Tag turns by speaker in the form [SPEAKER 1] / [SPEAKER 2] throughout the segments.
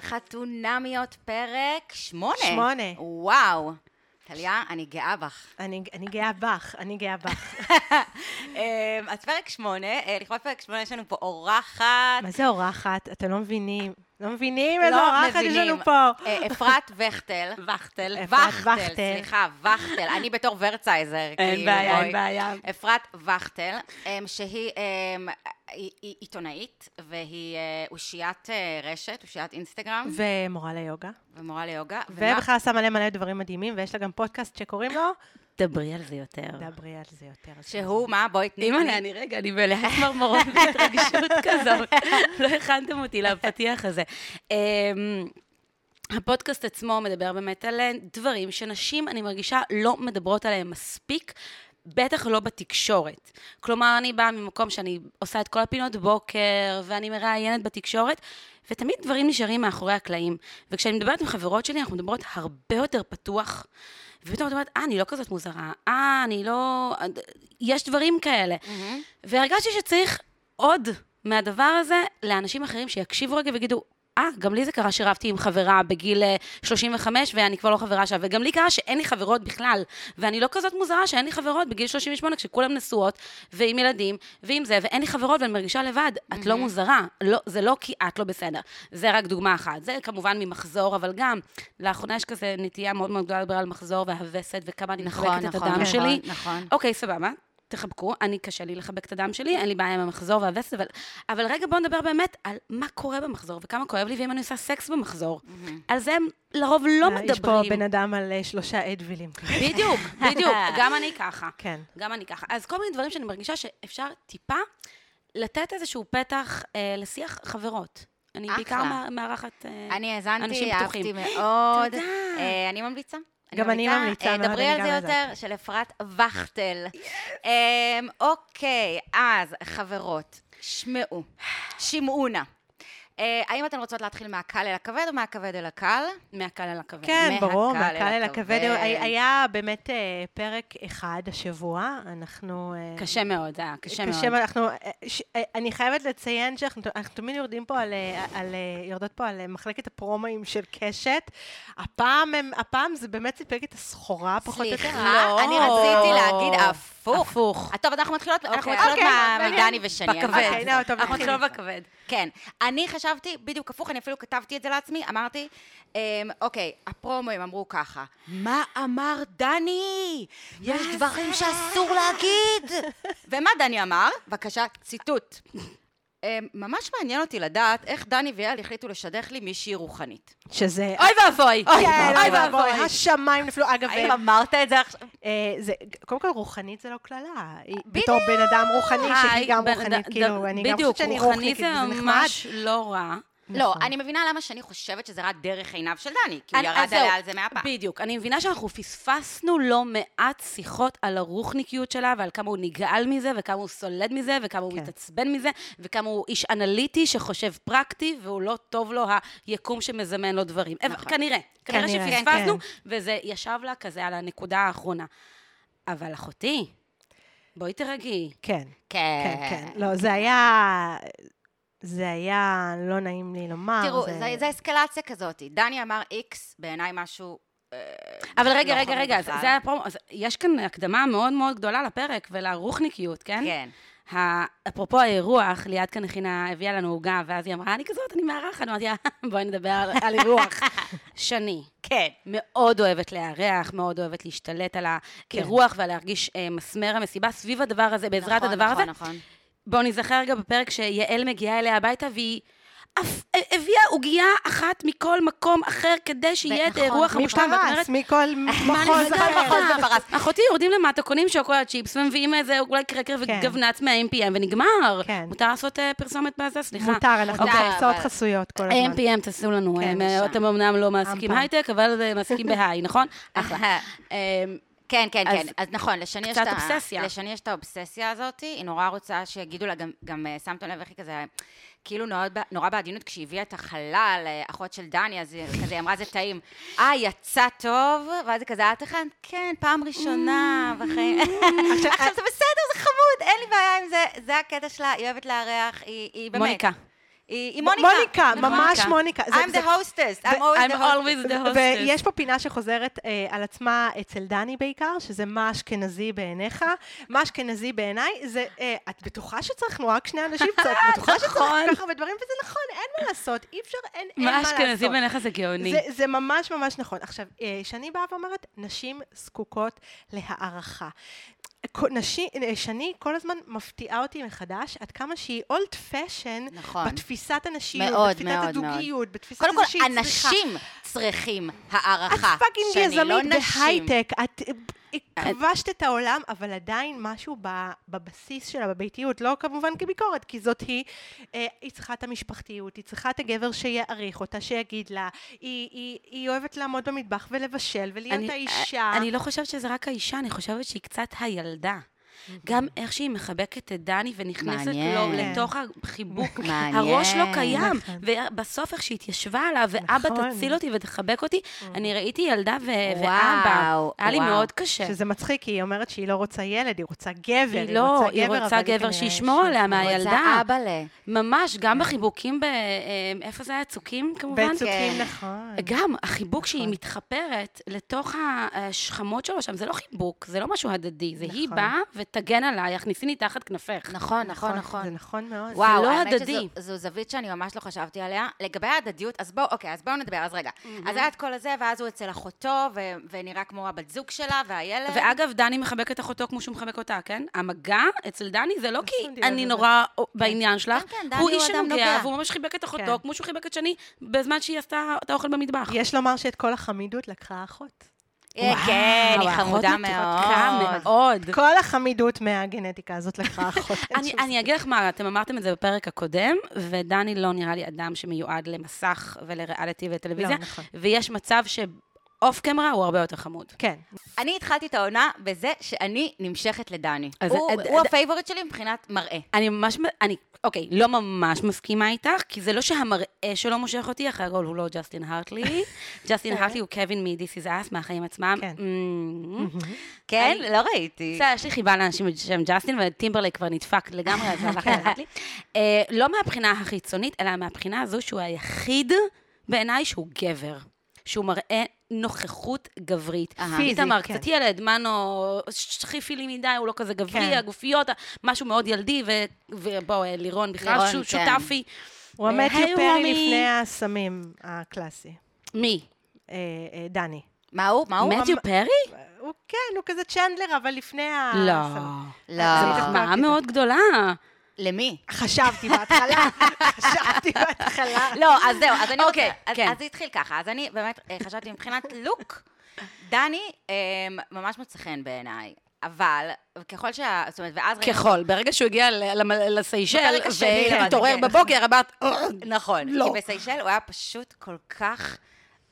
[SPEAKER 1] חתונמיות, פרק שמונה.
[SPEAKER 2] שמונה.
[SPEAKER 1] וואו. טליה, אני גאה בך.
[SPEAKER 2] אני, אני גאה בך, אני גאה בך.
[SPEAKER 1] אה, אז פרק שמונה, אה, לכבוד פרק שמונה יש לנו פה אורחת.
[SPEAKER 2] מה זה אורחת? אתם לא מבינים. לא מבינים איזה
[SPEAKER 1] לא
[SPEAKER 2] אורחת יש
[SPEAKER 1] מבינים.
[SPEAKER 2] לנו פה.
[SPEAKER 1] אה, אפרת וכטל.
[SPEAKER 3] וכטל.
[SPEAKER 2] אפרת
[SPEAKER 1] וכטל,
[SPEAKER 2] וכטל.
[SPEAKER 1] סליחה, וכטל. אני בתור ורצייזר.
[SPEAKER 3] אין
[SPEAKER 1] כאילו,
[SPEAKER 3] בעיה, אין
[SPEAKER 1] בואי.
[SPEAKER 3] בעיה.
[SPEAKER 1] אפרת וכטל, אמ, שהיא אמ, היא- היא עיתונאית, והיא אה, אושיית אה, רשת, אושיית אינסטגרם,
[SPEAKER 2] ומורה ליוגה.
[SPEAKER 1] ומורה ליוגה. ומה-
[SPEAKER 2] ובכלל עשה מלא מלא דברים מדהימים, ויש לה גם פודקאסט שקוראים לו...
[SPEAKER 3] דברי על זה יותר.
[SPEAKER 2] דברי על זה יותר. אז
[SPEAKER 1] שהוא, מה? בואי תני.
[SPEAKER 3] אימא'לה, אני רגע, אני מלאה צמרמורות והתרגשות כזאת. לא הכנתם אותי לפתיח הזה. אמ, הפודקאסט עצמו מדבר באמת על אה, דברים שנשים, אני מרגישה, לא מדברות עליהם מספיק. בטח לא בתקשורת. כלומר, אני באה ממקום שאני עושה את כל הפינות בוקר, ואני מראיינת בתקשורת, ותמיד דברים נשארים מאחורי הקלעים. וכשאני מדברת עם חברות שלי, אנחנו מדברות הרבה יותר פתוח. ופתאום את אומרת, אה, אני לא כזאת מוזרה, אה, אני לא... יש דברים כאלה.
[SPEAKER 1] Mm-hmm.
[SPEAKER 3] והרגשתי שצריך עוד מהדבר הזה לאנשים אחרים שיקשיבו רגע ויגידו, אה, גם לי זה קרה שרבתי עם חברה בגיל אה, 35 ואני כבר לא חברה שם, וגם לי קרה שאין לי חברות בכלל, ואני לא כזאת מוזרה שאין לי חברות בגיל 38 כשכולם נשואות, ועם ילדים, ועם זה, ואין לי חברות ואני מרגישה לבד, את
[SPEAKER 1] Mm-hmm.
[SPEAKER 3] לא מוזרה, לא, זה לא כי את לא בסדר. זה רק דוגמה אחת. זה כמובן ממחזור, אבל גם, לאחרונה יש כזה נטייה מאוד מאוד גדולה לדבר על מחזור והווסת, וכמה אני
[SPEAKER 1] נכון,
[SPEAKER 3] מחלקת את
[SPEAKER 1] נכון,
[SPEAKER 3] הדם
[SPEAKER 1] נכון,
[SPEAKER 3] שלי.
[SPEAKER 1] נכון.
[SPEAKER 3] אוקיי, סבבה, תחבקו, אני קשה לי לחבק את הדם שלי, אין לי בעיה עם המחזור והווסת, אבל, אבל רגע בואו נדבר באמת על מה קורה במחזור וכמה כואב לי ואם אני עושה סקס במחזור. על זה הם לרוב לא
[SPEAKER 2] אה,
[SPEAKER 3] מדברים.
[SPEAKER 2] יש פה בן אדם על אה, שלושה אדווילים.
[SPEAKER 3] בדיוק, בדיוק, גם אני ככה.
[SPEAKER 2] כן.
[SPEAKER 3] גם אני ככה. אז כל מיני דברים שאני מרגישה שאפשר טיפה לתת איזשהו פתח אה, לשיח חברות. אני
[SPEAKER 1] אחלה.
[SPEAKER 3] בעיקר מה- מארחת אה,
[SPEAKER 1] אני האזנתי,
[SPEAKER 3] אנשים
[SPEAKER 1] אהבתי
[SPEAKER 3] פתוחים.
[SPEAKER 1] מאוד.
[SPEAKER 3] תודה.
[SPEAKER 1] אה, אני ממליצה.
[SPEAKER 2] גם אני ממליצה
[SPEAKER 1] אה,
[SPEAKER 2] מאוד,
[SPEAKER 1] דברי
[SPEAKER 2] אני
[SPEAKER 1] על
[SPEAKER 2] גם
[SPEAKER 1] זה
[SPEAKER 2] האזנתי.
[SPEAKER 1] יותר, של אפרת וכטל. אה, אוקיי, אז חברות, שמעו, שמעו נא. אה, האם אתן רוצות להתחיל מהקל אל הכבד או מהכבד אל הקל?
[SPEAKER 3] מהקל על הכבד.
[SPEAKER 2] כן,
[SPEAKER 1] מהקל
[SPEAKER 2] ברור,
[SPEAKER 1] אל
[SPEAKER 2] מהקל אל
[SPEAKER 1] הכבד.
[SPEAKER 2] הכבד. היה- היה באמת אה, פרק אחד השבוע, אנחנו... אה,
[SPEAKER 3] קשה מאוד, זה היה קשה מאוד.
[SPEAKER 2] קשה מאוד. אנחנו, אה, ש, אני חייבת לציין שאנחנו אנחנו תמיד יורדים פה על, אה, על, אה, יורדות פה על אה, מחלקת הפרומואים של קשת. הפעם, הם, הפעם זה באמת סיפק את הסחורה, פחות או יותר.
[SPEAKER 1] סליחה,
[SPEAKER 3] לא.
[SPEAKER 1] אני רציתי להגיד הפוך.
[SPEAKER 3] הפוך.
[SPEAKER 1] אה, טוב, אז אנחנו מתחילות אנחנו
[SPEAKER 3] אוקיי.
[SPEAKER 1] מתחילות
[SPEAKER 2] אוקיי,
[SPEAKER 1] מה-
[SPEAKER 2] מעניין.
[SPEAKER 1] מדני ושני.
[SPEAKER 3] בכבד.
[SPEAKER 1] אמרתי.
[SPEAKER 2] אוקיי, לא, טוב,
[SPEAKER 3] אנחנו
[SPEAKER 2] נתחיל
[SPEAKER 3] עכשיו
[SPEAKER 2] איתך.
[SPEAKER 3] בכבד.
[SPEAKER 1] כן. אני חשבתי בדיוק הפוך, אני אפילו כתבתי את זה לעצמי, אמרתי, אמ, אוקיי, הפרומואים אמרו ככה, מה אמר דני? יש דברים שאסור להגיד. ומה דני אמר? בבקשה, ציטוט. אמ, ממש מעניין אותי לדעת איך דני ויעל החליטו לשדך לי מישהי רוחנית.
[SPEAKER 2] שזה...
[SPEAKER 3] אוי ואבוי.
[SPEAKER 2] כן,
[SPEAKER 1] אוי
[SPEAKER 2] אוי
[SPEAKER 1] ואבוי.
[SPEAKER 2] ואבוי. השמיים נפלו. אגב,
[SPEAKER 1] האם
[SPEAKER 2] אה,
[SPEAKER 1] אמרת את זה עכשיו?
[SPEAKER 2] אה, זה- קודם כל, רוחנית זה לא קללה. היא- בתור בן אדם רוחני,
[SPEAKER 3] היי,
[SPEAKER 2] שהיא גם
[SPEAKER 3] בן-
[SPEAKER 2] רוחנית,
[SPEAKER 3] ד-
[SPEAKER 2] כאילו,
[SPEAKER 3] ד-
[SPEAKER 2] אני גם חושבת שאני רוחנית, כאילו,
[SPEAKER 3] בדיוק,
[SPEAKER 2] זה
[SPEAKER 3] רוחני זה
[SPEAKER 2] נחמד.
[SPEAKER 3] ממש לא רע.
[SPEAKER 1] לא,
[SPEAKER 2] נכון.
[SPEAKER 1] אני מבינה למה שאני חושבת שזה רק דרך עיניו של דני, כי הוא
[SPEAKER 3] אני-
[SPEAKER 1] ירד
[SPEAKER 3] אז זהו,
[SPEAKER 1] עליה על זה מהפעם.
[SPEAKER 3] בדיוק. אני מבינה שאנחנו פספסנו לא מעט שיחות על הרוחניקיות שלה, ועל כמה הוא נגעל מזה, וכמה הוא סולד מזה, וכמה הוא
[SPEAKER 2] כן.
[SPEAKER 3] מתעצבן מזה, וכמה הוא איש אנליטי שחושב פרקטי, והוא לא טוב לו היקום שמזמן לו דברים. אה,
[SPEAKER 1] נכון.
[SPEAKER 3] כנראה. כנראה
[SPEAKER 2] כנראה,
[SPEAKER 3] שפספסנו,
[SPEAKER 2] כן.
[SPEAKER 3] וזה ישב לה כזה על הנקודה האחרונה. אבל אחותי, בואי תרגעי.
[SPEAKER 2] כן.
[SPEAKER 1] כן,
[SPEAKER 2] כן, כן. לא, זה היה... זה היה לא נעים לי לומר.
[SPEAKER 1] תראו, זה- זה אסקלציה כזאת. דני אמר איקס, בעיניי משהו... אה,
[SPEAKER 3] אבל
[SPEAKER 1] לא
[SPEAKER 3] רגע, רגע,
[SPEAKER 1] חמוד
[SPEAKER 3] רגע, אז
[SPEAKER 1] בכלל.
[SPEAKER 3] זה היה פרומו, אז יש כאן הקדמה מאוד מאוד גדולה לפרק ולרוחניקיות, כן?
[SPEAKER 1] כן.
[SPEAKER 3] ה- אפרופו האירוח, ליעד כאן הכינה, הביאה לנו עוגה, ואז היא אמרה, אני כזאת, אני מארחת, אמרתי לה, בואי נדבר על- על אירוח. שני,
[SPEAKER 1] כן.
[SPEAKER 3] מאוד אוהבת לארח, מאוד אוהבת להשתלט על
[SPEAKER 1] כן.
[SPEAKER 3] האירוח ועל להרגיש אה, מסמר המסיבה סביב הדבר הזה, בעזרת
[SPEAKER 1] נכון,
[SPEAKER 3] הדבר הזה.
[SPEAKER 1] נכון, נכון.
[SPEAKER 3] בואו נזכר רגע בפרק שיעל מגיעה אליה הביתה והיא... אף- הביאה עוגייה אחת מכל מקום אחר כדי שיהיה את
[SPEAKER 1] נכון,
[SPEAKER 3] האירוח המושלם. ואת
[SPEAKER 2] מפרס,
[SPEAKER 3] אומרת,
[SPEAKER 2] מכל מחוז
[SPEAKER 1] נסגר?
[SPEAKER 2] אחר.
[SPEAKER 1] מחוז בפרס.
[SPEAKER 3] אחותי יורדים למטה, קונים שוקולד צ'יפס, ומביאים איזה אולי קרקר
[SPEAKER 2] כן.
[SPEAKER 3] וגבנץ מה-MPM ונגמר.
[SPEAKER 2] כן.
[SPEAKER 3] מותר לעשות אה, פרסומת בזה? סליחה.
[SPEAKER 2] מותר, אנחנו
[SPEAKER 1] אוקיי,
[SPEAKER 2] בהרצאות
[SPEAKER 1] אבל-
[SPEAKER 2] חסויות
[SPEAKER 3] אה,
[SPEAKER 2] כל הזמן.
[SPEAKER 3] MPM תעשו לנו,
[SPEAKER 2] כן,
[SPEAKER 3] הם,
[SPEAKER 2] שם.
[SPEAKER 3] אתם אמנם לא מעסיקים
[SPEAKER 2] אמפם.
[SPEAKER 3] הייטק, אבל אה, מעסיקים בהיי, נכון? אחלה.
[SPEAKER 1] אחלה.
[SPEAKER 3] אמ,
[SPEAKER 1] כן, כן,
[SPEAKER 3] אז
[SPEAKER 1] כן. אז נכון, לשני יש
[SPEAKER 3] קצת
[SPEAKER 1] את ה-
[SPEAKER 3] אובססיה.
[SPEAKER 1] לשני יש את האובססיה הזאת, היא נורא רוצה שיגידו לה, גם- גם אה, שמתם לב איך היא כזה, כאילו נורא ב- נורא בעדינות, כשהיא הביאה את החלל, אה, אחות של דני, אז היא כזה היא אמרה, זה טעים. אה, יצא טוב? ואז היא כזה, את הכנת? כן, פעם ראשונה
[SPEAKER 3] Mm.
[SPEAKER 1] בחיים.
[SPEAKER 3] אה-
[SPEAKER 1] עכשיו זה בסדר, זה חמוד, אין לי בעיה עם זה, זה הקטע שלה, היא אוהבת לארח, היא היא באמת...
[SPEAKER 3] מוניקה.
[SPEAKER 1] היא היא
[SPEAKER 2] מ-
[SPEAKER 1] מוניקה.
[SPEAKER 2] מוניקה,
[SPEAKER 1] נכון.
[SPEAKER 2] ממש מוניקה. זה-
[SPEAKER 1] I'm
[SPEAKER 2] זה-
[SPEAKER 1] the hostess, I'm always
[SPEAKER 3] I'm
[SPEAKER 1] the
[SPEAKER 3] always
[SPEAKER 1] hostess.
[SPEAKER 3] the hostess.
[SPEAKER 2] ויש פה פינה שחוזרת אה, על עצמה אצל דני בעיקר, שזה מה אשכנזי בעיניך. מה אשכנזי בעיניי זה, אה, את בטוחה שצריך רק שני אנשים קצת, בטוחה שצריך
[SPEAKER 3] נכון.
[SPEAKER 2] כל כך הרבה דברים, וזה נכון, אין מה לעשות, אי אפשר, אין, אין מה
[SPEAKER 3] מה
[SPEAKER 2] לעשות.
[SPEAKER 3] אשכנזי בעיניך זה גאוני.
[SPEAKER 2] זה, זה ממש ממש נכון. עכשיו, אה, שאני באה ואומרת, נשים זקוקות להערכה. כל- נשי, אה, שני כל הזמן מפתיעה אותי מחדש עד כמה שהיא אולד פשן
[SPEAKER 1] נכון.
[SPEAKER 2] בתפיסת הנשיות,
[SPEAKER 1] מאוד,
[SPEAKER 2] בתפיסת
[SPEAKER 1] מאוד,
[SPEAKER 2] הזוגיות, בתפיסת
[SPEAKER 1] קודם
[SPEAKER 2] זה
[SPEAKER 1] כל,
[SPEAKER 2] שהיא צריכה.
[SPEAKER 1] אנשים צריכים הערכה.
[SPEAKER 2] את פאקינג
[SPEAKER 1] שאני לא
[SPEAKER 2] יזמית
[SPEAKER 1] נשים.
[SPEAKER 2] בהייטק, את אה, כבשת את העולם, אבל עדיין משהו ב- בבסיס שלה, בביתיות, לא כמובן כביקורת, כי זאת היא, אה, היא צריכה את המשפחתיות, היא צריכה את הגבר שיעריך אותה, שיגיד לה, היא- היא היא אוהבת לעמוד במטבח ולבשל ולהיות האישה.
[SPEAKER 3] אני לא חושבת שזה רק האישה, אני חושבת שהיא קצת הילדה. גם איך שהיא מחבקת את דני ונכנסת לו
[SPEAKER 1] מעניין.
[SPEAKER 3] לתוך החיבוק.
[SPEAKER 1] מעניין.
[SPEAKER 3] הראש לא קיים, ובסוף איך שהתיישבה עליו, ואבא
[SPEAKER 2] נכון.
[SPEAKER 3] תציל אותי ותחבק אותי, אני ראיתי ילדה ו-
[SPEAKER 1] וואו,
[SPEAKER 3] אה, ואבא. היה לי
[SPEAKER 1] וואו.
[SPEAKER 3] מאוד קשה.
[SPEAKER 2] שזה מצחיק, כי היא אומרת שהיא לא רוצה ילד, היא רוצה גבר.
[SPEAKER 3] כן. היא לא, היא
[SPEAKER 2] אבל
[SPEAKER 3] רוצה גבר
[SPEAKER 2] כנראה לא.
[SPEAKER 3] שישמור
[SPEAKER 2] ש-
[SPEAKER 3] עליה מהילדה.
[SPEAKER 1] רוצה אבא ל...
[SPEAKER 3] ממש, גם בחיבוקים, ב- אה, איפה זה היה? צוקים כמובן? אה,
[SPEAKER 2] בצוקים,
[SPEAKER 1] כן.
[SPEAKER 2] נכון.
[SPEAKER 3] גם החיבוק
[SPEAKER 1] נכון.
[SPEAKER 3] שהיא מתחפרת לתוך השכמות שלו שם, זה לא חיבוק, זה לא משהו הדדי, זה היא
[SPEAKER 2] נכון.
[SPEAKER 3] באה ותגן עליי, הכניסיני תחת כנפך.
[SPEAKER 1] נכון, נכון,
[SPEAKER 2] זה
[SPEAKER 1] נכון.
[SPEAKER 2] נכון מאוד.
[SPEAKER 1] וואו,
[SPEAKER 3] לא
[SPEAKER 1] האמת
[SPEAKER 3] הדדי.
[SPEAKER 1] שזו זו זווית שאני ממש לא חשבתי עליה. לגבי ההדדיות, אז בואו, אוקיי, אז בואו נדבר, אז רגע. אז היה את כל הזה, ואז הוא אצל אחותו, ו- ונראה כמו הבת זוג שלה, והילד.
[SPEAKER 3] ואגב, דני מחבק את אחותו כמו שהוא מחבק אותה, כן? המגע אצל דני זה לא
[SPEAKER 2] שמתי
[SPEAKER 3] כי
[SPEAKER 2] לב
[SPEAKER 3] אני
[SPEAKER 2] לזה.
[SPEAKER 3] נורא בעניין שלך,
[SPEAKER 1] כן, דני
[SPEAKER 3] הוא
[SPEAKER 1] הוא
[SPEAKER 3] איש
[SPEAKER 1] אדם
[SPEAKER 3] שנוגע,
[SPEAKER 1] נוגע.
[SPEAKER 3] והוא ממש חיבק את אחותו
[SPEAKER 2] כן.
[SPEAKER 3] כמו שהוא חיבק את שני בזמן שהיא עשתה את האוכל במטבח.
[SPEAKER 2] יש לומר שאת כל החמידות לקחה אחות.
[SPEAKER 1] אה, כן, היא
[SPEAKER 3] וואו, האחות
[SPEAKER 1] חמודה
[SPEAKER 3] מתוקה
[SPEAKER 1] מאוד.
[SPEAKER 3] מאוד.
[SPEAKER 2] כל החמידות מהגנטיקה הזאת לקחה אחות. אין
[SPEAKER 3] אני,
[SPEAKER 2] שום
[SPEAKER 3] אני אגיד לך מה, אתם אמרתם את זה בפרק הקודם, ודני לא נראה לי אדם שמיועד למסך ולריאליטי וטלוויזיה,
[SPEAKER 2] לא, נכון.
[SPEAKER 3] ויש מצב שאוף קמרה הוא הרבה יותר חמוד.
[SPEAKER 2] כן.
[SPEAKER 1] אני התחלתי את העונה בזה שאני נמשכת לדני.
[SPEAKER 3] אז
[SPEAKER 1] הוא-
[SPEAKER 3] עד-
[SPEAKER 1] הוא
[SPEAKER 3] עד-
[SPEAKER 1] הפייבוריט שלי מבחינת מראה.
[SPEAKER 3] אני ממש, אני, אוקיי, לא ממש מסכימה איתך, כי זה לא שהמראה שלו מושך אותי, אחרי הכל הוא לא ג'סטין הרטלי. ג'סטין הרטלי הוא קווין מ-This is Us, מהחיים עצמם.
[SPEAKER 2] אה. כן.
[SPEAKER 3] Mm.
[SPEAKER 1] כן? לא ראיתי.
[SPEAKER 3] בסדר, יש לי חיבה לאנשים בשם ג'סטין, וטימברלי כבר נדפק לגמרי, אז הלך לאט לי. אה, לא מהבחינה החיצונית, אלא מהבחינה הזו שהוא היחיד בעיניי שהוא גבר. שהוא מראה נוכחות גברית.
[SPEAKER 1] אהה.
[SPEAKER 2] פיזית,
[SPEAKER 3] איתמר,
[SPEAKER 2] כן.
[SPEAKER 3] קצת ילד, מנו, חיפילי מדי, הוא לא כזה גברי,
[SPEAKER 2] כן.
[SPEAKER 3] הגופיות, משהו מאוד ילדי, ו- ובוא, אה, לירון בכלל,
[SPEAKER 1] לירון,
[SPEAKER 3] שהוא
[SPEAKER 1] כן.
[SPEAKER 3] שותפי.
[SPEAKER 2] הוא
[SPEAKER 3] היי,
[SPEAKER 2] המתיו
[SPEAKER 3] וומי.
[SPEAKER 2] פרי לפני הסמים הקלאסי.
[SPEAKER 3] מי?
[SPEAKER 2] אה, אה, דני.
[SPEAKER 1] מה הוא? מה הוא?
[SPEAKER 3] מתיו פרי?
[SPEAKER 2] אה, הוא כן, הוא כזה צ'נדלר, אבל לפני
[SPEAKER 1] אה,
[SPEAKER 2] ה...
[SPEAKER 3] לא.
[SPEAKER 1] לא.
[SPEAKER 3] זו
[SPEAKER 2] אה,
[SPEAKER 3] מחמאה
[SPEAKER 2] הבנתי.
[SPEAKER 3] מאוד גדולה.
[SPEAKER 1] למי?
[SPEAKER 2] חשבתי בהתחלה, חשבתי בהתחלה.
[SPEAKER 1] לא, אז זהו, אז אני
[SPEAKER 3] אוקיי,
[SPEAKER 1] רוצה, אז
[SPEAKER 3] כן.
[SPEAKER 1] אז זה התחיל ככה, אז אני באמת אה, חשבתי מבחינת לוק, דני אה, ממש מוצא חן בעיניי, אבל ככל שה... זאת אומרת, ואז... ראיתי-
[SPEAKER 3] ככל, ברגע שהוא הגיע ל- למ- לסיישל,
[SPEAKER 1] בפרק השני,
[SPEAKER 3] והתעורר
[SPEAKER 1] כן.
[SPEAKER 3] בבוקר, אמרת,
[SPEAKER 1] נכון,
[SPEAKER 3] לא.
[SPEAKER 1] כי בסיישל הוא היה פשוט כל כך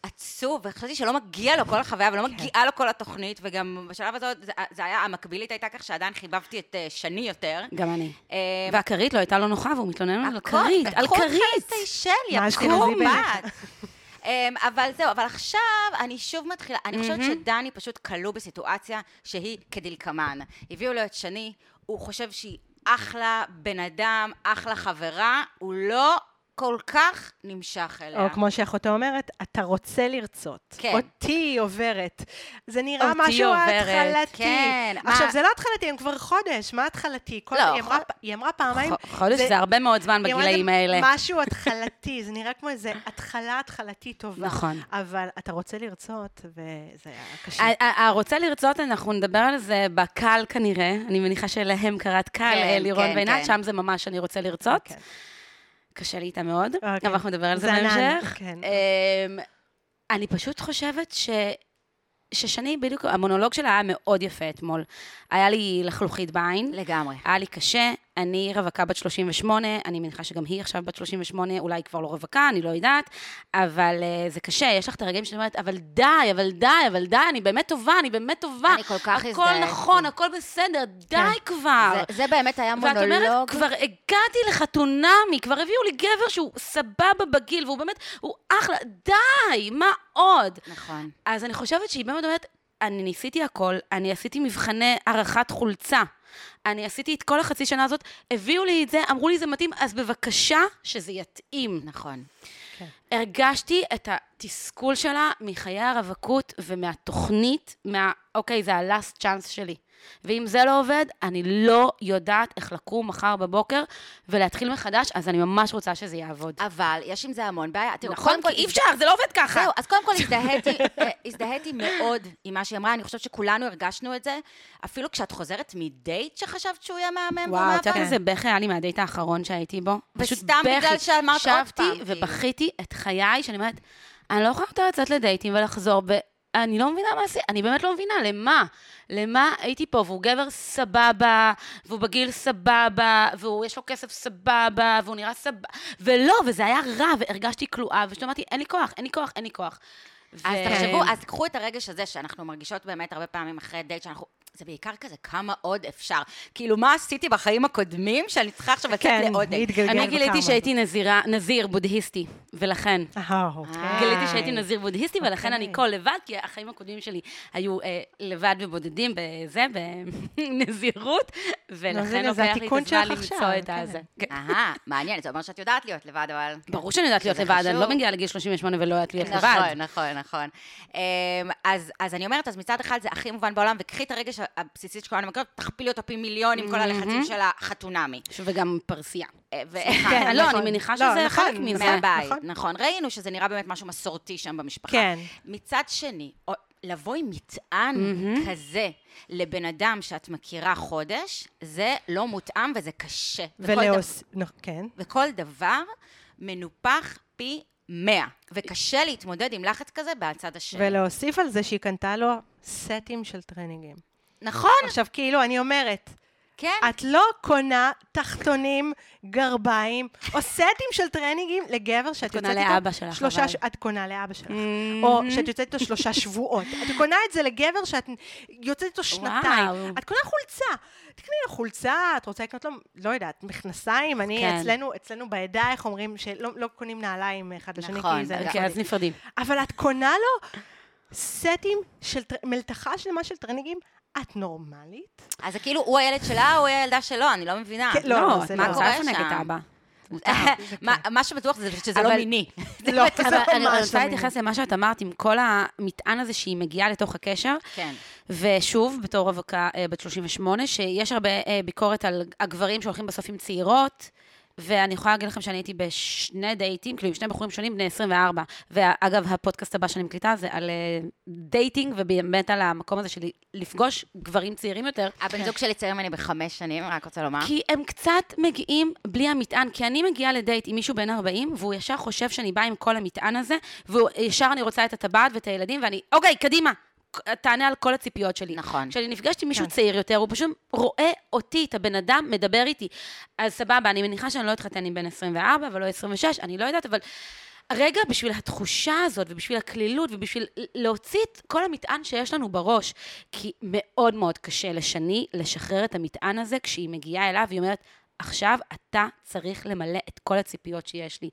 [SPEAKER 1] עצוב, וחשבתי שלא מגיע לו כל החוויה ולא מגיעה לו כל התוכנית, וגם בשלב הזה עוד זה- זה היה, המקבילית הייתה כך שעדיין חיבבתי את אה, שני יותר.
[SPEAKER 3] גם אני.
[SPEAKER 1] אה,
[SPEAKER 3] והכרית לא הייתה לו נוחה, והוא מתלונן על
[SPEAKER 1] הכל,
[SPEAKER 3] כרית, על
[SPEAKER 1] לקחו אותך
[SPEAKER 3] כרית.
[SPEAKER 1] לסיישל,
[SPEAKER 2] מה,
[SPEAKER 1] יא
[SPEAKER 2] אשכנזי
[SPEAKER 1] קומבט. אמ, אבל זהו, אבל עכשיו אני שוב מתחילה, אני חושבת שדני פשוט כלוא בסיטואציה שהיא כדלקמן. הביאו לו את שני, הוא חושב שהיא אחלה בן אדם, אחלה חברה, הוא לא כל כך נמשך אליה.
[SPEAKER 2] או כמו שאחותו אומרת, אתה רוצה לרצות.
[SPEAKER 1] לא. כן.
[SPEAKER 2] אותי עוברת. זה נראה
[SPEAKER 3] אותי
[SPEAKER 2] משהו
[SPEAKER 3] עוברת,
[SPEAKER 2] התחלתי.
[SPEAKER 1] כן.
[SPEAKER 2] עכשיו,
[SPEAKER 1] מה-
[SPEAKER 2] זה לא התחלתי, הם כבר חודש, מה התחלתי? כל-
[SPEAKER 1] לא,
[SPEAKER 2] היא אמרה-
[SPEAKER 1] חוד-
[SPEAKER 2] היא אמרה פעמיים...
[SPEAKER 3] ח- חודש זה הרבה מאוד זמן
[SPEAKER 2] היא אמרה, זה
[SPEAKER 3] בגילאים האלה.
[SPEAKER 2] משהו התחלתי, זה נראה כמו איזה התחלה התחלתית טובה.
[SPEAKER 3] נכון.
[SPEAKER 2] אבל אתה רוצה לרצות, וזה היה קשה.
[SPEAKER 3] ה- ה- הרוצה לרצות, אנחנו נדבר על זה בקל כנראה, אני מניחה שלהם קראת קל,
[SPEAKER 1] כן,
[SPEAKER 3] אה, לירון
[SPEAKER 1] כן,
[SPEAKER 3] ועינת,
[SPEAKER 1] כן.
[SPEAKER 3] שם זה ממש אני רוצה לרצות.
[SPEAKER 2] כן.
[SPEAKER 3] קשה לי איתה מאוד,
[SPEAKER 2] אוקיי.
[SPEAKER 3] אבל אנחנו נדבר על זה
[SPEAKER 2] זה ענן,
[SPEAKER 3] בהמשך.
[SPEAKER 2] כן.
[SPEAKER 3] אמ, אני פשוט חושבת ש... ששני, בדיוק, המונולוג שלה היה מאוד יפה אתמול. היה לי לחלוכית בעין.
[SPEAKER 1] לגמרי.
[SPEAKER 3] היה לי קשה, אני רווקה בת 38, אני מניחה שגם היא עכשיו בת 38, אולי היא כבר לא רווקה, אני לא יודעת, אבל uh, זה קשה, יש לך את הרגעים שאת אומרת, אבל די, אבל די, אבל די, אני באמת טובה, אני באמת טובה.
[SPEAKER 1] אני כל כך
[SPEAKER 3] הכל
[SPEAKER 1] הזדהיתי. כן.
[SPEAKER 3] נכון, הכל בסדר, די כבר.
[SPEAKER 1] זה- זה באמת היה
[SPEAKER 3] ואת אומרת,
[SPEAKER 1] מונולוג.
[SPEAKER 3] כבר הגעתי לחתונמי, כבר הביאו לי גבר שהוא סבבה בגיל, והוא באמת, הוא אחלה, די, מה עוד?
[SPEAKER 1] נכון.
[SPEAKER 3] אז אני חושבת שהיא באמת אומרת, אני ניסיתי הכל, אני עשיתי מבחני הערכת חולצה. אני עשיתי את כל החצי שנה הזאת, הביאו לי את זה, אמרו לי זה מתאים, אז בבקשה שזה יתאים.
[SPEAKER 1] נכון.
[SPEAKER 3] הרגשתי את התסכול שלה מחיי הרווקות ומהתוכנית, מה, אוקיי, זה ה-last chance שלי. ואם זה לא עובד, אני לא יודעת איך לקום מחר בבוקר ולהתחיל מחדש, אז אני ממש רוצה שזה יעבוד.
[SPEAKER 1] אבל יש עם זה המון בעיה. תראו,
[SPEAKER 3] נכון?
[SPEAKER 1] קודם כל,
[SPEAKER 3] כי אי אפשר, זה לא עובד ככה.
[SPEAKER 1] זהו, אז קודם כל הזדהיתי, אה, הזדהיתי מאוד עם מה שהיא אמרה, אני חושבת שכולנו הרגשנו את זה. אפילו כשאת חוזרת מדייט שחשבת שהוא יהיה מהמם
[SPEAKER 3] וואו, את
[SPEAKER 1] ומאבק.
[SPEAKER 3] יודעת איזה בכי היה לי מהדייט האחרון שהייתי בו? פשוט
[SPEAKER 1] כן, וסתם בגלל
[SPEAKER 3] בכי.
[SPEAKER 1] שאמרת עוד פעם,
[SPEAKER 3] שבתי
[SPEAKER 1] כאילו.
[SPEAKER 3] ובכיתי את חיי, שאני אומרת, אני לא יכולה יותר לצאת לדייטים ולחזור, ואני לא מבינה מה זה, אני באמת לא מבינה, למה? למה הייתי פה, והוא גבר סבבה, והוא בגיל סבבה, והוא יש לו כסף סבבה, והוא נראה סבבה, ולא, וזה היה רע, והרגשתי כלואה, ופשוט אמרתי, אין לי כוח, אין לי כוח, אין לי כוח.
[SPEAKER 1] אז
[SPEAKER 2] כן.
[SPEAKER 3] ו-
[SPEAKER 1] תחשבו, אז קחו את הרגש הזה שאנחנו מרגישות באמת הרבה פעמים אחרי דייט, שאנחנו... זה בעיקר כזה, כמה עוד אפשר. כאילו, מה עשיתי בחיים הקודמים שאני צריכה עכשיו לצאת
[SPEAKER 2] כן,
[SPEAKER 1] לעוד דייט?
[SPEAKER 2] להתגלגל
[SPEAKER 3] אני גיליתי
[SPEAKER 2] בכמה.
[SPEAKER 3] שהייתי נזירה, נזיר בודהיסטי, ולכן.
[SPEAKER 2] אה, אוקיי.
[SPEAKER 3] גיליתי שהייתי נזיר בודהיסטי, ולכן
[SPEAKER 2] אוקיי.
[SPEAKER 3] אני כה לבד, כי החיים הקודמים שלי היו אה, לבד ובודדים בזה, בנזירות,
[SPEAKER 2] נו, אז
[SPEAKER 3] ולכן
[SPEAKER 2] הנה, זה
[SPEAKER 3] לוקח לי את
[SPEAKER 2] התיקון
[SPEAKER 3] הזמן
[SPEAKER 2] שלך
[SPEAKER 3] למצוא
[SPEAKER 2] עכשיו,
[SPEAKER 3] את
[SPEAKER 2] כן.
[SPEAKER 3] הזה. כן.
[SPEAKER 1] אהה, מעניין, זה אומר שאת יודעת להיות לבד, אבל...
[SPEAKER 3] ברור שאני יודעת להיות
[SPEAKER 1] שזה
[SPEAKER 3] לבד, אני
[SPEAKER 1] חשוב.
[SPEAKER 3] לא מגיעה לגיל 38 ולא יודעת
[SPEAKER 2] כן,
[SPEAKER 3] להיות לבד.
[SPEAKER 1] נכון, נכון, נכון. אמ, אז, אז אני אומרת, אז מצד אחד זה הכי מובן בעולם, וקחי את הרגש הבסיסי שכולנו מכירות, תכפילי אותו פי מיליון עם כל הלחצים של החתונמי.
[SPEAKER 3] ש- וגם פרסייה.
[SPEAKER 1] אה, ו-
[SPEAKER 3] אה, לא,
[SPEAKER 2] נכון.
[SPEAKER 3] אני מניחה
[SPEAKER 2] לא,
[SPEAKER 3] שזה
[SPEAKER 2] נכון,
[SPEAKER 3] חלק מזה.
[SPEAKER 1] מהבית,
[SPEAKER 2] נכון.
[SPEAKER 1] נכון. ראינו שזה נראה באמת משהו מסורתי שם במשפחה.
[SPEAKER 2] כן.
[SPEAKER 1] מצד שני, או- לבוא עם מטען כזה לבן אדם שאת מכירה חודש, זה לא מותאם וזה קשה. וכל דבר-
[SPEAKER 2] ולאוס... נכון, כן.
[SPEAKER 1] וכל דבר מנופח פי 100, וקשה להתמודד עם לחץ כזה בצד
[SPEAKER 3] כן.
[SPEAKER 1] השני.
[SPEAKER 2] ולהוסיף על זה שהיא קנתה לו סטים של טרנינגים.
[SPEAKER 1] נכון,
[SPEAKER 2] עכשיו, כאילו, אני אומרת,
[SPEAKER 1] כן.
[SPEAKER 2] את לא קונה תחתונים, גרביים, או סטים של טרנינגים לגבר שאת
[SPEAKER 3] קונה
[SPEAKER 2] יוצאת איתו...
[SPEAKER 3] לאבא שלך,
[SPEAKER 2] שלושה...
[SPEAKER 3] אבל. Mm-hmm.
[SPEAKER 2] ש... את קונה לאבא שלך. או שאת יוצאת איתו שלושה שבועות. את קונה את זה לגבר שאת יוצאת איתו שנתיים.
[SPEAKER 3] וואו.
[SPEAKER 2] את קונה חולצה. תקני לו חולצה, את רוצה לקנות לו, לא יודעת, מכנסיים. אני,
[SPEAKER 3] כן.
[SPEAKER 2] אצלנו, אצלנו בעדה, איך אומרים, שלא לא קונים נעליים אחד לשני,
[SPEAKER 1] נכון,
[SPEAKER 2] כן, כי זה... לא-
[SPEAKER 1] אוקיי,
[SPEAKER 3] אוקיי, אז נפרדים.
[SPEAKER 2] אבל את קונה לו סטים של טר... מלתחה שלמה של טרנינגים? את נורמלית?
[SPEAKER 1] אז זה כאילו, הוא הילד שלה, הוא הילדה שלו, אני לא מבינה.
[SPEAKER 2] כן, לא,
[SPEAKER 3] לא,
[SPEAKER 2] זה
[SPEAKER 3] את מה
[SPEAKER 1] לא.
[SPEAKER 3] קורה
[SPEAKER 1] זה
[SPEAKER 3] שם?
[SPEAKER 1] כן. מה- מה שבטוח זה שזה
[SPEAKER 3] אבל-
[SPEAKER 1] לא מיני.
[SPEAKER 2] לא,
[SPEAKER 3] אבל אני
[SPEAKER 2] ממש לא
[SPEAKER 3] רוצה
[SPEAKER 2] מיני.
[SPEAKER 3] להתייחס למה שאת אמרת, עם כל המטען הזה שהיא מגיעה לתוך הקשר.
[SPEAKER 1] כן.
[SPEAKER 3] ושוב, בתור רווקה אה, בת 38, שיש הרבה אה, ביקורת על הגברים שהולכים בסוף עם צעירות, ואני יכולה להגיד לכם שאני הייתי בשני דייטים, כאילו עם שני בחורים שונים, בני 24. ואגב, הפודקאסט הבא שאני מקליטה זה על אה, דייטינג, ובאמת על המקום הזה של לפגוש גברים צעירים יותר.
[SPEAKER 1] הבן זוג שלי צעיר ממני בחמש שנים, רק רוצה לומר.
[SPEAKER 3] כי הם קצת מגיעים בלי המטען, כי אני מגיעה לדייט עם מישהו בן 40, והוא ישר חושב שאני באה עם כל המטען הזה, וישר אני רוצה את הטבעת ואת הילדים, ואני, אוקיי, קדימה, תענה על כל הציפיות שלי.
[SPEAKER 1] נכון.
[SPEAKER 3] כשאני נפגשת עם מישהו צעיר יותר, הוא פשוט רואה אותי, את הבן אדם, מדבר איתי. אז סבבה, אני מניחה שאני לא אתחתן עם בן 24 ולא 26, אני לא יודעת, אבל... רגע, בשביל התחושה הזאת, ובשביל הקלילות, ובשביל להוציא את כל המטען שיש לנו בראש. כי מאוד מאוד קשה לשני לשחרר את המטען הזה כשהיא מגיעה אליו, והיא אומרת, עכשיו אתה צריך למלא את כל הציפיות שיש לי.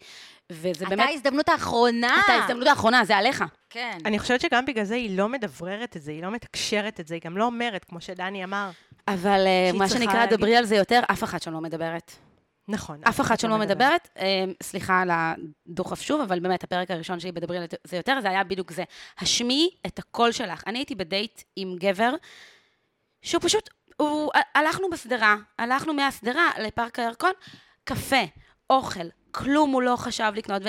[SPEAKER 3] וזה
[SPEAKER 1] אתה
[SPEAKER 3] באמת...
[SPEAKER 1] ההזדמנות האחרונה.
[SPEAKER 3] אתה ההזדמנות האחרונה, זה עליך.
[SPEAKER 1] כן.
[SPEAKER 2] אני חושבת שגם בגלל זה היא לא מדבררת את זה, היא לא מתקשרת את זה, היא גם לא אומרת, כמו שדני אמר.
[SPEAKER 3] אבל אה,
[SPEAKER 2] שהיא
[SPEAKER 3] מה
[SPEAKER 2] צריכה
[SPEAKER 3] שנקרא,
[SPEAKER 2] להגיד.
[SPEAKER 3] דברי על זה יותר, אף אחת שם לא מדברת.
[SPEAKER 2] נכון.
[SPEAKER 3] אף אחת שלא מדברת, אה, סליחה על הדוחף שוב, אבל באמת, הפרק הראשון שלי בדברי על זה יותר, זה היה בדיוק זה. השמיעי את הקול שלך. אני הייתי בדייט עם גבר, שהוא פשוט, הוא, הלכנו בשדרה, הלכנו מהשדרה לפארק הירקון, קפה, אוכל, כלום הוא לא חשב לקנות,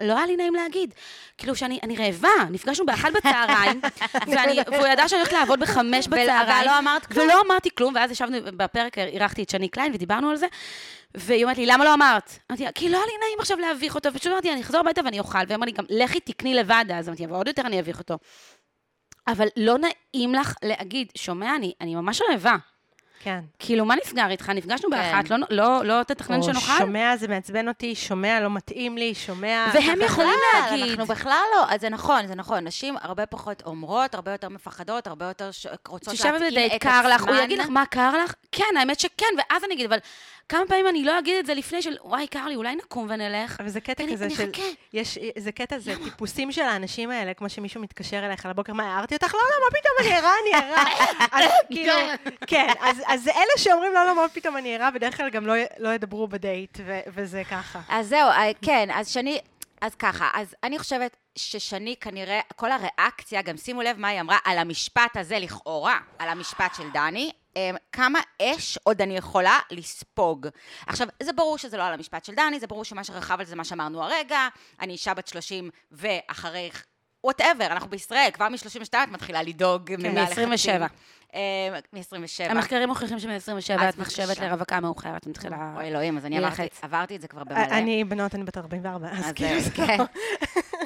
[SPEAKER 3] ולא היה לי נעים להגיד. כאילו שאני אני רעבה, נפגשנו באחת בצהריים, ואני, והוא ידע שאני הולכת לעבוד בחמש
[SPEAKER 1] אבל-
[SPEAKER 3] בצהריים.
[SPEAKER 1] אבל לא אמרת כלום.
[SPEAKER 3] ולא אמרתי כלום, ואז ישבנו בפרק, אירחתי את שני קליין ודיברנו על זה, והיא אומרת לי, למה לא אמרת? אמרתי לה, כי לא היה לי נעים עכשיו להביך אותו, ופשוט אמרתי, אני אחזור הביתה ואני אוכל, והיא אמרה לי, גם לכי תקני לבד, אז אמרתי, אבל עוד יותר אני אביך אותו. אבל לא נעים לך להגיד, שומע, אני, אני ממש רעבה.
[SPEAKER 2] כן.
[SPEAKER 3] כאילו, מה נסגר איתך? נפגשנו באחת, לא- לא- לא תתכנן
[SPEAKER 2] או
[SPEAKER 3] שנאכל?
[SPEAKER 2] שומע, זה מעצבן אותי, שומע, לא מתאים לי, שומע...
[SPEAKER 3] והם יכולים
[SPEAKER 1] בכלל,
[SPEAKER 3] להגיד.
[SPEAKER 1] אנחנו בכלל לא, אז זה נכון, זה נכון. נשים הרבה פחות אומרות, הרבה יותר מפחדות, הרבה יותר ש... רוצות
[SPEAKER 3] תשב
[SPEAKER 1] להתאים את
[SPEAKER 3] בדייט,
[SPEAKER 1] עצמן.
[SPEAKER 3] קר לך, הוא יגיד לך, מה קר לך? כן, האמת שכן, ואז אני אגיד, אבל כמה פעמים אני לא אגיד את זה לפני של, וואי, קר לי, אולי נקום ונלך?
[SPEAKER 2] אבל זה קטע
[SPEAKER 3] אני-
[SPEAKER 2] כזה
[SPEAKER 3] אני
[SPEAKER 2] של...
[SPEAKER 3] אחכה.
[SPEAKER 2] יש, זה קטע, זה טיפוסים של האנשים האלה, כמו שמישהו מתקשר אליך לבוקר, מה, הערתי אותך? לא, לא, מה פתאום, אני ערה, אני ערה. אז כאילו, כן, אז- אז זה אלה שאומרים, לא, לא, מה פתאום, אני ערה, בדרך כלל גם לא י- לא ידברו בדייט, ו- וזה ככה.
[SPEAKER 1] אז זהו, אה, כן, אז שני, אז ככה, אז אני חושבת ששני כנראה, כל הריאקציה, גם שימו לב מה היא אמרה על המשפט הזה לכאורה, על המשפט של דני. אמ, כמה אש עוד אני יכולה לספוג. עכשיו, זה ברור שזה לא על המשפט של דני, זה ברור שמה שרכב על זה מה שאמרנו הרגע, אני אישה בת 30 ואחרי, וואטאבר, אנחנו בישראל, כבר מ-32 את מתחילה לדאוג. ממנה
[SPEAKER 3] מ- 27.
[SPEAKER 1] לחצים. אמ, מ-27.
[SPEAKER 3] המחקרים מוכיחים שמ-27
[SPEAKER 1] אז
[SPEAKER 3] את נחשבת
[SPEAKER 1] בבקשה.
[SPEAKER 3] לרווקה מאוחרת, מתחילה...
[SPEAKER 1] אוי אלוהים, אז אני
[SPEAKER 3] מלחץ.
[SPEAKER 1] עברתי, עברתי את זה כבר במלא.
[SPEAKER 3] אה,
[SPEAKER 2] אני בנות, אני בת 44, אז
[SPEAKER 1] אז זה-
[SPEAKER 2] כאילו... זה
[SPEAKER 1] כן.
[SPEAKER 2] לא-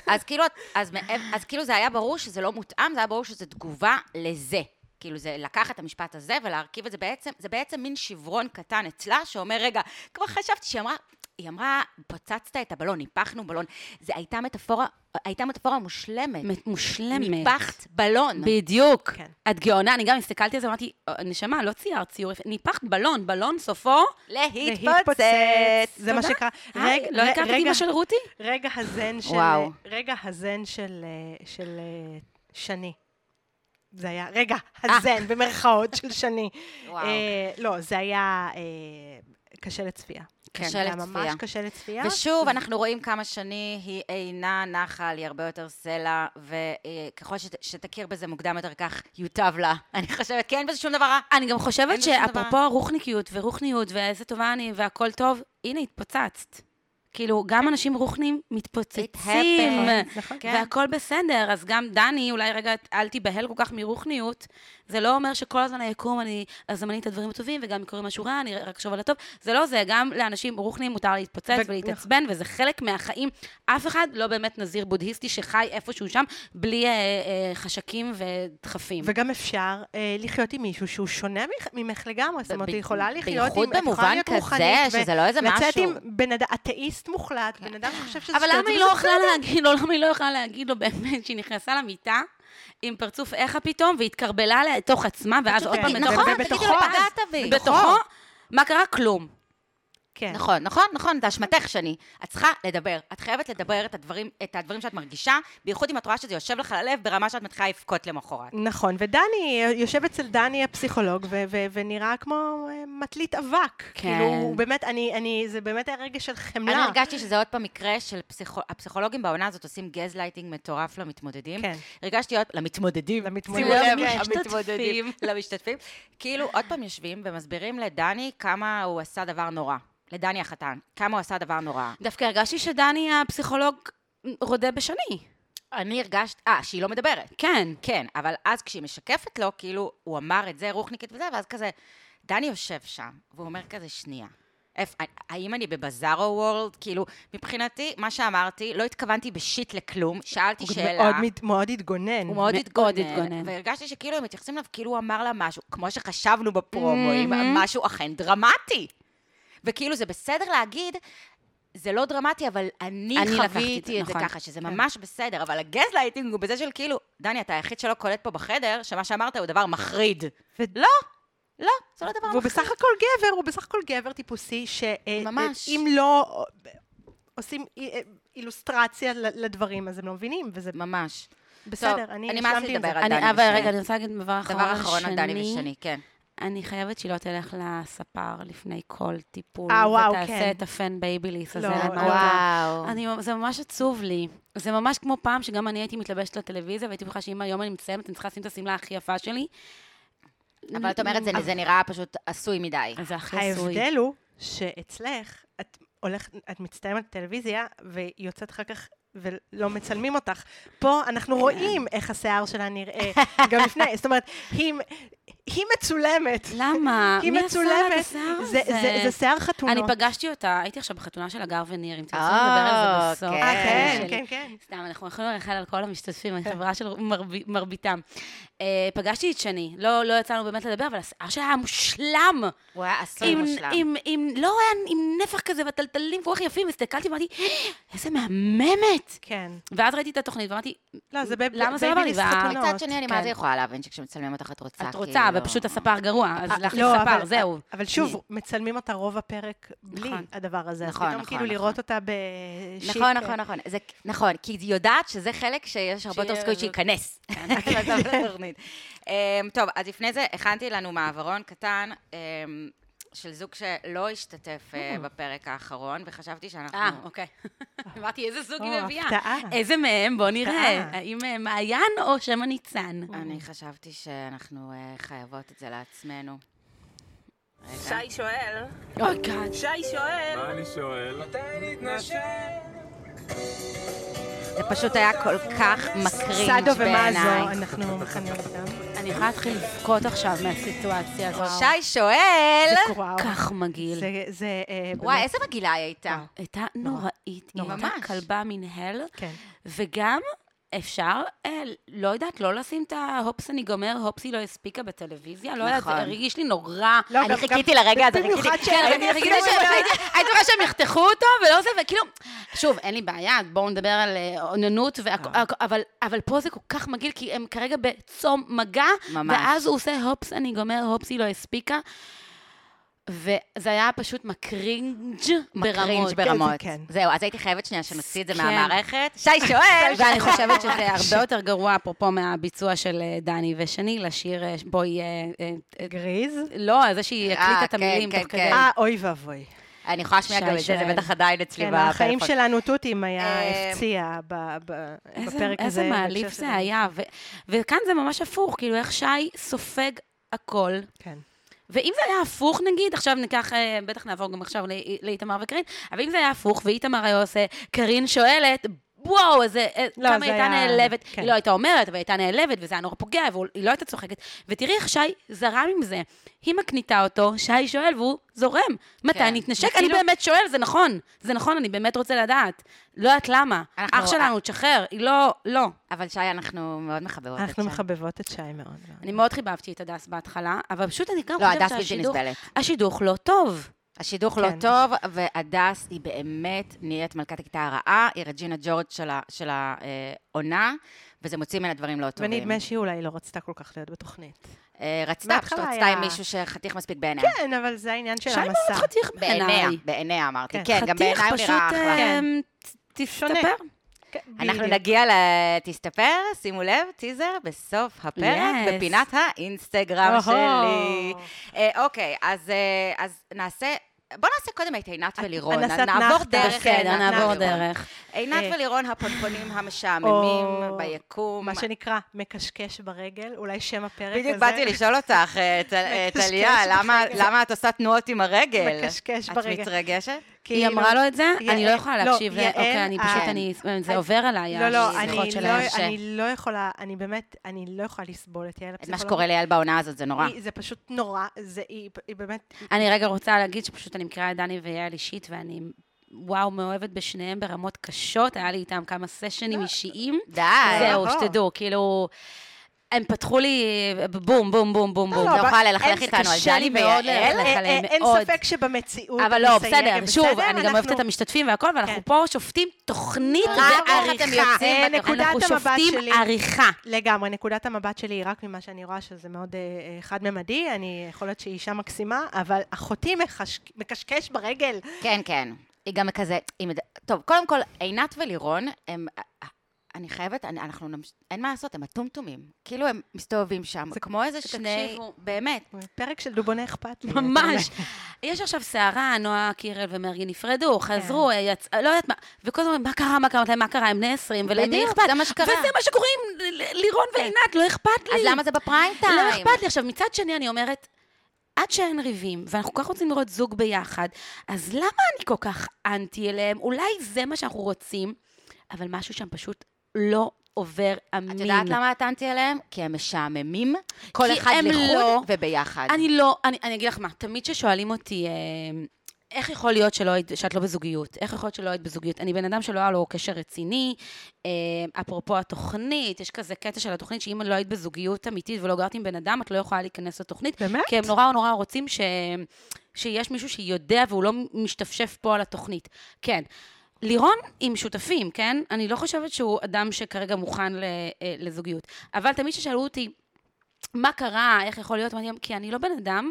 [SPEAKER 1] אז כאילו, אז מעבר- אז כאילו זה היה ברור שזה לא מותאם, זה היה ברור שזו תגובה לזה. כאילו זה לקח את המשפט הזה ולהרכיב את זה בעצם, זה בעצם מין שברון קטן אצלה שאומר, רגע, כבר חשבתי שהיא אמרה, היא אמרה, פוצצת את הבלון, ניפחנו בלון. זה הייתה מטאפורה, הייתה מטאפורה מושלמת.
[SPEAKER 3] מ- מושלמת.
[SPEAKER 1] ניפחת בלון.
[SPEAKER 3] בדיוק.
[SPEAKER 2] כן.
[SPEAKER 3] את גאונה, אני גם הסתכלתי על זה, אמרתי, נשמה, לא ציירת ציור יפה, ניפחת בלון, בלון סופו...
[SPEAKER 1] להתפוצץ.
[SPEAKER 2] זה מה
[SPEAKER 3] תודה.
[SPEAKER 2] שקרה.
[SPEAKER 3] היי,
[SPEAKER 2] רג-
[SPEAKER 3] לא
[SPEAKER 2] ר-
[SPEAKER 3] הכרת את
[SPEAKER 2] רגע-
[SPEAKER 3] אימא של רותי?
[SPEAKER 2] רגע הזן של...
[SPEAKER 1] וואו.
[SPEAKER 2] רגע הזן של... אה, של אה, שני. זה היה רגע הזן, במרכאות, של שני.
[SPEAKER 1] אה. וואו.
[SPEAKER 2] אה, לא, זה היה אה, קשה לצפייה.
[SPEAKER 1] כן.
[SPEAKER 2] זה היה
[SPEAKER 1] קשה
[SPEAKER 2] ממש
[SPEAKER 1] לצפייה.
[SPEAKER 2] קשה לצפייה.
[SPEAKER 1] ושוב, אנחנו רואים כמה שני היא אינה נחל, היא הרבה יותר סלע, וככל שתכיר בזה מוקדם יותר כך, יוטב לה. אני חושבת, כי אין בזה שום דבר רע.
[SPEAKER 3] אני גם
[SPEAKER 1] אין
[SPEAKER 3] חושבת
[SPEAKER 1] בזה שום
[SPEAKER 3] שאפרופו הרוחניקיות ורוחניות ואיזה טובה אני והכל טוב, הנה התפוצצת. כאילו,
[SPEAKER 1] כן.
[SPEAKER 3] גם אנשים רוחנים מתפוצצים,
[SPEAKER 1] happens,
[SPEAKER 2] נכון.
[SPEAKER 1] כן.
[SPEAKER 3] והכל בסדר. אז גם דני, אולי רגע אל תיבהל כל כך מרוחניות, זה לא אומר שכל הזמן היקום, אני אזמן לי את הדברים הטובים, וגם אם קורה משהו רע, אני רק אשוב על הטוב. זה לא זה, גם לאנשים רוחניים מותר להתפוצץ
[SPEAKER 2] ו-
[SPEAKER 3] ולהתעצבן, וזה חלק מהחיים. אף אחד לא באמת נזיר בודהיסטי שחי איפשהו שם, בלי אה, אה, חשקים ודחפים.
[SPEAKER 2] וגם אפשר אה, לחיות עם מישהו שהוא שונה ממך- ממך לגמרי, זאת אומרת,
[SPEAKER 1] ב-
[SPEAKER 2] היא יכולה לחיות עם...
[SPEAKER 1] בייחוד
[SPEAKER 2] את יכולה
[SPEAKER 1] במובן
[SPEAKER 2] להיות
[SPEAKER 1] כזה,
[SPEAKER 2] רוחנית ו-
[SPEAKER 1] שזה לא איזה
[SPEAKER 2] לצאת
[SPEAKER 1] משהו.
[SPEAKER 2] עם בן אדם, אתאיסט מוחלט, בן אדם שחושב שזה...
[SPEAKER 3] אבל
[SPEAKER 2] שטויות,
[SPEAKER 3] למה היא
[SPEAKER 2] וזה
[SPEAKER 3] לא
[SPEAKER 2] בסדר.
[SPEAKER 3] יכלה להגיד לו, למה היא לא יכלה להגיד לו באמת שהיא נכנסה למיטה עם פרצוף איכה פתאום, והתקרבלה לתוך עצמה, ואז עוד
[SPEAKER 2] כן,
[SPEAKER 3] פעם
[SPEAKER 2] זה-
[SPEAKER 3] בתוכו,
[SPEAKER 2] זה-
[SPEAKER 1] תגידי לו,
[SPEAKER 2] ובתוכו,
[SPEAKER 1] פגעת בי.
[SPEAKER 3] בתוכו, מה קרה? כלום.
[SPEAKER 2] כן.
[SPEAKER 1] נכון, נכון, נכון, זה אשמתך, שני. את צריכה לדבר. את חייבת לדבר את הדברים, את הדברים שאת מרגישה, בייחוד אם את רואה שזה יושב לך ללב ברמה שאת מתחילה לבכות למחרת.
[SPEAKER 2] נכון, ודני, יושב אצל דני הפסיכולוג, ו- ו- ונראה כמו אה, מטלית אבק.
[SPEAKER 3] כן.
[SPEAKER 2] כאילו, הוא באמת, אני, אני, זה באמת היה רגע של
[SPEAKER 1] אני
[SPEAKER 2] חמלה.
[SPEAKER 1] הרגשתי שזה עוד פעם מקרה של פסיכו- הפסיכולוגים בעונה הזאת עושים גז לייטינג מטורף למתמודדים.
[SPEAKER 2] כן.
[SPEAKER 1] הרגשתי עוד, למתמודדים.
[SPEAKER 2] למתמודדים,
[SPEAKER 1] שימו לב,
[SPEAKER 2] כן.
[SPEAKER 1] המתמודדים, למשתתפים. כאילו, עוד פעם יושבים ומסבירים לדני כמה הוא עשה דבר נורא. לדני החתן, כמה הוא עשה דבר נורא.
[SPEAKER 3] דווקא הרגשתי שדני הפסיכולוג רודה בשני.
[SPEAKER 1] אני הרגשתי, אה, שהיא לא מדברת.
[SPEAKER 3] כן.
[SPEAKER 1] כן, אבל אז כשהיא משקפת לו, כאילו, הוא אמר את זה, רוחניקית וזה, ואז כזה, דני יושב שם, והוא אומר כזה, שנייה. איפ, האם אני בבזארו וורלד? כאילו, מבחינתי, מה שאמרתי, לא התכוונתי בשיט לכלום, שאלתי
[SPEAKER 2] הוא
[SPEAKER 1] שאלה.
[SPEAKER 2] מאוד, מת- מאוד התגונן.
[SPEAKER 1] הוא מאוד
[SPEAKER 3] מאוד
[SPEAKER 1] התגונן,
[SPEAKER 3] התגונן.
[SPEAKER 1] והרגשתי שכאילו הם מתייחסים אליו כאילו הוא אמר לה משהו, כמו שחשבנו בפרומואים, משהו אכן דרמטי. וכאילו זה בסדר להגיד, זה לא דרמטי, אבל אני,
[SPEAKER 3] אני לקחתי את זה,
[SPEAKER 1] חוויתי את זה
[SPEAKER 3] נכון.
[SPEAKER 1] ככה, שזה ממש בסדר, אבל הגז לייטינג הוא בזה של כאילו, דני, אתה היחיד שלא קולט פה בחדר, שמה שאמרת הוא דבר מחריד.
[SPEAKER 2] ו-
[SPEAKER 1] לא, לא, זה לא דבר
[SPEAKER 2] והוא
[SPEAKER 1] מחריד.
[SPEAKER 2] בסך הכל גבר, הוא בסך הכל גבר טיפוסי,
[SPEAKER 1] ממש.
[SPEAKER 2] שאם לא אה, עושים אי- אה, אילוסטרציה ל- לדברים, אז הם לא מבינים, וזה
[SPEAKER 1] ממש.
[SPEAKER 2] בסדר,
[SPEAKER 1] טוב,
[SPEAKER 2] אני
[SPEAKER 1] אני מאס
[SPEAKER 2] השלמתי עם
[SPEAKER 1] לדבר
[SPEAKER 2] זה.
[SPEAKER 1] על דני
[SPEAKER 3] אני- אבל
[SPEAKER 1] ושני.
[SPEAKER 3] רגע, אני רוצה להגיד דבר אחרון.
[SPEAKER 1] דבר אחרון על דני
[SPEAKER 3] נכון, שני.
[SPEAKER 1] ושני, כן.
[SPEAKER 3] אני חייבת שהיא לא תלך לספר לפני כל טיפול,
[SPEAKER 2] אה, וואו, כן.
[SPEAKER 3] ותעשה את הפן בייביליס הזה
[SPEAKER 2] לא,
[SPEAKER 3] למטה.
[SPEAKER 1] וואו.
[SPEAKER 3] אני, זה ממש עצוב לי. זה ממש כמו פעם שגם אני הייתי מתלבשת לטלוויזיה, והייתי בטוחה שאם היום אני מסיימת, אני צריכה לשים את השמלה הכי יפה שלי.
[SPEAKER 1] אבל את אומרת, זה- זה נראה פשוט עשוי מדי.
[SPEAKER 3] אז זה הכי עשוי.
[SPEAKER 2] ההבדל הוא שאצלך, את הולכת, את מצטלמת בטלוויזיה, ויוצאת אחר כך... ולא מצלמים אותך. פה אנחנו רואים איך השיער שלה נראה, גם לפני, זאת אומרת, היא, היא מצולמת.
[SPEAKER 3] למה?
[SPEAKER 2] היא
[SPEAKER 3] מי עשה לה את
[SPEAKER 2] מצולמת.
[SPEAKER 3] השיער
[SPEAKER 2] זה,
[SPEAKER 3] הזה?
[SPEAKER 2] זה, זה שיער חתונות.
[SPEAKER 3] אני פגשתי אותה, הייתי עכשיו בחתונה של הגר וניר, אם תרצו
[SPEAKER 1] אה,
[SPEAKER 3] לדבר על זה בסוף.
[SPEAKER 1] כן.
[SPEAKER 2] אה, כן,
[SPEAKER 3] שלי.
[SPEAKER 2] כן, כן.
[SPEAKER 3] סתם, אנחנו יכולים ללכת על כל המשתתפים, החברה של מרב- מרביתם. אה, פגשתי את שני, לא, לא יצאנו באמת לדבר, אבל השיער שלה היה מושלם.
[SPEAKER 1] הוא היה
[SPEAKER 2] כן,
[SPEAKER 1] אסון
[SPEAKER 3] עם,
[SPEAKER 1] מושלם.
[SPEAKER 3] עם, עם, לא היה עם נפח כזה והטלטלים כל כך יפים, הסתכלתי ואמרתי, "אה, איזה מהממת.
[SPEAKER 2] כן.
[SPEAKER 3] ואז ראיתי את התוכנית ואמרתי,
[SPEAKER 2] לא, זה בייב-
[SPEAKER 3] למה זה לא בא לי?
[SPEAKER 2] בייביליס
[SPEAKER 3] וה-
[SPEAKER 2] חתונה.
[SPEAKER 1] מצד שני, אני מה
[SPEAKER 3] כן.
[SPEAKER 1] זה יכולה להבין שכשמצלמים אותך את רוצה,
[SPEAKER 3] את רוצה,
[SPEAKER 1] כאילו-
[SPEAKER 3] ופשוט הספר גרוע, אז לך
[SPEAKER 2] לא,
[SPEAKER 3] ספר,
[SPEAKER 2] אבל-
[SPEAKER 3] זהו.
[SPEAKER 2] אבל שוב, מצלמים אותה רוב הפרק בלי
[SPEAKER 3] נכון.
[SPEAKER 2] הדבר הזה.
[SPEAKER 1] נכון,
[SPEAKER 2] נכון, נכון. אז
[SPEAKER 1] נכון,
[SPEAKER 2] פתאום כאילו
[SPEAKER 1] נכון.
[SPEAKER 2] לראות אותה כן. בשיק.
[SPEAKER 1] נכון, נכון, נכון. זה, נכון, כי היא יודעת שזה חלק שיש הרבה יותר
[SPEAKER 3] שיהיה-
[SPEAKER 1] סיכוי שייכנס. לטוב לתוכנית. אמ, טוב, אז לפני זה הכנתי לנו מעברון קטן אמ, של זוג שלא השתתף אה, בפרק האחרון, וחשבתי שאנחנו...
[SPEAKER 3] אה, אוקיי. אמרתי, איזה זוג היא
[SPEAKER 2] או,
[SPEAKER 3] מביאה.
[SPEAKER 2] הפתעה.
[SPEAKER 3] איזה מהם? בוא נראה.
[SPEAKER 2] הפתעה.
[SPEAKER 3] האם אה, מעיין או שם הניצן?
[SPEAKER 1] אני חשבתי שאנחנו אה, חייבות את זה לעצמנו. רגע.
[SPEAKER 3] נכון.
[SPEAKER 4] שי שואל,
[SPEAKER 2] אוקיי.
[SPEAKER 3] אוי גאד.
[SPEAKER 4] שי שואל,
[SPEAKER 5] מה אני שואל? מתי נתנשק?
[SPEAKER 1] זה פשוט היה כל כך מקרינג'
[SPEAKER 2] סעדו
[SPEAKER 1] בעיניי.
[SPEAKER 2] ומאזו, אנחנו מכנים אותם.
[SPEAKER 3] אני יכולה להתחיל לבכות עכשיו מהסיטואציה הזאת.
[SPEAKER 1] שי שואל...
[SPEAKER 2] וואו.
[SPEAKER 3] כל כך מגעיל.
[SPEAKER 2] זה- זה... אה,
[SPEAKER 1] וואי,
[SPEAKER 2] באמת-
[SPEAKER 1] איזה מגעילה היא הייתה.
[SPEAKER 3] הייתה נוראית. היא
[SPEAKER 1] נורא.
[SPEAKER 3] הייתה
[SPEAKER 1] ממש.
[SPEAKER 3] כלבה מנהל.
[SPEAKER 2] כן.
[SPEAKER 3] וגם אפשר, אה, לא יודעת, לא לשים את ההופס אני גומר, הופסי לא הספיקה בטלוויזיה. לא יודעת,
[SPEAKER 1] נכון.
[SPEAKER 3] זה הרגיש לי נורא.
[SPEAKER 2] לא,
[SPEAKER 1] אני
[SPEAKER 2] גם-
[SPEAKER 1] חיכיתי
[SPEAKER 2] גם-
[SPEAKER 1] לרגע הזה,
[SPEAKER 2] במיוחד
[SPEAKER 1] חיכיתי.
[SPEAKER 2] שהם
[SPEAKER 3] כן, אני רגילה
[SPEAKER 2] ישימו
[SPEAKER 3] שהם-
[SPEAKER 2] את
[SPEAKER 3] הייתי רואה שהם יחתכו אותו ולא זה, וכאילו, שוב, אין לי בעיה, בואו נדבר על אה, אוננות,
[SPEAKER 1] נכון.
[SPEAKER 3] והכ- הכ- אבל- אבל פה זה כל כך מגעיל, כי הם כרגע בצום מגע,
[SPEAKER 1] ממש.
[SPEAKER 3] ואז הוא עושה הופס, אני גומר, הופס, היא לא הספיקה. וזה היה פשוט מקרינג' ברמות.
[SPEAKER 1] מקרינג' ברמות.
[SPEAKER 2] כן.
[SPEAKER 1] זהו, אז הייתי חייבת שנייה שנוציא את זה
[SPEAKER 3] כן.
[SPEAKER 1] מהמערכת. שי שואל!
[SPEAKER 3] ואני חושבת שזה הרבה יותר גרוע, אפרופו מהביצוע של אה, דני ושני, לשיר אה, בואי... אה, אה, אה,
[SPEAKER 2] גריז?
[SPEAKER 3] לא, זה שהיא
[SPEAKER 1] אה,
[SPEAKER 3] הקליטה את
[SPEAKER 1] כן,
[SPEAKER 3] המילים
[SPEAKER 1] כן,
[SPEAKER 3] תוך
[SPEAKER 1] כן.
[SPEAKER 3] כדי.
[SPEAKER 2] אה, אוי ואבוי.
[SPEAKER 1] אני יכולה להשמיע
[SPEAKER 3] שי
[SPEAKER 1] גם את זה, זה
[SPEAKER 3] שואל.
[SPEAKER 1] בטח עדיין אצלי
[SPEAKER 2] כן,
[SPEAKER 1] בפלאפון.
[SPEAKER 2] החיים שלנו תותים היה
[SPEAKER 1] אה,
[SPEAKER 2] הפציע ב- ב-
[SPEAKER 3] איזה-
[SPEAKER 2] בפרק הזה.
[SPEAKER 3] איזה מעליב
[SPEAKER 2] בהקשר
[SPEAKER 3] זה
[SPEAKER 2] של-
[SPEAKER 3] היה, ו- וכאן זה ממש הפוך, כאילו איך שי סופג הכל.
[SPEAKER 2] כן.
[SPEAKER 3] ואם זה היה הפוך נגיד, עכשיו ניקח, אה, בטח נעבור גם עכשיו ל- לאיתמר וקרין, אבל אם זה היה הפוך ואיתמר היה עושה, קרין שואלת, וואו, איזה, אה,
[SPEAKER 2] לא,
[SPEAKER 3] כמה
[SPEAKER 2] זה
[SPEAKER 3] היא הייתה
[SPEAKER 2] היה-
[SPEAKER 3] נעלבת.
[SPEAKER 2] כן.
[SPEAKER 3] היא לא הייתה אומרת, אבל היא הייתה נעלבת, וזה היה נורא פוגע, והיא לא הייתה צוחקת. ותראי איך שי זרם עם זה. היא מקניטה אותו, שי שואל, והוא זורם. מתי
[SPEAKER 1] כן.
[SPEAKER 3] נתנשק? אני
[SPEAKER 1] וכאילו-
[SPEAKER 3] באמת שואל, זה נכון. זה נכון, אני באמת רוצה לדעת. לא יודעת למה.
[SPEAKER 1] אנחנו-
[SPEAKER 3] אח שלנו, תשחרר. היא לא, לא.
[SPEAKER 1] אבל שי, אנחנו מאוד מחבבות את
[SPEAKER 2] אנחנו
[SPEAKER 1] לא, זה.
[SPEAKER 2] מחבבות את שי מאוד. מאוד.
[SPEAKER 3] אני מאוד חיבבתי את הדס בהתחלה, אבל פשוט אני גם
[SPEAKER 1] לא,
[SPEAKER 3] חושבת
[SPEAKER 1] הדס בלתי
[SPEAKER 3] שהשידוך...
[SPEAKER 1] נסבלת.
[SPEAKER 3] השידוך לא טוב.
[SPEAKER 1] השידוך לא
[SPEAKER 2] כן.
[SPEAKER 1] טוב, והדס היא באמת נהיית מלכת הכיתה הרעה, היא רג'ינה ג'ורג' של ה- של העונה, וזה מוציא ממנה דברים לא טובים.
[SPEAKER 2] ונדמה שהיא אולי לא רצתה כל כך להיות בתוכנית.
[SPEAKER 1] אה, רצתה, פשוט
[SPEAKER 2] מההתחלה
[SPEAKER 1] רצתה
[SPEAKER 2] היה-
[SPEAKER 1] עם מישהו שחתיך מספיק בעיניה.
[SPEAKER 2] כן, אבל זה העניין של
[SPEAKER 3] שי מאוד
[SPEAKER 2] המסע.
[SPEAKER 3] חתיך
[SPEAKER 1] בעיניה,
[SPEAKER 3] בעיניי.
[SPEAKER 1] בעיניה אמרתי.
[SPEAKER 2] כן. אה,
[SPEAKER 1] כן, גם בעיניי הוא נראה אחלה. כן.
[SPEAKER 2] שונה.
[SPEAKER 3] תסתפר.
[SPEAKER 2] כן,
[SPEAKER 1] אנחנו
[SPEAKER 2] בדיוק.
[SPEAKER 1] נגיע ל... תסתפר, שימו לב, טיזר בסוף הפרק,
[SPEAKER 3] Yes.
[SPEAKER 1] בפינת האינסטגרם
[SPEAKER 2] אוהו.
[SPEAKER 1] שלי. אה, אוקיי, אז, אה, אז נעשה... בוא נעשה קודם את עינת ולירון,
[SPEAKER 2] הכנסת
[SPEAKER 1] נעבור
[SPEAKER 2] נחתה.
[SPEAKER 1] דרך, כן,
[SPEAKER 3] בסדר,
[SPEAKER 1] עינת
[SPEAKER 3] נעבור
[SPEAKER 1] ולירון.
[SPEAKER 3] דרך.
[SPEAKER 1] עינת
[SPEAKER 2] אה.
[SPEAKER 1] ולירון הפונפונים המשעממים
[SPEAKER 2] או,
[SPEAKER 1] ביקום.
[SPEAKER 2] מה שנקרא, מקשקש ברגל, אולי שם הפרק הזה.
[SPEAKER 1] בדיוק באתי לשאול אותך, אה, טל- אה,
[SPEAKER 2] מקשקש
[SPEAKER 1] טליה, למה-
[SPEAKER 2] ברגל.
[SPEAKER 1] למה את עושה תנועות עם הרגל?
[SPEAKER 2] מקשקש
[SPEAKER 1] את
[SPEAKER 2] ברגל.
[SPEAKER 1] מתרגשת?
[SPEAKER 3] היא
[SPEAKER 2] כאילו-
[SPEAKER 3] אמרה לו את זה? אני לא
[SPEAKER 2] יעל-
[SPEAKER 3] יכולה להקשיב. ל-
[SPEAKER 2] יעל,
[SPEAKER 3] אוקיי, אני פשוט,
[SPEAKER 2] אה,
[SPEAKER 3] אני... זה
[SPEAKER 2] אני-
[SPEAKER 3] עובר עליי,
[SPEAKER 2] לא, לא, אני
[SPEAKER 3] השיחות
[SPEAKER 2] לא-
[SPEAKER 3] שלהם.
[SPEAKER 1] ש-
[SPEAKER 2] אני לא יכולה, אני באמת, אני לא יכולה לסבול את
[SPEAKER 1] את מה
[SPEAKER 2] יעל הפסיכולוגית.
[SPEAKER 1] שקורה ליעל בעונה הזאת זה נורא.
[SPEAKER 2] היא- זה פשוט נורא, זה, היא היא באמת,
[SPEAKER 3] אני רגע רוצה להגיד שפשוט אני מכירה את דני ויעל אישית, ואני, וואו, מאוהבת בשניהם ברמות קשות. היה לי איתם כמה סשנים אישיים.
[SPEAKER 1] די.
[SPEAKER 3] זהו,
[SPEAKER 2] אה.
[SPEAKER 3] שתדעו, כאילו... הם פתחו לי בום, בום, בום, בום, בום.
[SPEAKER 1] לא,
[SPEAKER 2] אבל-
[SPEAKER 1] יכולה ללכלך
[SPEAKER 2] אין-
[SPEAKER 1] איתנו על
[SPEAKER 2] קשה לי
[SPEAKER 1] דני
[SPEAKER 2] מאוד
[SPEAKER 1] ויעל?
[SPEAKER 2] ללכלך
[SPEAKER 3] אה,
[SPEAKER 2] עליהם,
[SPEAKER 3] אה,
[SPEAKER 2] אין
[SPEAKER 3] מאוד.
[SPEAKER 2] ספק שבמציאות,
[SPEAKER 3] אבל לא,
[SPEAKER 2] אני מסייגת,
[SPEAKER 3] בסדר, שוב,
[SPEAKER 2] בסדר,
[SPEAKER 3] אני גם אוהבת
[SPEAKER 2] אנחנו-
[SPEAKER 3] את המשתתפים והכל,
[SPEAKER 2] כן.
[SPEAKER 3] ואנחנו פה שופטים תוכנית
[SPEAKER 1] רק איך אתם
[SPEAKER 3] ועריכה.
[SPEAKER 1] יוצאים
[SPEAKER 2] אה,
[SPEAKER 1] בתוכנית.
[SPEAKER 2] נקודת
[SPEAKER 3] אנחנו
[SPEAKER 2] המבט
[SPEAKER 3] שופטים
[SPEAKER 2] שלי.
[SPEAKER 3] עריכה.
[SPEAKER 2] לגמרי, נקודת המבט שלי היא רק ממה שאני רואה, שזה מאוד אה, אה, חד-ממדי, אני יכול להיות שהיא אישה מקסימה, אבל אחותי מחש- מקשקש ברגל.
[SPEAKER 1] כן, כן. היא גם כזה, היא מד... טוב, קודם כל, עינת ולירון, הם... אני חייבת, אני, אנחנו נמש... אין מה לעשות, הם הטומטומים. כאילו, הם מסתובבים שם, זה כמו איזה שני...
[SPEAKER 3] תקשיבו.
[SPEAKER 1] באמת.
[SPEAKER 2] פרק של דובונה אכפת לי. אתה
[SPEAKER 3] ממש. יש עכשיו סערה, נועה קירל ומרגי נפרדו,
[SPEAKER 1] כן.
[SPEAKER 3] חזרו, יצ... לא יודעת מה, וכל הזמן, מה קרה, מה קרה, מתי, מה קרה, הם בני 20, ולמי
[SPEAKER 1] בדיוק,
[SPEAKER 3] אכפת?
[SPEAKER 1] זה מה שקרה. כן.
[SPEAKER 3] וזה מה שקורה עם ל- ל- לירון ועינת, לא אכפת
[SPEAKER 1] אז
[SPEAKER 3] לי.
[SPEAKER 1] למה זה בפריים טיים?
[SPEAKER 3] לא אכפת לי. עכשיו, מצד שני, אני אומרת, עד שאין ריבים, ואנחנו כל כך רוצים לראות זוג ביחד, אז למה אני כל כך אנטי אליהם? אולי זה מה שאנחנו רוצים, אבל משהו שם פשוט לא עובר אמין.
[SPEAKER 1] את יודעת למה הטענתי עליהם? כי הם משעממים, כל
[SPEAKER 3] כי
[SPEAKER 1] אחד
[SPEAKER 3] הם
[SPEAKER 1] לחוד
[SPEAKER 3] לא-
[SPEAKER 1] וביחד.
[SPEAKER 3] אני לא, אני, אני אגיד לך מה, תמיד כששואלים אותי, אה, איך יכול להיות שלא היית, שאת לא בזוגיות? איך יכול להיות שלא היית בזוגיות? אני בן אדם שלא היה לו קשר רציני. אה, אפרופו התוכנית, יש כזה קטע של התוכנית שאם לא היית בזוגיות אמיתית ולא גרת עם בן אדם, את לא יכולה להיכנס לתוכנית.
[SPEAKER 2] באמת?
[SPEAKER 3] כי הם נורא נורא רוצים ש... שיש מישהו שיודע והוא לא משתפשף פה על התוכנית. כן. לירון עם שותפים, כן? אני לא חושבת שהוא אדם שכרגע מוכן ל- אה, לזוגיות. אבל תמיד כששאלו אותי, מה קרה, איך יכול להיות, אמרתי להם, כי אני לא בן אדם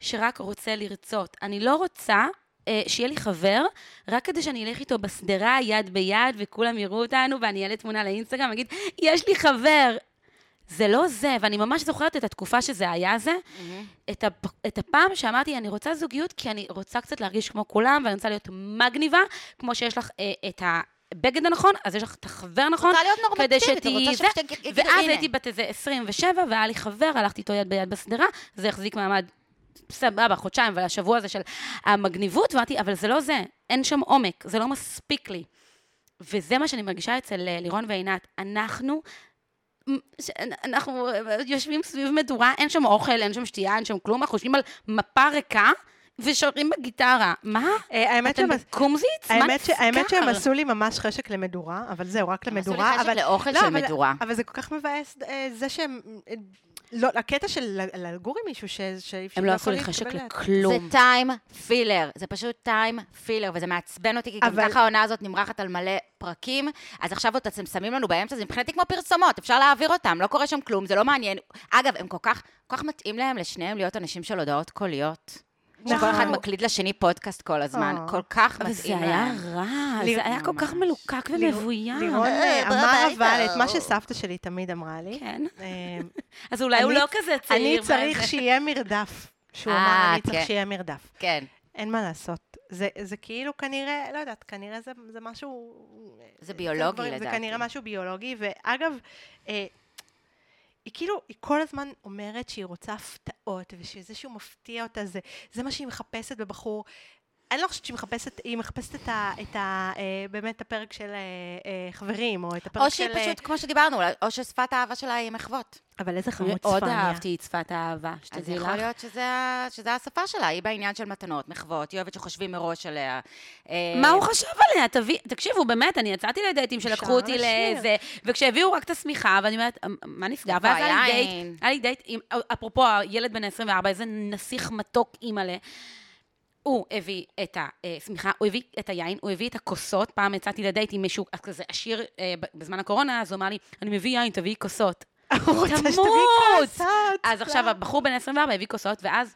[SPEAKER 3] שרק רוצה לרצות. אני לא רוצה אה, שיהיה לי חבר, רק כדי שאני אלך איתו בשדרה יד ביד, וכולם יראו אותנו, ואני אעלה תמונה לאינסטגרם, ואגיד, יש לי חבר. זה לא זה, ואני ממש זוכרת את התקופה שזה היה זה,
[SPEAKER 1] Mm-hmm.
[SPEAKER 3] את, הפ... את הפעם שאמרתי, אני רוצה זוגיות, כי אני רוצה קצת להרגיש כמו כולם, ואני רוצה להיות מגניבה, כמו שיש לך אה, את הבגד הנכון, אז יש לך את החבר הנכון,
[SPEAKER 1] רוצה להיות
[SPEAKER 3] כדי
[SPEAKER 1] נורמטיבית,
[SPEAKER 3] שתהיי
[SPEAKER 1] רוצה
[SPEAKER 3] זה,
[SPEAKER 1] שאתה- יגידו,
[SPEAKER 3] ואז
[SPEAKER 1] "הנה."
[SPEAKER 3] הייתי בת איזה 27, והיה לי חבר, הלכתי איתו יד ביד בשדרה, זה החזיק מעמד סבבה, חודשיים, אבל השבוע הזה של המגניבות, ואמרתי, אבל זה לא זה, אין שם עומק, זה לא מספיק לי. וזה מה שאני מרגישה אצל אה, לירון ועינת, אנחנו... ש- אנחנו אה, יושבים סביב מדורה, אין שם אוכל, אין שם שתייה, אין שם כלום, אנחנו יושבים על מפה ריקה ושרים בגיטרה. מה?
[SPEAKER 2] אה, האמת
[SPEAKER 3] אתם
[SPEAKER 2] שהם-
[SPEAKER 3] בקומזיץ? מה
[SPEAKER 2] האמת, ש... האמת שהם
[SPEAKER 3] נזכר?
[SPEAKER 2] עשו לי ממש חשק למדורה, אבל זהו, רק
[SPEAKER 1] עשו לי
[SPEAKER 2] למדורה.
[SPEAKER 1] חשק
[SPEAKER 2] אבל...
[SPEAKER 1] לאוכל של
[SPEAKER 2] לא, אבל...
[SPEAKER 1] מדורה.
[SPEAKER 2] אבל זה כל כך מבאס, אה, זה שהם... אה, לא, הקטע של ל- לגור עם מישהו ש... שאי אפשר...
[SPEAKER 3] הם לא עשו
[SPEAKER 2] יכול
[SPEAKER 3] לי חשק
[SPEAKER 2] להתקבל ליד.
[SPEAKER 1] זה
[SPEAKER 3] לכלום.
[SPEAKER 1] טיים פילר, זה פשוט טיים פילר, וזה מעצבן אותי, כי
[SPEAKER 2] אבל-
[SPEAKER 1] גם ככה העונה הזאת נמרחת על מלא פרקים, אז עכשיו עוד אתם שמים לנו באמצע, זה מבחינתי כמו פרסומות, אפשר להעביר אותם, לא קורה שם כלום, זה לא מעניין. אגב, הם כל כך, כל כך מתאים להם, לשניהם, להיות אנשים של הודעות קוליות. שכל
[SPEAKER 2] נכון.
[SPEAKER 1] אחד מקליד לשני פודקאסט כל הזמן,
[SPEAKER 2] אה.
[SPEAKER 1] כל כך
[SPEAKER 3] אבל
[SPEAKER 1] מתאים
[SPEAKER 3] זה היה
[SPEAKER 1] להם.
[SPEAKER 3] רע,
[SPEAKER 2] ליר-
[SPEAKER 3] זה היה כל כך מלוקק
[SPEAKER 2] ליר-
[SPEAKER 3] ומבוים.
[SPEAKER 2] לירון אה, אמר אבל את מה שסבתא שלי תמיד אמרה לי.
[SPEAKER 3] כן.
[SPEAKER 2] אה,
[SPEAKER 3] אז אולי הוא
[SPEAKER 2] אני-
[SPEAKER 3] לא כזה
[SPEAKER 2] אני
[SPEAKER 3] צעיר. מה
[SPEAKER 2] צריך
[SPEAKER 3] זה?
[SPEAKER 2] שיהיה מרדף. שהוא אמר,
[SPEAKER 1] אה,
[SPEAKER 2] אני צריך
[SPEAKER 1] כן.
[SPEAKER 2] שיהיה מרדף.
[SPEAKER 1] כן,
[SPEAKER 2] אין מה לעשות. זה, זה כאילו כנראה, לא יודעת, כנראה זה, זה משהו...
[SPEAKER 1] זה ביולוגי
[SPEAKER 2] זה
[SPEAKER 1] לדעתי.
[SPEAKER 2] כנראה משהו ביולוגי, ואגב, אה, היא כאילו, היא כל הזמן אומרת שהיא רוצה הפתעות, ושזה שהוא מפתיע אותה, זה, זה מה שהיא מחפשת בבחור. אני לא חושבת שהיא מחפשת, היא מחפשת את ה... את ה אה, באמת את הפרק של אה, אה, חברים, או את הפרק
[SPEAKER 1] או
[SPEAKER 2] של...
[SPEAKER 1] שהיא
[SPEAKER 2] אה,
[SPEAKER 1] פשוט, כמו שדיברנו, אולי- או ששפת האהבה שלה היא מחוות.
[SPEAKER 2] אבל איזה חמוד
[SPEAKER 3] מאוד
[SPEAKER 2] צפניה.
[SPEAKER 3] אהבתי את שפת האהבה,
[SPEAKER 1] אז
[SPEAKER 3] שתדעי
[SPEAKER 1] יכול
[SPEAKER 3] לך.
[SPEAKER 1] להיות שזה ה- שזה השפה שלה, היא בעניין של מתנות, מחוות, היא אוהבת שחושבים מראש עליה. אה,
[SPEAKER 3] מה הוא חשב עליה? תביא, תקשיבו, באמת, אני יצאתי לדייטים שלקחו
[SPEAKER 2] אפשר
[SPEAKER 3] אותי
[SPEAKER 2] לשיר.
[SPEAKER 3] לאיזה, וכשהביאו רק את השמיכה, ואני אומרת, "אמ, מה נסגר?
[SPEAKER 1] איפה
[SPEAKER 3] ואז היה לי
[SPEAKER 2] אה.
[SPEAKER 1] היין?
[SPEAKER 3] דייט, היה לי דייט, עם- אפרופו הילד בן ה-24, איזה נסיך מתוק אימא'לה. הוא הביא את השמיכה, הוא הביא את היין, הוא הביא את הכוסות, פעם יצאתי לדייט עם מישהו אז כזה עשיר אה, ב- בזמן הקורונה, אז הוא אמר לי, אני מביא יין, תביאי כוסות.
[SPEAKER 2] הוא רוצה שתביא
[SPEAKER 3] תמות!
[SPEAKER 2] כוסות.
[SPEAKER 3] אז
[SPEAKER 1] לא.
[SPEAKER 3] עכשיו הבחור בן 24 הביא כוסות, ואז...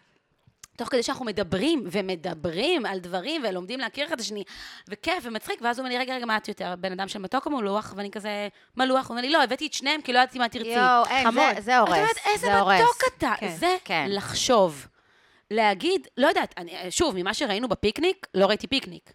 [SPEAKER 3] תוך כדי שאנחנו מדברים, ומדברים על דברים, ולומדים להכיר אחד את השני, וכיף ומצחיק, ואז הוא אומר לי, רגע, רגע, מה את יותר, בן אדם של מתוק או מלוח? ואני כזה, מלוח? הוא אומר לי, לא, הבאתי את שניהם, כי לא ידעתי מה תרצי.
[SPEAKER 1] יואו, אין,
[SPEAKER 2] חמוד.
[SPEAKER 1] זה- זה הורס.
[SPEAKER 3] את יודעת, איזה
[SPEAKER 1] זה הורס.
[SPEAKER 3] מתוק אתה.
[SPEAKER 2] כן,
[SPEAKER 3] זה
[SPEAKER 1] כן.
[SPEAKER 3] לחשוב. להגיד, לא יודעת, אני- שוב, ממה שראינו בפיקניק, לא ראיתי פיקניק.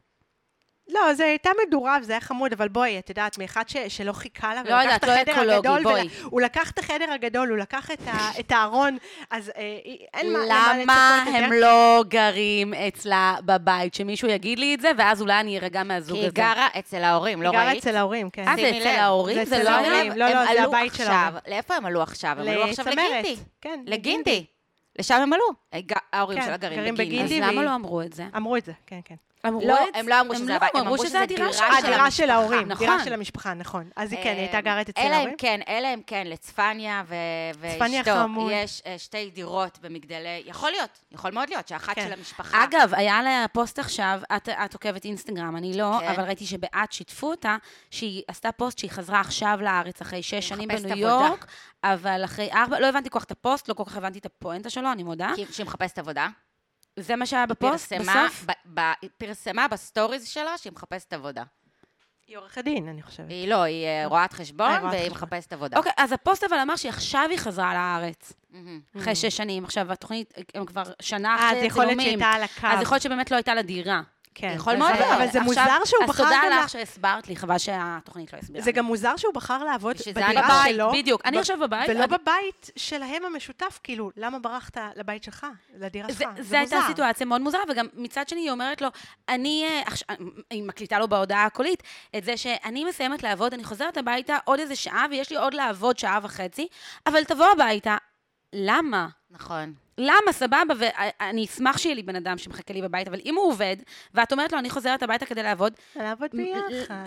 [SPEAKER 2] לא, זה הייתה מדורה וזה היה חמוד, אבל בואי, את יודעת, מאחד ש, שלא חיכה לה,
[SPEAKER 3] לא יודעת, לא אקולוגי, בואי.
[SPEAKER 2] ול... הוא לקח את החדר הגדול, הוא לקח את, ה, את הארון, אז אה, אי- אין מה, למה
[SPEAKER 3] למה
[SPEAKER 2] לצפות
[SPEAKER 3] הם
[SPEAKER 2] יותר.
[SPEAKER 3] לא גרים אצלה בבית? שמישהו יגיד לי את זה, ואז אולי אני ארגע מהזוג
[SPEAKER 1] כי
[SPEAKER 3] הזה.
[SPEAKER 1] היא גרה אצל ההורים, לא
[SPEAKER 2] היא גרה
[SPEAKER 1] ראית?
[SPEAKER 2] אצל ההורים, כן.
[SPEAKER 3] אה, זה
[SPEAKER 1] שימי
[SPEAKER 3] אצל
[SPEAKER 1] לב.
[SPEAKER 3] ההורים?
[SPEAKER 2] זה
[SPEAKER 3] זה
[SPEAKER 2] אצל
[SPEAKER 3] לא היה...
[SPEAKER 2] ההורים. לא, לא,
[SPEAKER 1] הם
[SPEAKER 2] זה
[SPEAKER 1] עלו
[SPEAKER 2] הבית של
[SPEAKER 1] עכשיו.
[SPEAKER 2] ההורים.
[SPEAKER 1] לאיפה הם עלו עכשיו? הם עלו עכשיו
[SPEAKER 2] לצמרת,
[SPEAKER 1] לגינדי.
[SPEAKER 2] כן,
[SPEAKER 1] לגינדי. לשם הם עלו. הג- ההורים
[SPEAKER 2] כן,
[SPEAKER 1] שלה גרים
[SPEAKER 2] גרים
[SPEAKER 3] אז
[SPEAKER 1] בגינדי.
[SPEAKER 2] בגינדי.
[SPEAKER 3] למה
[SPEAKER 2] והיא-
[SPEAKER 3] לא אמרו את זה?
[SPEAKER 2] אמרו את זה, כן, כן.
[SPEAKER 3] אמרו
[SPEAKER 1] לא,
[SPEAKER 3] את
[SPEAKER 1] הם לא אמרו שזה הבית, הם אמרו שזה
[SPEAKER 3] הדירה
[SPEAKER 1] דירה
[SPEAKER 3] שלה.
[SPEAKER 1] שלה.
[SPEAKER 2] הדירה של ההורים, דירה
[SPEAKER 3] נכון.
[SPEAKER 2] של המשפחה, נכון. אז היא
[SPEAKER 1] אה,
[SPEAKER 2] כן, היא הייתה גרת אצל
[SPEAKER 1] אלא אם
[SPEAKER 2] ההורים.
[SPEAKER 1] כן, אלא אם כן, לצפניה ו-
[SPEAKER 2] צפניה
[SPEAKER 1] ואשתו
[SPEAKER 2] חמוד.
[SPEAKER 1] יש אה, שתי דירות במגדלי... יכול להיות, יכול מאוד להיות שאחת
[SPEAKER 2] כן.
[SPEAKER 1] של המשפחה.
[SPEAKER 3] אגב, היה לה פוסט עכשיו, את, את עוקבת אינסטגרם, אני לא,
[SPEAKER 1] כן.
[SPEAKER 3] אבל ראיתי שבאת שיתפו אותה, שהיא עשתה פוסט שהיא חזרה עכשיו לארץ אחרי שש שנים
[SPEAKER 1] מחפשת
[SPEAKER 3] בניו
[SPEAKER 1] עבודה.
[SPEAKER 3] יורק, אבל אחרי ארבע, לא הבנתי כל כך את הפוסט, לא כל כך הבנתי את הפואנטה שלו, אני מודה.
[SPEAKER 1] כי- שהיא מחפשת עבודה.
[SPEAKER 3] זה מה שהיה בפוסט,
[SPEAKER 1] פרסמה
[SPEAKER 3] בסוף.
[SPEAKER 1] ב- ב- היא פרסמה בסטוריז שלה שהיא מחפשת עבודה.
[SPEAKER 2] אוקיי. היא עורכת דין, אני חושבת.
[SPEAKER 1] היא לא, היא אה, רואת חשבון
[SPEAKER 2] אה, רואת
[SPEAKER 1] והיא
[SPEAKER 2] חשבון.
[SPEAKER 1] מחפשת עבודה.
[SPEAKER 3] אוקיי, אז הפוסט אבל אמר שעכשיו היא חזרה לארץ,
[SPEAKER 1] מהמם.
[SPEAKER 3] אחרי שש שנים. עכשיו, התוכנית, הם כבר שנה
[SPEAKER 2] אה, אז
[SPEAKER 3] אחרי
[SPEAKER 2] יכול להיות
[SPEAKER 3] הצילומים.
[SPEAKER 2] שהייתה על הקו.
[SPEAKER 3] אז יכול להיות שבאמת לא הייתה לה דירה.
[SPEAKER 2] כן.
[SPEAKER 1] יכול
[SPEAKER 2] אז-
[SPEAKER 1] מאוד להיות.
[SPEAKER 2] אבל זה
[SPEAKER 3] עכשיו,
[SPEAKER 2] מוזר שהוא בחר
[SPEAKER 3] אז
[SPEAKER 2] גם
[SPEAKER 3] תודה
[SPEAKER 2] לה-
[SPEAKER 3] לך שהסברת לי, חבל שהתוכנית לא הסבירה.
[SPEAKER 2] זה גם מוזר שהוא בחר לעבוד
[SPEAKER 1] בשביל זה אני
[SPEAKER 2] בדירה
[SPEAKER 1] בבית,
[SPEAKER 2] שלו.
[SPEAKER 3] בדיוק. אני
[SPEAKER 2] ב-
[SPEAKER 3] עכשיו בבית,
[SPEAKER 2] ולא
[SPEAKER 3] אני-
[SPEAKER 2] בבית שלהם המשותף, כאילו, למה ברחת לבית שלך, לדירה שלך?
[SPEAKER 3] זה, זה, זה הייתה
[SPEAKER 2] נכון, מוזר.
[SPEAKER 3] סיטואציה מאוד מוזרה, וגם מצד שני היא אומרת לו, אני, אה, עכש- היא מקליטה לו בהודעה הקולית, את זה שאני מסיימת לעבוד, אני חוזרת הביתה עוד איזה שעה, ויש לי עוד לעבוד שעה וחצי, אבל תבוא הביתה, למה?
[SPEAKER 1] נכון.
[SPEAKER 3] למה, סבבה, ואני אשמח שיהיה לי בן אדם שמחכה לי בבית, אבל אם הוא עובד, ואת אומרת לו, אני חוזרת הביתה כדי לעבוד,
[SPEAKER 2] לעבוד ביחד.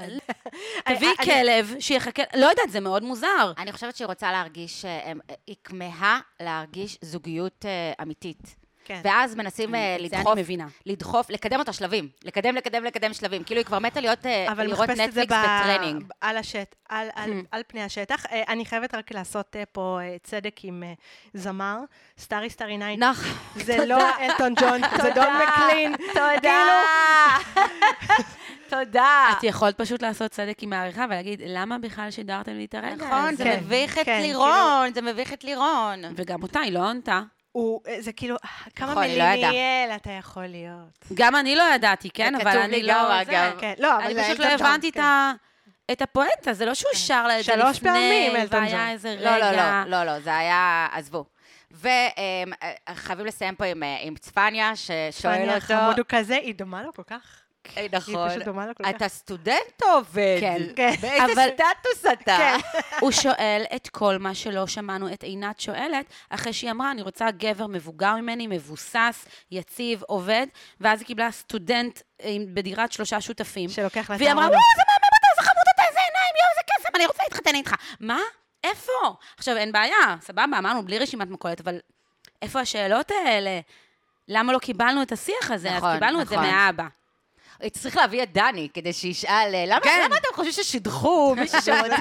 [SPEAKER 3] תביאי
[SPEAKER 2] אני-
[SPEAKER 3] כלב שיחכה, לא יודעת, זה מאוד מוזר.
[SPEAKER 1] אני חושבת שהיא רוצה להרגיש, אה, אה, היא כמהה להרגיש זוגיות אה, אמיתית.
[SPEAKER 2] כן.
[SPEAKER 1] ואז מנסים אה,
[SPEAKER 3] את זה
[SPEAKER 1] לדחוף,
[SPEAKER 3] אני מבינה.
[SPEAKER 1] לדחוף, לקדם אותה שלבים. לקדם, לקדם, לקדם שלבים. כאילו, היא כבר מתה להיות, אה,
[SPEAKER 2] אבל
[SPEAKER 1] לראות
[SPEAKER 2] מחפשת את זה
[SPEAKER 1] נטפליקס בטרנינג.
[SPEAKER 2] ב... על, השט, על,
[SPEAKER 3] Hmm.
[SPEAKER 2] על, על פני השטח. אה, אני חייבת רק לעשות אה, פה אה, צדק עם אה, זמר, סטארי סטארי נייט.
[SPEAKER 1] נח.
[SPEAKER 2] זה לא אלטון ג'ון, זה דון מקלין. כאילו,
[SPEAKER 1] תודה.
[SPEAKER 3] את יכולת פשוט לעשות צדק עם העריכה ולהגיד, למה בכלל שידרתם לי את הרגע?
[SPEAKER 1] נכון,
[SPEAKER 3] הזה?"
[SPEAKER 1] זה
[SPEAKER 2] כן,
[SPEAKER 1] מביך את
[SPEAKER 2] כן,
[SPEAKER 1] לירון, זה מביך את לירון.
[SPEAKER 3] וגם אותה, היא לא ענתה.
[SPEAKER 2] הוא, אה, זה כאילו, אה, כמה
[SPEAKER 1] נכון, היא לא ידעה.
[SPEAKER 2] מיליאל אתה יכול להיות.
[SPEAKER 3] גם אני לא ידעתי, כן?
[SPEAKER 1] זה
[SPEAKER 3] אבל
[SPEAKER 1] כתוב
[SPEAKER 3] אני
[SPEAKER 1] לי
[SPEAKER 3] לא...
[SPEAKER 1] גם,
[SPEAKER 3] זה.
[SPEAKER 1] אגב.
[SPEAKER 2] כן, לא, אבל זה
[SPEAKER 3] אני פשוט לא
[SPEAKER 2] אלטון ג'ון,
[SPEAKER 3] הבנתי את
[SPEAKER 2] כן.
[SPEAKER 3] ה- את הפואנטה, זה לא
[SPEAKER 1] כן.
[SPEAKER 3] שהוא שר לה את זה לפני,
[SPEAKER 2] שלוש פעמים, אלטון ג'ון.
[SPEAKER 3] והיה איזה רגע.
[SPEAKER 1] לא, לא, לא, לא, לא, זה היה, עזבו. וחייבים לסיים פה עם, אה, עם צפניה, ששואל
[SPEAKER 2] פאני
[SPEAKER 1] אותו...
[SPEAKER 2] החמוד הוא כזה, היא דומה לו כל כך.
[SPEAKER 1] אה, נכון.
[SPEAKER 2] פשוט דומה לו כל כך.
[SPEAKER 1] אתה סטודנט או עובד?
[SPEAKER 3] כן.
[SPEAKER 2] כן.
[SPEAKER 1] באיזה
[SPEAKER 3] אבל-
[SPEAKER 1] סטטוס אתה?
[SPEAKER 2] כן.
[SPEAKER 3] הוא שואל את כל מה שלא שמענו את עינת שואלת, אחרי שהיא אמרה, אני רוצה גבר מבוגר ממני, מבוסס, יציב, עובד, ואז היא קיבלה סטודנט עם- בדירת שלושה שותפים.
[SPEAKER 2] שלוקח לה את
[SPEAKER 3] והיא אמרה,
[SPEAKER 2] הארנק.
[SPEAKER 3] וואו, איזה מהמם אתה, איזה חמוד אתה, איזה עיניים, יואו, איזה קסם, אני רוצה להתחתן איתך. מה? איפה? עכשיו, אין בעיה, סבבה, אמרנו, בלי רשימת מכולת, אבל איפה השאלות האלה? למה לא קיבלנו את השיח הזה?
[SPEAKER 1] נכון,
[SPEAKER 3] אז קיבלנו את זה
[SPEAKER 1] נכון.
[SPEAKER 3] מהאבא.
[SPEAKER 1] צריך להביא את דני כדי שישאל, אה, למה
[SPEAKER 3] כן.
[SPEAKER 1] למה אתם חושבים ששידכו מישהו שעוד...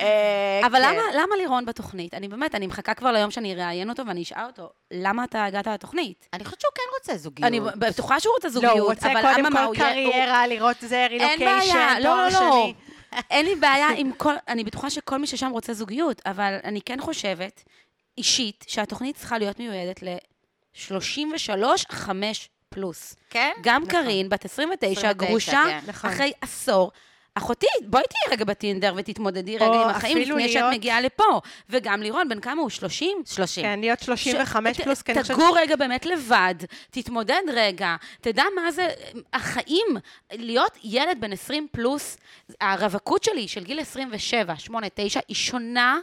[SPEAKER 1] אה, כן.
[SPEAKER 3] אבל למה, למה לירון בתוכנית? אני באמת, אני מחכה כבר ליום שאני אראיין אותו ואני אשאל אותו, למה אתה הגעת לתוכנית?
[SPEAKER 1] אני חושבת שהוא כן רוצה זוגיות.
[SPEAKER 3] אני בטוחה שהוא רוצה
[SPEAKER 2] לא,
[SPEAKER 3] זוגיות,
[SPEAKER 2] הוא רוצה
[SPEAKER 3] אבל
[SPEAKER 2] קודם
[SPEAKER 3] אממה,
[SPEAKER 2] כל
[SPEAKER 3] הוא יהיה- הוא-
[SPEAKER 2] קריירה, לראות זה,
[SPEAKER 3] אין
[SPEAKER 2] רילוקיישן,
[SPEAKER 3] בעיה, לא,
[SPEAKER 2] תואר
[SPEAKER 3] לא, לא.
[SPEAKER 2] שני.
[SPEAKER 3] אין לי בעיה עם כל, אני בטוחה שכל מי ששם רוצה זוגיות, אבל אני כן חושבת, אישית, שהתוכנית צריכה להיות מיועדת ל-33-5 פלוס.
[SPEAKER 1] כן?
[SPEAKER 3] גם קארין, בת 29,
[SPEAKER 1] 29,
[SPEAKER 3] גרושה,
[SPEAKER 1] כן.
[SPEAKER 2] נכון.
[SPEAKER 3] אחרי עשור. אחותי, בואי תהיי רגע בטינדר ותתמודדי רגע
[SPEAKER 2] או
[SPEAKER 3] עם החיים
[SPEAKER 2] אפילו
[SPEAKER 3] לפני שאת
[SPEAKER 2] להיות-
[SPEAKER 3] מגיעה לפה. וגם לירון, בן כמה הוא? 30?
[SPEAKER 1] 30.
[SPEAKER 2] כן, להיות 35
[SPEAKER 3] ת-
[SPEAKER 2] פלוס, כי אני חושבת
[SPEAKER 3] תגור רגע באמת לבד, תתמודד רגע, תדע מה זה החיים, להיות ילד בן 20 פלוס, הרווקות שלי, של גיל 27, 8, 9, היא שונה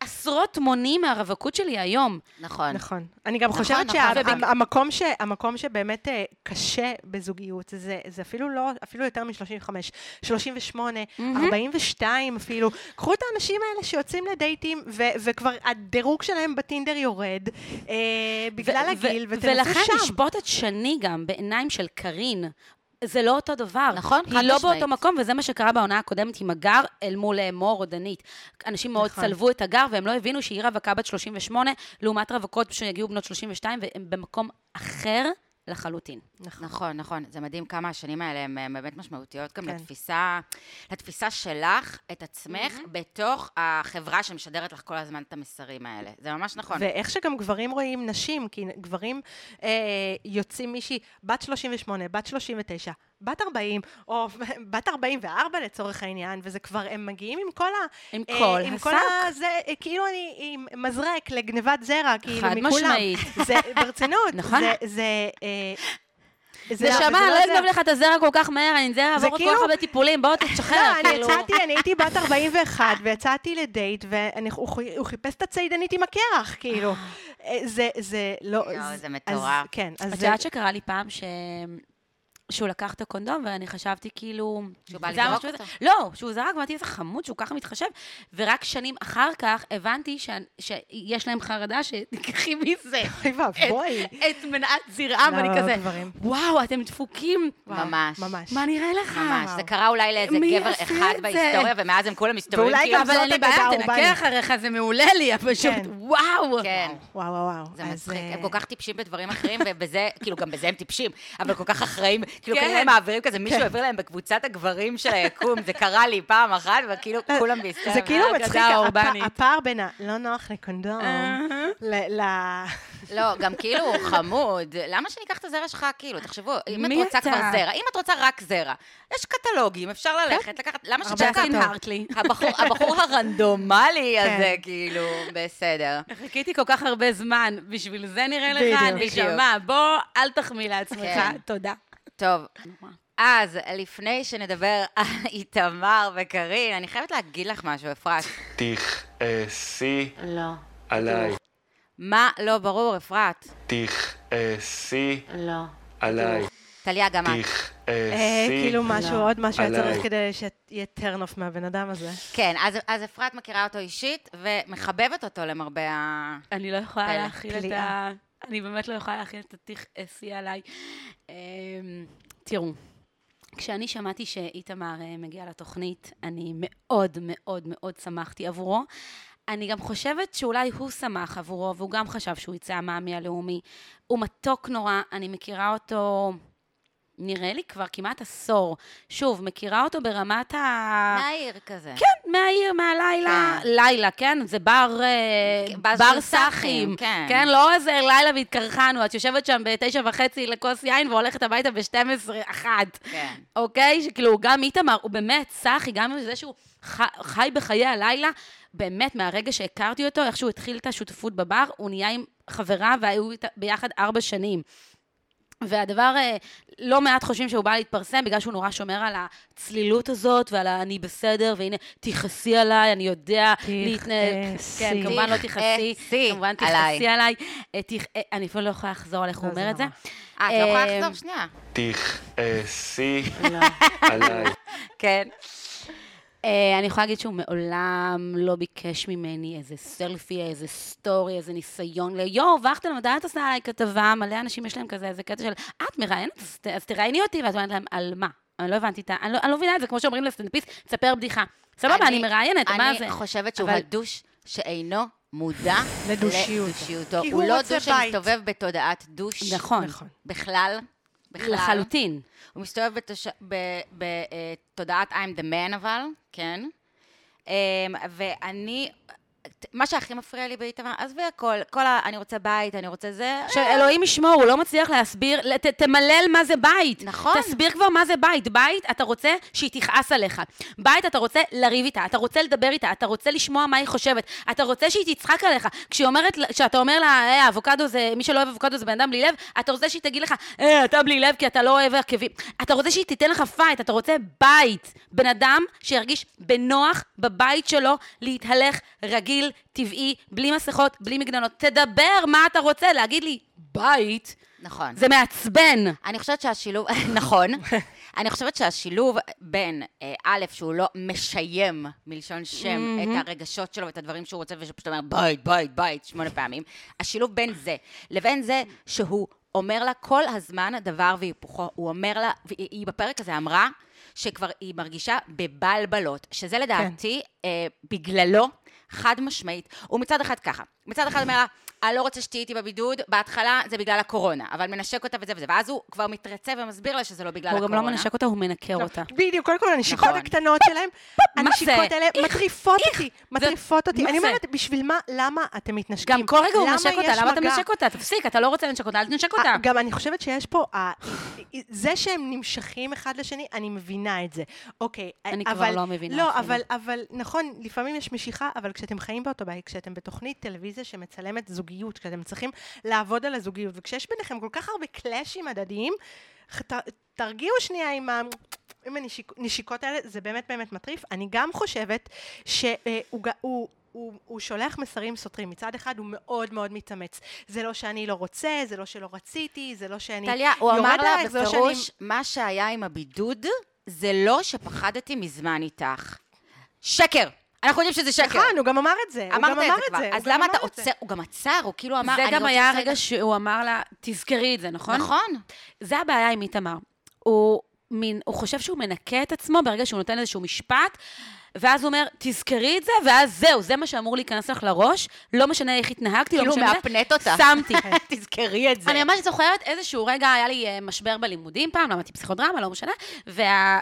[SPEAKER 3] עשרות מונים מהרווקות שלי היום.
[SPEAKER 1] נכון.
[SPEAKER 2] נכון. אני גם
[SPEAKER 1] נכון,
[SPEAKER 2] חושבת
[SPEAKER 1] נכון, ובג-
[SPEAKER 2] שהמקום ש... המקום שבאמת אה, קשה בזוגיות, זה, זה אפילו לא, אפילו יותר מ-35, 38, 42 אפילו. קחו את האנשים האלה שיוצאים לדייטים, ו- וכבר הדירוג שלהם בטינדר יורד, אה, בגלל
[SPEAKER 3] ו- ו-
[SPEAKER 2] הגיל, ותנסו
[SPEAKER 3] ולכן
[SPEAKER 2] שם.
[SPEAKER 3] לשפוט את שני גם בעיניים של קארין. זה לא אותו דבר.
[SPEAKER 1] נכון, חד
[SPEAKER 3] היא לא
[SPEAKER 1] משמעית.
[SPEAKER 3] באותו מקום, וזה מה שקרה בעונה הקודמת עם הגר אל מול אה, מור רודנית. אנשים מאוד
[SPEAKER 2] נכון.
[SPEAKER 3] צלבו את הגר, והם לא הבינו שהיא רווקה בת 38, לעומת רווקות שיגיעו בנות 32, והם במקום אחר לחלוטין.
[SPEAKER 1] נכון, נכון. זה מדהים כמה השנים האלה הן אה, באמת משמעותיות גם
[SPEAKER 2] כן.
[SPEAKER 1] לתפיסה, לתפיסה שלך, את עצמך, בתוך החברה שמשדרת לך כל הזמן את המסרים האלה. זה ממש נכון.
[SPEAKER 2] ואיך שגם גברים רואים נשים, כי גברים אה, יוצאים מישהי בת 38, בת 39, בת 40, או בת 44 לצורך העניין, וזה כבר, הם מגיעים עם כל ה...
[SPEAKER 3] עם
[SPEAKER 2] אה,
[SPEAKER 3] כל
[SPEAKER 2] עם
[SPEAKER 3] השק.
[SPEAKER 2] כל הזה, אה, כאילו אני עם מזרק לגניבת זרע, כאילו
[SPEAKER 3] חד
[SPEAKER 2] מכולם.
[SPEAKER 3] משמעית.
[SPEAKER 2] זה ברצינות.
[SPEAKER 3] נכון.
[SPEAKER 2] זה... זה אה, זה
[SPEAKER 3] נשמה,
[SPEAKER 2] זה
[SPEAKER 3] לא
[SPEAKER 2] זה.
[SPEAKER 3] אגנב לך את הזרע כל כך מהר, אני זרע
[SPEAKER 2] זה
[SPEAKER 3] אעבור את כל
[SPEAKER 2] כאילו-
[SPEAKER 3] כך הרבה טיפולים, בוא תשחרר,
[SPEAKER 2] לא, אני
[SPEAKER 3] כאילו.
[SPEAKER 2] יצאתי, אני הייתי בת 41, ויצאתי לדייט, והוא חי- הוא חיפש את הצידנית עם הקרח, כאילו. אה, זה, זה, לא...
[SPEAKER 1] יואו,
[SPEAKER 2] אז-
[SPEAKER 1] זה מטורף.
[SPEAKER 2] אז- כן, אז...
[SPEAKER 3] את
[SPEAKER 2] זה-
[SPEAKER 3] יודעת שקרה לי פעם ש... שהוא לקח את הקונדום, ואני חשבתי כאילו...
[SPEAKER 1] שהוא בא
[SPEAKER 3] זה היה
[SPEAKER 1] לזרוק
[SPEAKER 3] משהו-
[SPEAKER 1] אותו?
[SPEAKER 3] לא, שהוא זרק, ואמרתי, איזה חמוד שהוא ככה מתחשב, ורק שנים אחר כך הבנתי ש... שיש להם חרדה שתיקחי מזה
[SPEAKER 2] אוי ואבוי.
[SPEAKER 3] את מנעת זרעם,
[SPEAKER 2] לא,
[SPEAKER 3] ואני כזה,
[SPEAKER 2] גברים.
[SPEAKER 3] וואו, אתם דפוקים.
[SPEAKER 2] וואו,
[SPEAKER 1] לא, ממש.
[SPEAKER 2] ממש.
[SPEAKER 3] מה נראה לך?
[SPEAKER 1] ממש. זה קרה אולי לאיזה
[SPEAKER 3] מי
[SPEAKER 1] גבר
[SPEAKER 3] עשה
[SPEAKER 1] אחד
[SPEAKER 3] את זה?
[SPEAKER 1] בהיסטוריה, ומאז הם כולם מסתובבים
[SPEAKER 2] ואולי
[SPEAKER 1] כאילו...
[SPEAKER 2] גם
[SPEAKER 3] אבל
[SPEAKER 2] זאת
[SPEAKER 3] אין לי בעיה,
[SPEAKER 2] אגדה
[SPEAKER 3] תנקה
[SPEAKER 2] אורבנית.
[SPEAKER 3] אחריך, זה מעולה לי, אבל פשוט,
[SPEAKER 2] כן.
[SPEAKER 3] וואו.
[SPEAKER 1] כן.
[SPEAKER 2] וואו, וואו, וואו.
[SPEAKER 1] זה
[SPEAKER 2] אז,
[SPEAKER 1] מצחיק,
[SPEAKER 2] אה,
[SPEAKER 1] הם כל כך טיפשים בדברים אחרים, ובזה, כאילו, גם בזה הם טיפשים, אבל כל כך אחראים, כאילו,
[SPEAKER 3] כן.
[SPEAKER 1] כנראה הם מעבירים כזה, מישהו העביר להם בקבוצת הגברים של היקום, זה קרה לי פעם אחת, וכאילו, כולם בהיסטריה.
[SPEAKER 2] זה כאילו
[SPEAKER 3] האגדה
[SPEAKER 2] מצחיק, הפ-
[SPEAKER 3] האורבנית.
[SPEAKER 2] הפער בין הלא נוח לקונדום, ל- ל...
[SPEAKER 1] לא, גם כאילו, הוא חמוד, למה שאני אקח את הזרע שלך, כאילו, תחשבו, אם את
[SPEAKER 3] מי
[SPEAKER 1] רוצה
[SPEAKER 3] אתה?
[SPEAKER 1] כבר זרע, אם את רוצה רק זרע, יש קטלוגים, אפשר ללכת, לקחת, למה שתקח
[SPEAKER 3] ג'סטין
[SPEAKER 1] אותו?
[SPEAKER 3] הרטלי.
[SPEAKER 1] הבחור- הבחור הרנדומלי
[SPEAKER 2] כן.
[SPEAKER 1] הזה, כאילו, בסדר.
[SPEAKER 3] חיכיתי כל כך הרבה זמן, בשביל זה נראה לך,
[SPEAKER 2] בדיוק.
[SPEAKER 3] נשמה, בוא, אל תחמיא לעצמך,
[SPEAKER 1] כן.
[SPEAKER 3] תודה.
[SPEAKER 1] טוב, אז לפני שנדבר על
[SPEAKER 5] אה,
[SPEAKER 1] איתמר וקארין, אני חייבת להגיד לך משהו, אפרת.
[SPEAKER 5] תכעסי
[SPEAKER 1] לא.
[SPEAKER 5] עליי.
[SPEAKER 1] מה לא ברור, אפרת?
[SPEAKER 5] תכעסי
[SPEAKER 3] לא.
[SPEAKER 5] עליי.
[SPEAKER 1] טליה גם את.
[SPEAKER 2] אה,
[SPEAKER 5] תכעסי.
[SPEAKER 2] כאילו משהו,
[SPEAKER 3] לא.
[SPEAKER 2] עוד משהו היה
[SPEAKER 5] עליי.
[SPEAKER 2] צריך כדי שיהיה turn off מהבן אדם הזה.
[SPEAKER 1] כן, אז- אז אפרת מכירה אותו אישית ומחבבת אותו למרבה ה...
[SPEAKER 3] אני לא יכולה
[SPEAKER 1] פלא,
[SPEAKER 3] להכיל את ה...
[SPEAKER 1] כליאה.
[SPEAKER 3] אני באמת לא יכולה להכיל את התכעסי עליי. אמ, תראו, כשאני שמעתי שאיתמר אה, מגיע לתוכנית, אני מאוד מאוד מאוד שמחתי עבורו. אני גם חושבת שאולי הוא שמח עבורו, והוא גם חשב שהוא יצא המאמי הלאומי. הוא מתוק נורא, אני מכירה אותו... נראה לי כבר כמעט עשור. שוב, מכירה אותו ברמת ה...
[SPEAKER 1] מהעיר כזה.
[SPEAKER 3] אה. כן, מהעיר, מהלילה.
[SPEAKER 1] כן.
[SPEAKER 3] לילה, כן? זה בר... אה,
[SPEAKER 1] כן, בר
[SPEAKER 3] בר
[SPEAKER 1] של סאחים,
[SPEAKER 3] סאחים.
[SPEAKER 1] כן.
[SPEAKER 3] כן, לא איזה לילה והתקרחנו. את יושבת שם בתשע וחצי לכוס יין והולכת הביתה ב-12, אחת.
[SPEAKER 1] כן.
[SPEAKER 3] אוקיי? שכאילו, גם איתמר, הוא באמת סאחי, גם זה שהוא ח- חי בחיי הלילה, באמת, מהרגע שהכרתי אותו, איך שהוא התחיל את השותפות בבר, הוא נהיה עם חברה והיו איתה- ביחד ארבע שנים. והדבר, אה, לא מעט חושבים שהוא בא להתפרסם בגלל שהוא נורא שומר על הצלילות הזאת ועל ה"אני בסדר", והנה, תכעסי עליי, אני יודע להתנהג.
[SPEAKER 2] תכעסי.
[SPEAKER 3] כן, כמובן לא תכעסי.
[SPEAKER 1] תכעסי
[SPEAKER 3] כמובן
[SPEAKER 1] עליי.
[SPEAKER 3] תכעסי עליי. אה, תכ- אה, אני אפילו לא יכולה לחזור על איך הוא
[SPEAKER 2] לא, זה
[SPEAKER 3] אומר את זה.
[SPEAKER 2] נורא.
[SPEAKER 1] אה, את לא יכולה
[SPEAKER 3] אה,
[SPEAKER 1] לחזור שנייה.
[SPEAKER 5] תכעסי אה, עליי.
[SPEAKER 3] כן. אה, אני יכולה להגיד שהוא מעולם לא ביקש ממני איזה סלפי, איזה סטורי, איזה ניסיון ל... יואו, וכטל, מתי את עושה עליי כתבה? מלא אנשים יש להם כזה, איזה קטע של, את מראיינת, אז ת- אז תראייני אותי, ואת אומרת להם, על מה? אני לא הבנתי את ה... אני לא- אני לא מבינה את זה, כמו שאומרים לסטנדאפיסט, תספר בדיחה. סבבה, אני מראיינת, מה זה?
[SPEAKER 1] אני חושבת שהוא
[SPEAKER 3] אבל-
[SPEAKER 1] הדוש שאינו מודע
[SPEAKER 2] לדושיותו.
[SPEAKER 1] לדושיותו.
[SPEAKER 2] כי
[SPEAKER 1] הוא
[SPEAKER 2] הוא
[SPEAKER 1] לא
[SPEAKER 2] רוצה
[SPEAKER 1] דוש
[SPEAKER 2] בית.
[SPEAKER 1] שמסתובב בתודעת דוש.
[SPEAKER 3] נכון.
[SPEAKER 2] נכון.
[SPEAKER 1] בכלל. בכלל.
[SPEAKER 3] לחלוטין.
[SPEAKER 1] הוא מסתובב בתודעת אה, I'm the man אבל, כן. אמ, ואני, מה שהכי מפריע לי באיתמר, עזבי הכל, כל ה... אני רוצה בית, אני רוצה זה.
[SPEAKER 3] עכשיו, אלוהים ישמור, הוא לא מצליח להסביר, לת- תמלל מה זה בית.
[SPEAKER 1] נכון.
[SPEAKER 3] תסביר כבר מה זה בית. בית, אתה רוצה שהיא תכעס עליך. בית, אתה רוצה לריב איתה, אתה רוצה לדבר איתה, אתה רוצה לשמוע מה היא חושבת, אתה רוצה שהיא תצחק עליך. כשהיא אומרת, ל- כשאתה אומר לה, אה, אבוקדו זה, מי שלא אוהב אבוקדו זה בן אדם בלי לב, אתה רוצה שהיא תגיד לך, אה, אתה בלי לב כי אתה לא אוהב הרכבים. אתה רוצה שהיא תיתן לך פייט, אתה רוצה בית. בן אדם שירגיש בנוח בבית שלו להתהלך רגיל, טבעי, בלי מסכות, בלי מגננות. תדבר מה אתה רוצה, להגיד לי, בית,
[SPEAKER 1] נכון.
[SPEAKER 3] זה מעצבן.
[SPEAKER 1] אני חושבת שהשילוב, נכון, אני חושבת שהשילוב בין אה, א', שהוא לא משיים מלשון שם את הרגשות שלו ואת הדברים שהוא רוצה ושפשוט אומר בית, בית, בית, שמונה פעמים, השילוב בין זה לבין זה שהוא אומר לה כל הזמן דבר והיפוכו, הוא אומר לה, והיא היא בפרק הזה אמרה שכבר היא מרגישה בבלבלות, שזה לדעתי אה, בגללו חד משמעית, הוא מצד אחד ככה, מצד אחד אומר לה, אני לא רוצה שתהיי איתי בבידוד, בהתחלה זה בגלל הקורונה, אבל מנשק אותה וזה וזה, ואז הוא כבר מתרצה ומסביר לה שזה לא בגלל
[SPEAKER 3] הוא
[SPEAKER 1] הקורונה.
[SPEAKER 3] גם לא מנשק אותה, הוא מנקר אותה.
[SPEAKER 2] בדיוק, קודם כל הנשיקות
[SPEAKER 1] נכון.
[SPEAKER 2] הקטנות שלהם,
[SPEAKER 3] מה
[SPEAKER 2] הנשיקות
[SPEAKER 3] זה?
[SPEAKER 2] האלה
[SPEAKER 3] איך,
[SPEAKER 2] מטריפות אותי, מטריפות אותי.
[SPEAKER 3] מה
[SPEAKER 2] אני
[SPEAKER 3] זה?
[SPEAKER 2] אומרת, בשביל מה, למה אתם מתנשקים?
[SPEAKER 3] גם כל רגע הוא
[SPEAKER 2] למה
[SPEAKER 3] מנשק אותה,
[SPEAKER 2] יש
[SPEAKER 3] למה אתה
[SPEAKER 2] מגע?
[SPEAKER 3] מנשק אותה? תפסיק, אתה לא רוצה לנשק אותה, אל תנשק אותה.
[SPEAKER 2] אה, גם אני חושבת שיש פה, ה- זה שהם נמשכים אחד לשני, אני מבינה את זה. אוקיי,
[SPEAKER 3] אני
[SPEAKER 2] אבל...
[SPEAKER 3] כבר לא מבינה
[SPEAKER 2] לא,
[SPEAKER 3] אפילו.
[SPEAKER 2] אבל, אבל נכון, לפעמים יש משיכה, אבל כשאתם חיים באותו בית, כשאתם בתוכנית טלוויזיה שמצלמת זוגיות, כשאתם צריכים לעבוד על הזוגיות, וכשיש ביניכם כל כך הרבה קלאשים הדדיים, ח- ת, תרגיעו שנייה עם ה... עם הנשיקות האלה, זה באמת באמת מטריף. אני גם חושבת שהוא... הוא, הוא, הוא שולח מסרים סותרים. מצד אחד הוא מאוד מאוד מתאמץ. זה לא שאני לא רוצה, זה לא שלא רציתי, זה לא שאני...
[SPEAKER 1] טליה, הוא
[SPEAKER 2] יורד
[SPEAKER 1] אמר לה
[SPEAKER 2] עלייך, זה לא שאני-
[SPEAKER 1] בפירוש, מה שהיה עם הבידוד, זה לא שפחדתי מזמן איתך. שקר! אנחנו יודעים שזה שקר.
[SPEAKER 2] נכון, הוא גם אמר את זה. הוא
[SPEAKER 1] כן. אמרת
[SPEAKER 2] גם אמר
[SPEAKER 1] את זה כבר.
[SPEAKER 2] הוא
[SPEAKER 1] אז
[SPEAKER 2] גם
[SPEAKER 1] למה
[SPEAKER 2] אמר
[SPEAKER 1] אתה
[SPEAKER 2] את זה.
[SPEAKER 1] עוצר? הוא גם עצר, הוא כאילו אמר,
[SPEAKER 3] זה
[SPEAKER 1] אני
[SPEAKER 3] גם
[SPEAKER 1] רוצה
[SPEAKER 3] היה
[SPEAKER 1] רגע-
[SPEAKER 3] הרגע שהוא אמר לה, תזכרי את זה, נכון?
[SPEAKER 1] נכון.
[SPEAKER 3] זה הבעיה עם איתמר. הוא, מין, הוא חושב שהוא מנקה את עצמו ברגע שהוא נותן איזשהו משפט, ואז הוא אומר, תזכרי את זה, ואז זהו, זה מה שאמור להיכנס לך לראש, לא משנה איך התנהגתי,
[SPEAKER 1] כאילו
[SPEAKER 3] לא משנה...
[SPEAKER 1] מאפנט אותה.
[SPEAKER 3] שמתי.
[SPEAKER 1] תזכרי את זה.
[SPEAKER 3] אני ממש זוכרת איזשהו רגע, היה לי אה, משבר בלימודים פעם, למדתי פסיכודרמה, לא משנה, וה-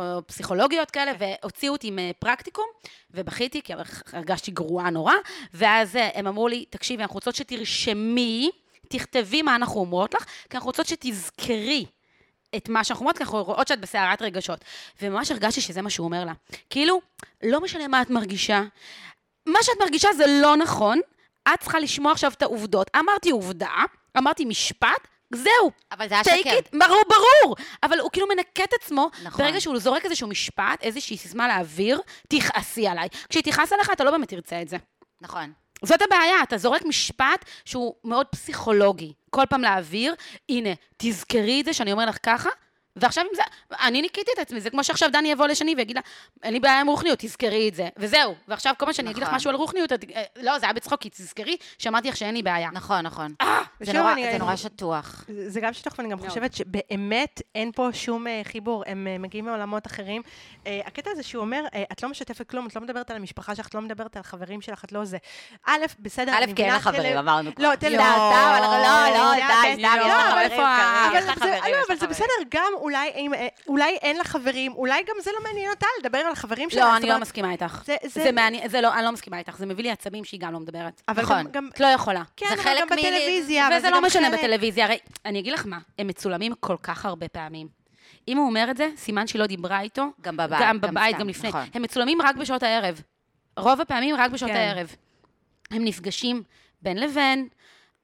[SPEAKER 3] ופסיכולוגיות כאלה,
[SPEAKER 1] כן.
[SPEAKER 3] והוציאו אותי מפרקטיקום, ובכיתי, כי הרגשתי גרועה נורא, ואז אה, הם אמרו לי, תקשיבי, אנחנו רוצות שתרשמי, תכתבי מה אנחנו אומרות לך, כי אנחנו רוצות שתזכרי. את מה שאנחנו אומרות, כי אנחנו רואות שאת בסערת רגשות. וממש הרגשתי שזה מה שהוא אומר לה. כאילו, לא משנה מה את מרגישה, מה שאת מרגישה זה לא נכון, את צריכה לשמוע עכשיו את העובדות. אמרתי עובדה, אמרתי משפט, זהו.
[SPEAKER 1] אבל זה היה
[SPEAKER 3] take
[SPEAKER 1] שקר.
[SPEAKER 3] it, ברור, ברור. אבל הוא כאילו מנקה את עצמו,
[SPEAKER 1] נכון.
[SPEAKER 3] ברגע שהוא זורק איזשהו משפט, איזושהי סיסמה לאוויר, תכעסי עליי. כשהיא תכעס עליך, אתה לא באמת תרצה את זה.
[SPEAKER 1] נכון.
[SPEAKER 3] זאת הבעיה, אתה זורק משפט שהוא מאוד פסיכולוגי. כל פעם להעביר, הנה, תזכרי את זה שאני אומר לך ככה, ועכשיו עם זה, אני ניקיתי את עצמי, זה כמו שעכשיו דני יבוא לשני ויגיד לה, אין לי בעיה עם רוחניות, תזכרי את זה, וזהו. ועכשיו כל פעם שאני אגיד לך
[SPEAKER 1] נכון.
[SPEAKER 3] משהו על רוחניות, את- אה, לא, זה היה בצחוק, כי תזכרי שאמרתי לך שאין לי בעיה.
[SPEAKER 1] נכון, נכון. זה
[SPEAKER 2] ושוב,
[SPEAKER 1] נורא-
[SPEAKER 2] אני-
[SPEAKER 1] זה נורא שטוח.
[SPEAKER 2] זה זה גם שטוח, ואני גם
[SPEAKER 3] מאוד.
[SPEAKER 2] חושבת שבאמת אין פה שום אה, חיבור, הם אה, מגיעים מעולמות אחרים. אה, הקטע הזה שהוא אומר, אה, את לא משתפת כלום, את לא מדברת על המשפחה שלך, את לא מדברת על חברים שלך, את לא זה. א',
[SPEAKER 1] א',
[SPEAKER 2] בסדר, אני
[SPEAKER 1] כי אין
[SPEAKER 2] מבינה,
[SPEAKER 1] לך חברים,
[SPEAKER 2] טל-
[SPEAKER 1] אמרנו כבר.
[SPEAKER 2] לא, תל
[SPEAKER 1] סתם, סתם, אנחנו- לא, לא,
[SPEAKER 2] אני
[SPEAKER 1] די,
[SPEAKER 2] יודעת,
[SPEAKER 1] סתם, יש
[SPEAKER 2] לא,
[SPEAKER 1] לך
[SPEAKER 2] אבל
[SPEAKER 1] חברים,
[SPEAKER 3] איפה ה-
[SPEAKER 1] קארין,
[SPEAKER 2] אבל
[SPEAKER 1] יש לך
[SPEAKER 2] זה-
[SPEAKER 1] חברים,
[SPEAKER 2] לא,
[SPEAKER 1] יש
[SPEAKER 2] אבל
[SPEAKER 1] לך
[SPEAKER 2] זה
[SPEAKER 1] חברים.
[SPEAKER 2] בסדר, גם אולי אם, אה, אולי אין לך חברים, אולי גם זה לא מעניין אותה לדבר על החברים שלה.
[SPEAKER 3] לא,
[SPEAKER 2] זאת
[SPEAKER 3] אני לא
[SPEAKER 2] אומרת,
[SPEAKER 3] מסכימה איתך.
[SPEAKER 2] זה- זה-
[SPEAKER 3] זה מעניין, זה לא, אני לא מסכימה איתך, זה מביא לי עצבים שהיא גם לא מדברת.
[SPEAKER 2] אבל גם-
[SPEAKER 1] נכון.
[SPEAKER 2] גם...
[SPEAKER 3] את לא יכולה.
[SPEAKER 2] כן,
[SPEAKER 1] זה
[SPEAKER 2] אבל
[SPEAKER 1] חלק
[SPEAKER 2] גם
[SPEAKER 1] מ-
[SPEAKER 2] בטלוויזיה, אבל
[SPEAKER 3] וזה
[SPEAKER 2] זה
[SPEAKER 3] לא
[SPEAKER 2] גם
[SPEAKER 3] משנה
[SPEAKER 2] חלק-
[SPEAKER 3] בטלוויזיה, הרי אני אגיד לך מה, הם מצולמים כל כך הרבה פעמים. אם הוא אומר את זה, סימן שהיא לא דיברה איתו.
[SPEAKER 1] גם בבית,
[SPEAKER 3] גם
[SPEAKER 1] גם
[SPEAKER 3] בבית,
[SPEAKER 1] סתם,
[SPEAKER 3] גם לפני.
[SPEAKER 1] נכון.
[SPEAKER 3] הם מצולמים רק בשעות הערב. רוב הפעמים רק בשעות
[SPEAKER 2] כן.
[SPEAKER 3] הערב. הם נפגשים בין לבין.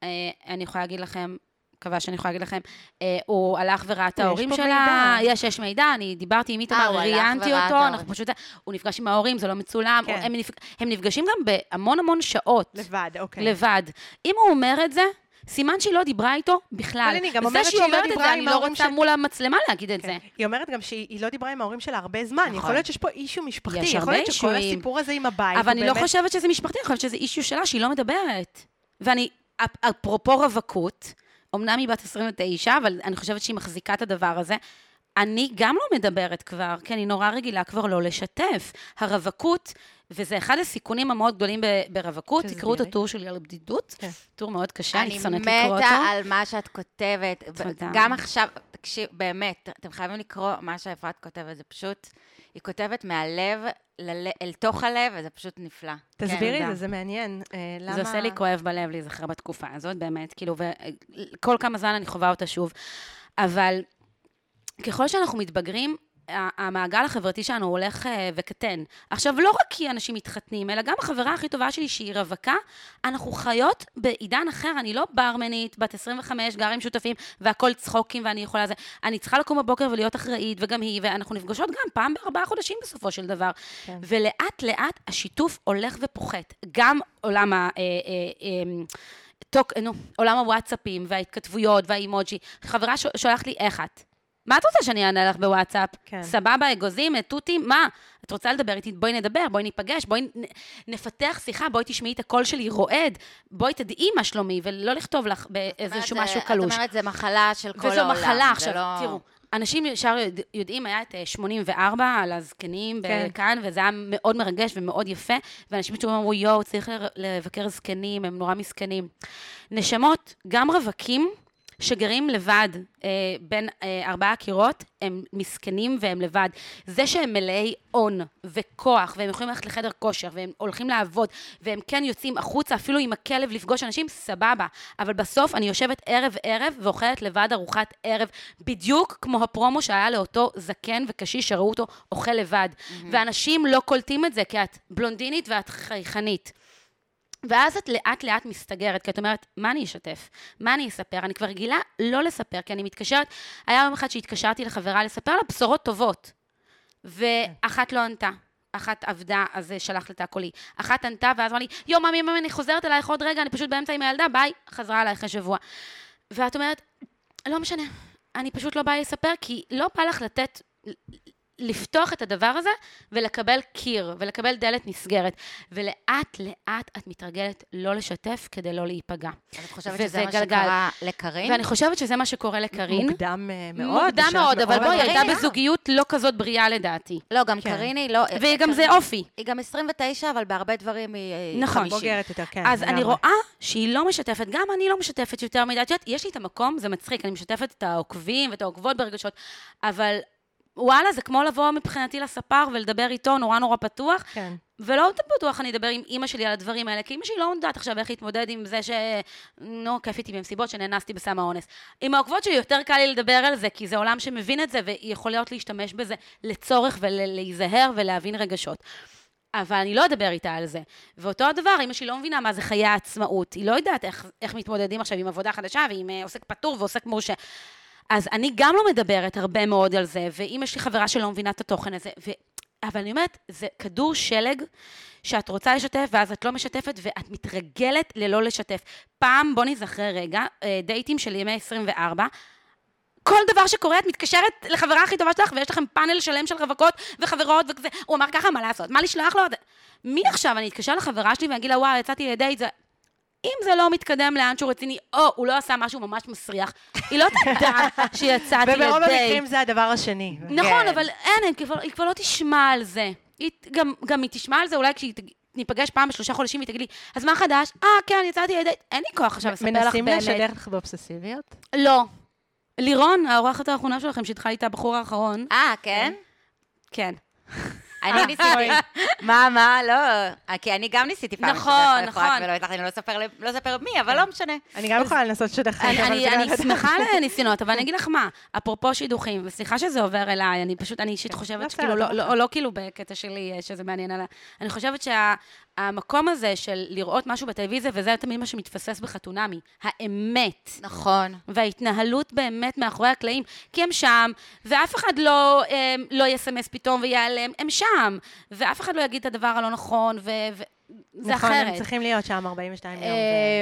[SPEAKER 3] אה, אני יכולה להגיד לכם, מקווה שאני יכולה להגיד לכם, אה, הוא הלך וראה את
[SPEAKER 2] יש
[SPEAKER 3] ההורים
[SPEAKER 2] פה
[SPEAKER 3] שלה.
[SPEAKER 2] מידע.
[SPEAKER 3] יש, יש מידע, אני דיברתי עם
[SPEAKER 1] אה, הוא
[SPEAKER 3] איתמר,
[SPEAKER 1] הלך
[SPEAKER 3] ראיינתי
[SPEAKER 1] וראה את
[SPEAKER 3] אותו, אנחנו
[SPEAKER 1] ההורים.
[SPEAKER 3] פשוט... הוא נפגש עם ההורים, זה לא מצולם.
[SPEAKER 2] כן.
[SPEAKER 3] הם נפג- הם נפגשים גם בהמון המון שעות.
[SPEAKER 2] לבד, אוקיי.
[SPEAKER 3] לבד. אם הוא אומר את זה, סימן שהיא לא דיברה איתו בכלל.
[SPEAKER 2] אבל אני גם
[SPEAKER 3] זה
[SPEAKER 2] אומרת
[SPEAKER 3] שהיא
[SPEAKER 2] שהיא לא
[SPEAKER 3] אומרת את
[SPEAKER 2] דיברה
[SPEAKER 3] זה,
[SPEAKER 2] עם
[SPEAKER 3] אני לא
[SPEAKER 2] ההורים
[SPEAKER 3] רוצה
[SPEAKER 2] של-
[SPEAKER 3] מול המצלמה להגיד את זה.
[SPEAKER 2] כן. היא אומרת גם שהיא היא לא דיברה עם ההורים שלה הרבה זמן,
[SPEAKER 1] נכון.
[SPEAKER 2] יכול להיות שיש פה אישיו משפחתי,
[SPEAKER 3] יש
[SPEAKER 2] יכול
[SPEAKER 3] הרבה
[SPEAKER 2] להיות שכל
[SPEAKER 3] אישויים.
[SPEAKER 2] הסיפור הזה עם הבית, הוא
[SPEAKER 3] אבל אני לא
[SPEAKER 2] באמת-
[SPEAKER 3] חושבת שזה משפחתי, אני חושבת שזה אישיו שלה שהיא לא מדברת. ואני, אפ- אפרופו רווקות, אמנם היא בת 29, אבל אני חושבת שהיא מחזיקה את הדבר הזה. אני גם לא מדברת כבר, כי אני נורא רגילה כבר לא לשתף. הרווקות, וזה אחד הסיכונים המאוד גדולים ב- ברווקות,
[SPEAKER 2] תסבירי.
[SPEAKER 3] תקראו את הטור שלי על בדידות,
[SPEAKER 2] כן.
[SPEAKER 3] טור מאוד קשה,
[SPEAKER 1] אני
[SPEAKER 3] אני שונאת לקרוא אותו.
[SPEAKER 1] מתה על מה שאת כותבת. ב-
[SPEAKER 3] תודה.
[SPEAKER 1] גם עכשיו, תקשיב, באמת, אתם חייבים לקרוא מה שאפרת כותבת, זה פשוט, היא כותבת מהלב לל- אל תוך הלב, וזה פשוט נפלא.
[SPEAKER 2] תסבירי
[SPEAKER 3] כן,
[SPEAKER 2] את זה, זה מעניין. אה, למה...
[SPEAKER 3] זה עושה לי כואב בלב להיזכר בתקופה הזאת, באמת, כאילו, וכל כמה זמן אני חווה אותה שוב. אבל ככל שאנחנו מתבגרים, ה- המעגל החברתי שלנו הולך אה, וקטן. עכשיו, לא רק כי אנשים מתחתנים, אלא גם החברה הכי טובה שלי, שהיא רווקה, אנחנו חיות בעידן אחר. אני לא ברמנית, בת 25, גרה עם שותפים, והכל צחוקים ואני יכולה זה. אני צריכה לקום בבוקר ולהיות אחראית, וגם היא, ואנחנו נפגשות גם פעם בארבעה חודשים בסופו של דבר.
[SPEAKER 2] כן.
[SPEAKER 3] ולאט לאט השיתוף הולך ופוחת. גם עולם ה... אה, אה, אה, טוק, נו, עולם הוואטסאפים וההתכתבויות והאימוג'י. חברה ש- שולחת לי איך את. מה את רוצה שאני אענה לך בוואטסאפ?
[SPEAKER 2] כן.
[SPEAKER 3] סבבה, אגוזים, תותים, מה? את רוצה לדבר איתי? בואי נדבר, בואי ניפגש, בואי נ- נפתח שיחה, בואי תשמעי את הקול שלי רועד, בואי תדעי מה שלומי, ולא לכתוב לך באיזשהו
[SPEAKER 1] אומרת, זה-
[SPEAKER 3] משהו קלוש.
[SPEAKER 1] את אומרת, זה מחלה של כל
[SPEAKER 3] וזו
[SPEAKER 1] העולם.
[SPEAKER 3] מחלה
[SPEAKER 1] זה
[SPEAKER 3] עכשיו,
[SPEAKER 1] לא-
[SPEAKER 3] תראו. אנשים ישר יודע, יודעים, היה את אה, 84 על הזקנים
[SPEAKER 2] כן.
[SPEAKER 3] כן. כאן, וזה היה מאוד מרגש ומאוד יפה, ואנשים פתאום אמרו, יואו, צריך ל- לבקר זקנים, הם נורא מסכנים. נשמות, גם רווקים שגרים לבד אה, בין אה, ארבעה קירות, הם מסכנים והם לבד. זה שהם מלאי הון וכוח, והם יכולים ללכת לחדר כושר, והם הולכים לעבוד, והם כן יוצאים החוצה, אפילו עם הכלב לפגוש אנשים, סבבה. אבל בסוף אני יושבת ערב-ערב ואוכלת לבד ארוחת ערב, בדיוק כמו הפרומו שהיה לאותו זקן וקשיש שראו אותו אוכל לבד. ואנשים לא קולטים את זה, כי את בלונדינית ואת חייכנית. ואז את לאט לאט מסתגרת, כי את אומרת, מה אני אשתף? מה אני אספר? אני כבר רגילה לא לספר, כי אני מתקשרת, היה יום אחד שהתקשרתי לחברה לספר לה בשורות טובות, ואחת לא ענתה. אחת עבדה, אז אה, שלח לתא קולי. אחת ענתה, ואז אמרה לי, יו, מאמי, מאמי, אני חוזרת אלייך עוד רגע, אני פשוט באמצע עם הילדה, ביי. חזרה אליי אחרי שבוע. ואת אומרת, לא משנה, אני פשוט לא באה לספר, כי לא בא לך לתת, לפתוח את הדבר הזה ולקבל קיר, ולקבל דלת נסגרת. ולאט לאט את מתרגלת לא לשתף כדי לא להיפגע.
[SPEAKER 1] אז את חושבת
[SPEAKER 3] וזה
[SPEAKER 1] שזה מה
[SPEAKER 3] גלגל.
[SPEAKER 1] שקרה לקרין?
[SPEAKER 3] ואני חושבת שזה מה שקורה לקרין.
[SPEAKER 2] אוקיי? מוקדם אה, מאוד.
[SPEAKER 3] מוקדם
[SPEAKER 2] בשלב
[SPEAKER 3] מאוד, אבל בואי, היא
[SPEAKER 2] מוקדם.
[SPEAKER 3] הייתה
[SPEAKER 1] בריאה.
[SPEAKER 3] בזוגיות לא כזאת בריאה לדעתי.
[SPEAKER 1] לא, גם
[SPEAKER 2] כן.
[SPEAKER 1] קרין היא לא...
[SPEAKER 3] וגם
[SPEAKER 2] אה,
[SPEAKER 1] קרין-
[SPEAKER 3] זה אופי.
[SPEAKER 1] היא גם 29, אבל בהרבה דברים היא אה,
[SPEAKER 3] נכון.
[SPEAKER 1] 50.
[SPEAKER 2] בוגרת יותר, כן.
[SPEAKER 3] אז
[SPEAKER 2] לגמרי.
[SPEAKER 3] אני רואה שהיא לא משתפת, גם אני לא משתפת יותר מדי. את יודעת, יש לי את המקום, זה מצחיק, אני משתפת את העוקבים ואת העוקבות ברגשות, אבל וואלה, זה כמו לבוא מבחינתי לספר ולדבר איתו נורא נורא פתוח,
[SPEAKER 2] כן.
[SPEAKER 3] ולא בטוח אני אדבר עם אימא שלי על הדברים האלה, כי אימא שלי לא יודעת עכשיו איך להתמודד עם זה ש... נו, כיף איתי במסיבות שנאנסתי בסם האונס. עם העוקבות שלי יותר קל לי לדבר על זה, כי זה עולם שמבין את זה, ויכול להיות להשתמש בזה לצורך ולהיזהר ולהבין רגשות. אבל אני לא אדבר איתה על זה. ואותו הדבר, אמא שלי לא מבינה מה זה חיי העצמאות. היא לא יודעת איך, איך מתמודדים עכשיו עם עבודה חדשה ועם אה, עוסק פטור ועוסק מורשה. אז אני גם לא מדברת הרבה מאוד על זה, ואם יש לי חברה שלא מבינה את התוכן הזה, אבל אני אומרת, זה כדור שלג שאת רוצה לשתף, ואז את לא משתפת, ואת מתרגלת ללא לשתף. פעם, בוא נזכר רגע, אה, דייטים של ימי 24, כל דבר שקורה, את מתקשרת לחברה הכי טובה שלך, ויש לכם פאנל שלם של רווקות וחברות וכזה. הוא אמר ככה, מה לעשות? מה לשלוח לו? זה- מי עכשיו? אני אתקשר לחברה שלי ואני אגיד לה, וואי, יצאתי לדייט, זה... אם זה לא מתקדם לאנשהו רציני, או הוא לא עשה משהו ממש מסריח, היא לא תדע שיצאתי לדייט.
[SPEAKER 2] וברוב המקרים זה הדבר השני.
[SPEAKER 3] נכון,
[SPEAKER 1] כן.
[SPEAKER 3] אבל אין, הם כבר- היא כבר לא תשמע על זה. היא ת- גם- גם היא תשמע על זה, אולי כשהיא תג- ניפגש פעם בשלושה חודשים, היא תגיד לי, אז מה חדש? אה, כן, יצאתי לדייט. אין לי כוח עכשיו לספר לך באמת.
[SPEAKER 2] מנסים לשדך לך באובססיביות?
[SPEAKER 3] לא. לירון, האורחת האחרונה שלכם, שהתחלה איתה הבחור האחרון,
[SPEAKER 1] אה, כן?
[SPEAKER 3] כן.
[SPEAKER 1] אני ניסיתי. אה, מה, מה, לא. כי אני גם ניסיתי פעם.
[SPEAKER 3] נכון,
[SPEAKER 1] להתחבר לאפרת
[SPEAKER 3] נכון. כן.
[SPEAKER 1] ולא הצלחתי, אני לא אספר ל- לא אספר מי, אבל לא משנה.
[SPEAKER 2] אני גם יכולה לנסות לשדך לך.
[SPEAKER 3] אני-
[SPEAKER 2] אבל
[SPEAKER 3] אני
[SPEAKER 2] זה
[SPEAKER 3] אני
[SPEAKER 2] לא-
[SPEAKER 3] שמחה על הניסיונות, אבל אני אגיד לך מה, אפרופו שידוכים, וסליחה שזה עובר אליי, אני פשוט, אני אישית
[SPEAKER 2] לא
[SPEAKER 3] חושבת
[SPEAKER 2] בסדר,
[SPEAKER 3] שכאילו,
[SPEAKER 2] לא
[SPEAKER 3] לא- לא לא כאילו בקטע שלי אה, שזה מעניין, אלא אני חושבת שהמקום הזה של לראות משהו בטלוויזיה, וזה תמיד מה שמתפסס בחתונמי, האמת.
[SPEAKER 1] נכון.
[SPEAKER 3] וההתנהלות באמת מאחורי הקלעים, כי הם שם, ואף אחד לא, אה, לא יסמס פתאום וייעלם, הם שם, ואף אחד לא יגיד את הדבר הלא נכון, ו... ו... זה
[SPEAKER 2] נכון,
[SPEAKER 3] אחרת.
[SPEAKER 2] הם צריכים להיות שם 42 יום.
[SPEAKER 3] אה,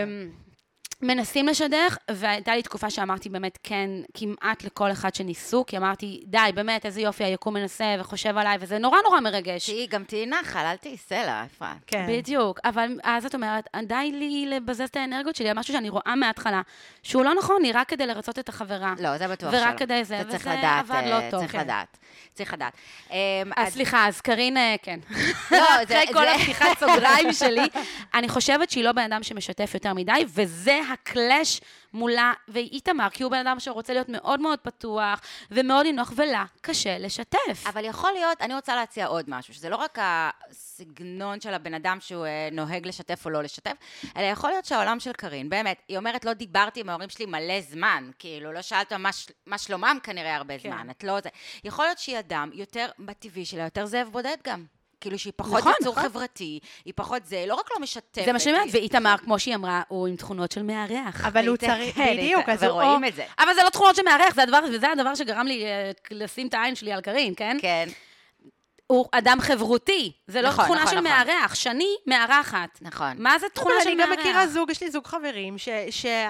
[SPEAKER 2] זה-
[SPEAKER 3] מנסים לשדך, והייתה לי תקופה שאמרתי באמת כן כמעט לכל אחד שניסו, כי אמרתי, די, באמת, איזה יופי, היקום מנסה וחושב עליי, וזה נורא נורא מרגש.
[SPEAKER 1] שהיא גם תהיי נחל, אל תהיי סלע, אפרת.
[SPEAKER 2] כן.
[SPEAKER 3] בדיוק, אבל אז את אומרת, די לי לבזז את האנרגיות שלי על משהו שאני רואה מההתחלה, שהוא לא נכון לי, רק כדי לרצות את החברה.
[SPEAKER 1] לא, זה בטוח שלא.
[SPEAKER 3] ורק כדי זה,
[SPEAKER 1] אתה צריך
[SPEAKER 3] וזה
[SPEAKER 1] לדעת,
[SPEAKER 3] עבד לא
[SPEAKER 1] אה,
[SPEAKER 3] טוב,
[SPEAKER 1] צריך
[SPEAKER 3] כן.
[SPEAKER 1] לדעת. צריך לדעת. אמ,
[SPEAKER 3] אז
[SPEAKER 1] אז-
[SPEAKER 3] סליחה, אז קארין, אה, כן.
[SPEAKER 1] לא, זה-
[SPEAKER 3] אחרי כל
[SPEAKER 1] זה-
[SPEAKER 3] הפתיחת סוגריים שלי, אני חושבת שהיא לא בן אדם שמשתף יותר מדי, וזה הקלאש מולה ואיתמר, כי הוא בן אדם שרוצה להיות מאוד מאוד פתוח, ומאוד נינוח, ולה קשה לשתף.
[SPEAKER 1] אבל יכול להיות, אני רוצה להציע עוד משהו, שזה לא רק הסגנון של הבן אדם שהוא אה, נוהג לשתף או לא לשתף, אלא יכול להיות שהעולם של קארין, באמת, היא אומרת, לא דיברתי עם ההורים שלי מלא זמן, כאילו, לא שאלת מה, של- מה שלומם כנראה הרבה
[SPEAKER 3] כן.
[SPEAKER 1] כן. זמן, את לא זה. יכול להיות שהיא אדם יותר, בטבעי שלה, יותר זאב בודד גם. כאילו שהיא פחות
[SPEAKER 3] נכון,
[SPEAKER 1] נכון, יצור
[SPEAKER 3] נכון.
[SPEAKER 1] נכון. חברתי, היא פחות זה, היא לא רק לא משתפת.
[SPEAKER 3] זה מה שאני אומרת,
[SPEAKER 1] היא-
[SPEAKER 3] ואיתמר, כמו שהיא אמרה, הוא עם תכונות של מארח.
[SPEAKER 2] אבל הוא
[SPEAKER 1] היא
[SPEAKER 2] צריך,
[SPEAKER 1] כן, היא-
[SPEAKER 2] בדיוק, אז הוא...
[SPEAKER 1] ורואים
[SPEAKER 2] או-
[SPEAKER 1] את זה.
[SPEAKER 3] אבל זה לא תכונות של מארח, זה הדבר, וזה הדבר שגרם לי אה, לשים את העין שלי על קארין, כן?
[SPEAKER 1] כן,
[SPEAKER 3] הוא אדם חברתי, זה לא
[SPEAKER 1] נכון,
[SPEAKER 3] תכונה
[SPEAKER 1] נכון,
[SPEAKER 3] של
[SPEAKER 1] נכון.
[SPEAKER 3] מארח, שני מארחת.
[SPEAKER 1] נכון.
[SPEAKER 3] מה זה תכונה
[SPEAKER 2] אבל
[SPEAKER 3] של
[SPEAKER 2] אני
[SPEAKER 3] מארח?
[SPEAKER 2] גם מכירה זוג, יש לי זוג חברים,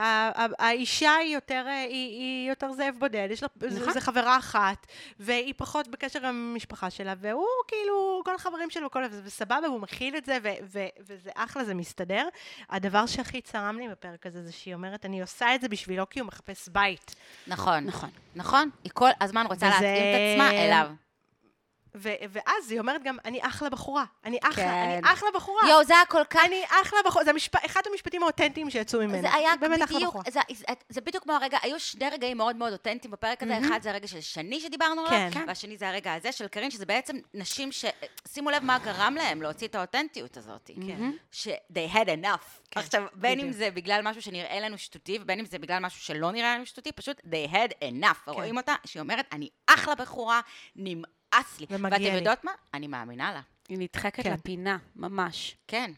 [SPEAKER 2] שהאישה היא יותר, אה, היא, היא יותר זאב בודד, יש לה,
[SPEAKER 3] נכון.
[SPEAKER 2] זו- זו חברה אחת, והיא פחות בקשר עם המשפחה שלה, והוא כאילו, כל החברים שלו, כל זה סבבה, והוא מכיל את זה, ו, ו, וזה אחלה, זה מסתדר. הדבר שהכי צרם לי בפרק הזה, זה שהיא אומרת, אני עושה את זה בשבילו כי הוא מחפש בית.
[SPEAKER 1] נכון,
[SPEAKER 3] נכון.
[SPEAKER 1] נכון, היא כל הזמן רוצה
[SPEAKER 2] וזה-
[SPEAKER 1] להתאים את עצמה אליו.
[SPEAKER 2] ו, ואז היא אומרת גם, אני אחלה בחורה, אני אחלה,
[SPEAKER 1] כן.
[SPEAKER 2] אני אחלה בחורה.
[SPEAKER 1] יואו, זה היה כל כך
[SPEAKER 2] אני אחלה בחורה, זה המשפ... אחד המשפטים האותנטיים שיצאו ממנה.
[SPEAKER 1] זה היה
[SPEAKER 2] באמת אחלה
[SPEAKER 1] בדיוק,
[SPEAKER 2] בחורה.
[SPEAKER 1] זה, זה, זה בדיוק כמו הרגע, היו שני רגעים מאוד מאוד אותנטיים בפרק הזה, אחד זה הרגע של שני שדיברנו עליו,
[SPEAKER 2] כן.
[SPEAKER 1] והשני זה הרגע הזה של קרין, שזה בעצם נשים ש... שימו לב מה גרם להם להוציא את האותנטיות הזאת.
[SPEAKER 2] כן.
[SPEAKER 1] ש- they had enough.
[SPEAKER 2] כן,
[SPEAKER 1] עכשיו, בין אם
[SPEAKER 2] בדיוק.
[SPEAKER 1] זה בגלל משהו שנראה לנו שטותי, ובין אם זה בגלל משהו שלא נראה לנו שטותי, פשוט they had enough.
[SPEAKER 2] כן.
[SPEAKER 1] ורואים אותה, שהיא אומרת, אני אחלה בחורה, נמאס לי.
[SPEAKER 2] ומגיע
[SPEAKER 1] ואתם
[SPEAKER 2] לי.
[SPEAKER 1] יודעות מה? אני מאמינה לה.
[SPEAKER 3] היא נדחקת
[SPEAKER 2] כן.
[SPEAKER 3] לפינה, ממש.
[SPEAKER 1] כן.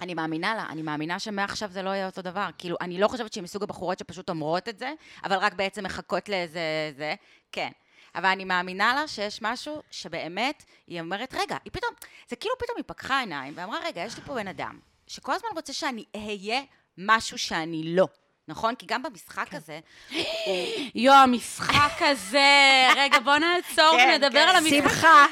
[SPEAKER 1] אני מאמינה לה, אני מאמינה שמעכשיו זה לא יהיה אותו דבר. כאילו, אני לא חושבת שהיא מסוג הבחורות שפשוט אומרות את זה, אבל רק בעצם מחכות לאיזה זה, כן. אבל אני מאמינה לה שיש משהו שבאמת, היא אומרת, רגע, היא פתאום, זה כאילו פתאום היא פקחה עיניים ואמרה, רגע, יש לי פה בן אדם, שכל הזמן רוצה שאני אהיה משהו שאני לא, נכון? כי גם במשחק
[SPEAKER 3] כן.
[SPEAKER 1] הזה,
[SPEAKER 3] יואו, המשחק הזה, רגע, בוא נעצור
[SPEAKER 2] כן,
[SPEAKER 3] ונדבר
[SPEAKER 2] כן.
[SPEAKER 3] על המשחק.
[SPEAKER 2] שמחה,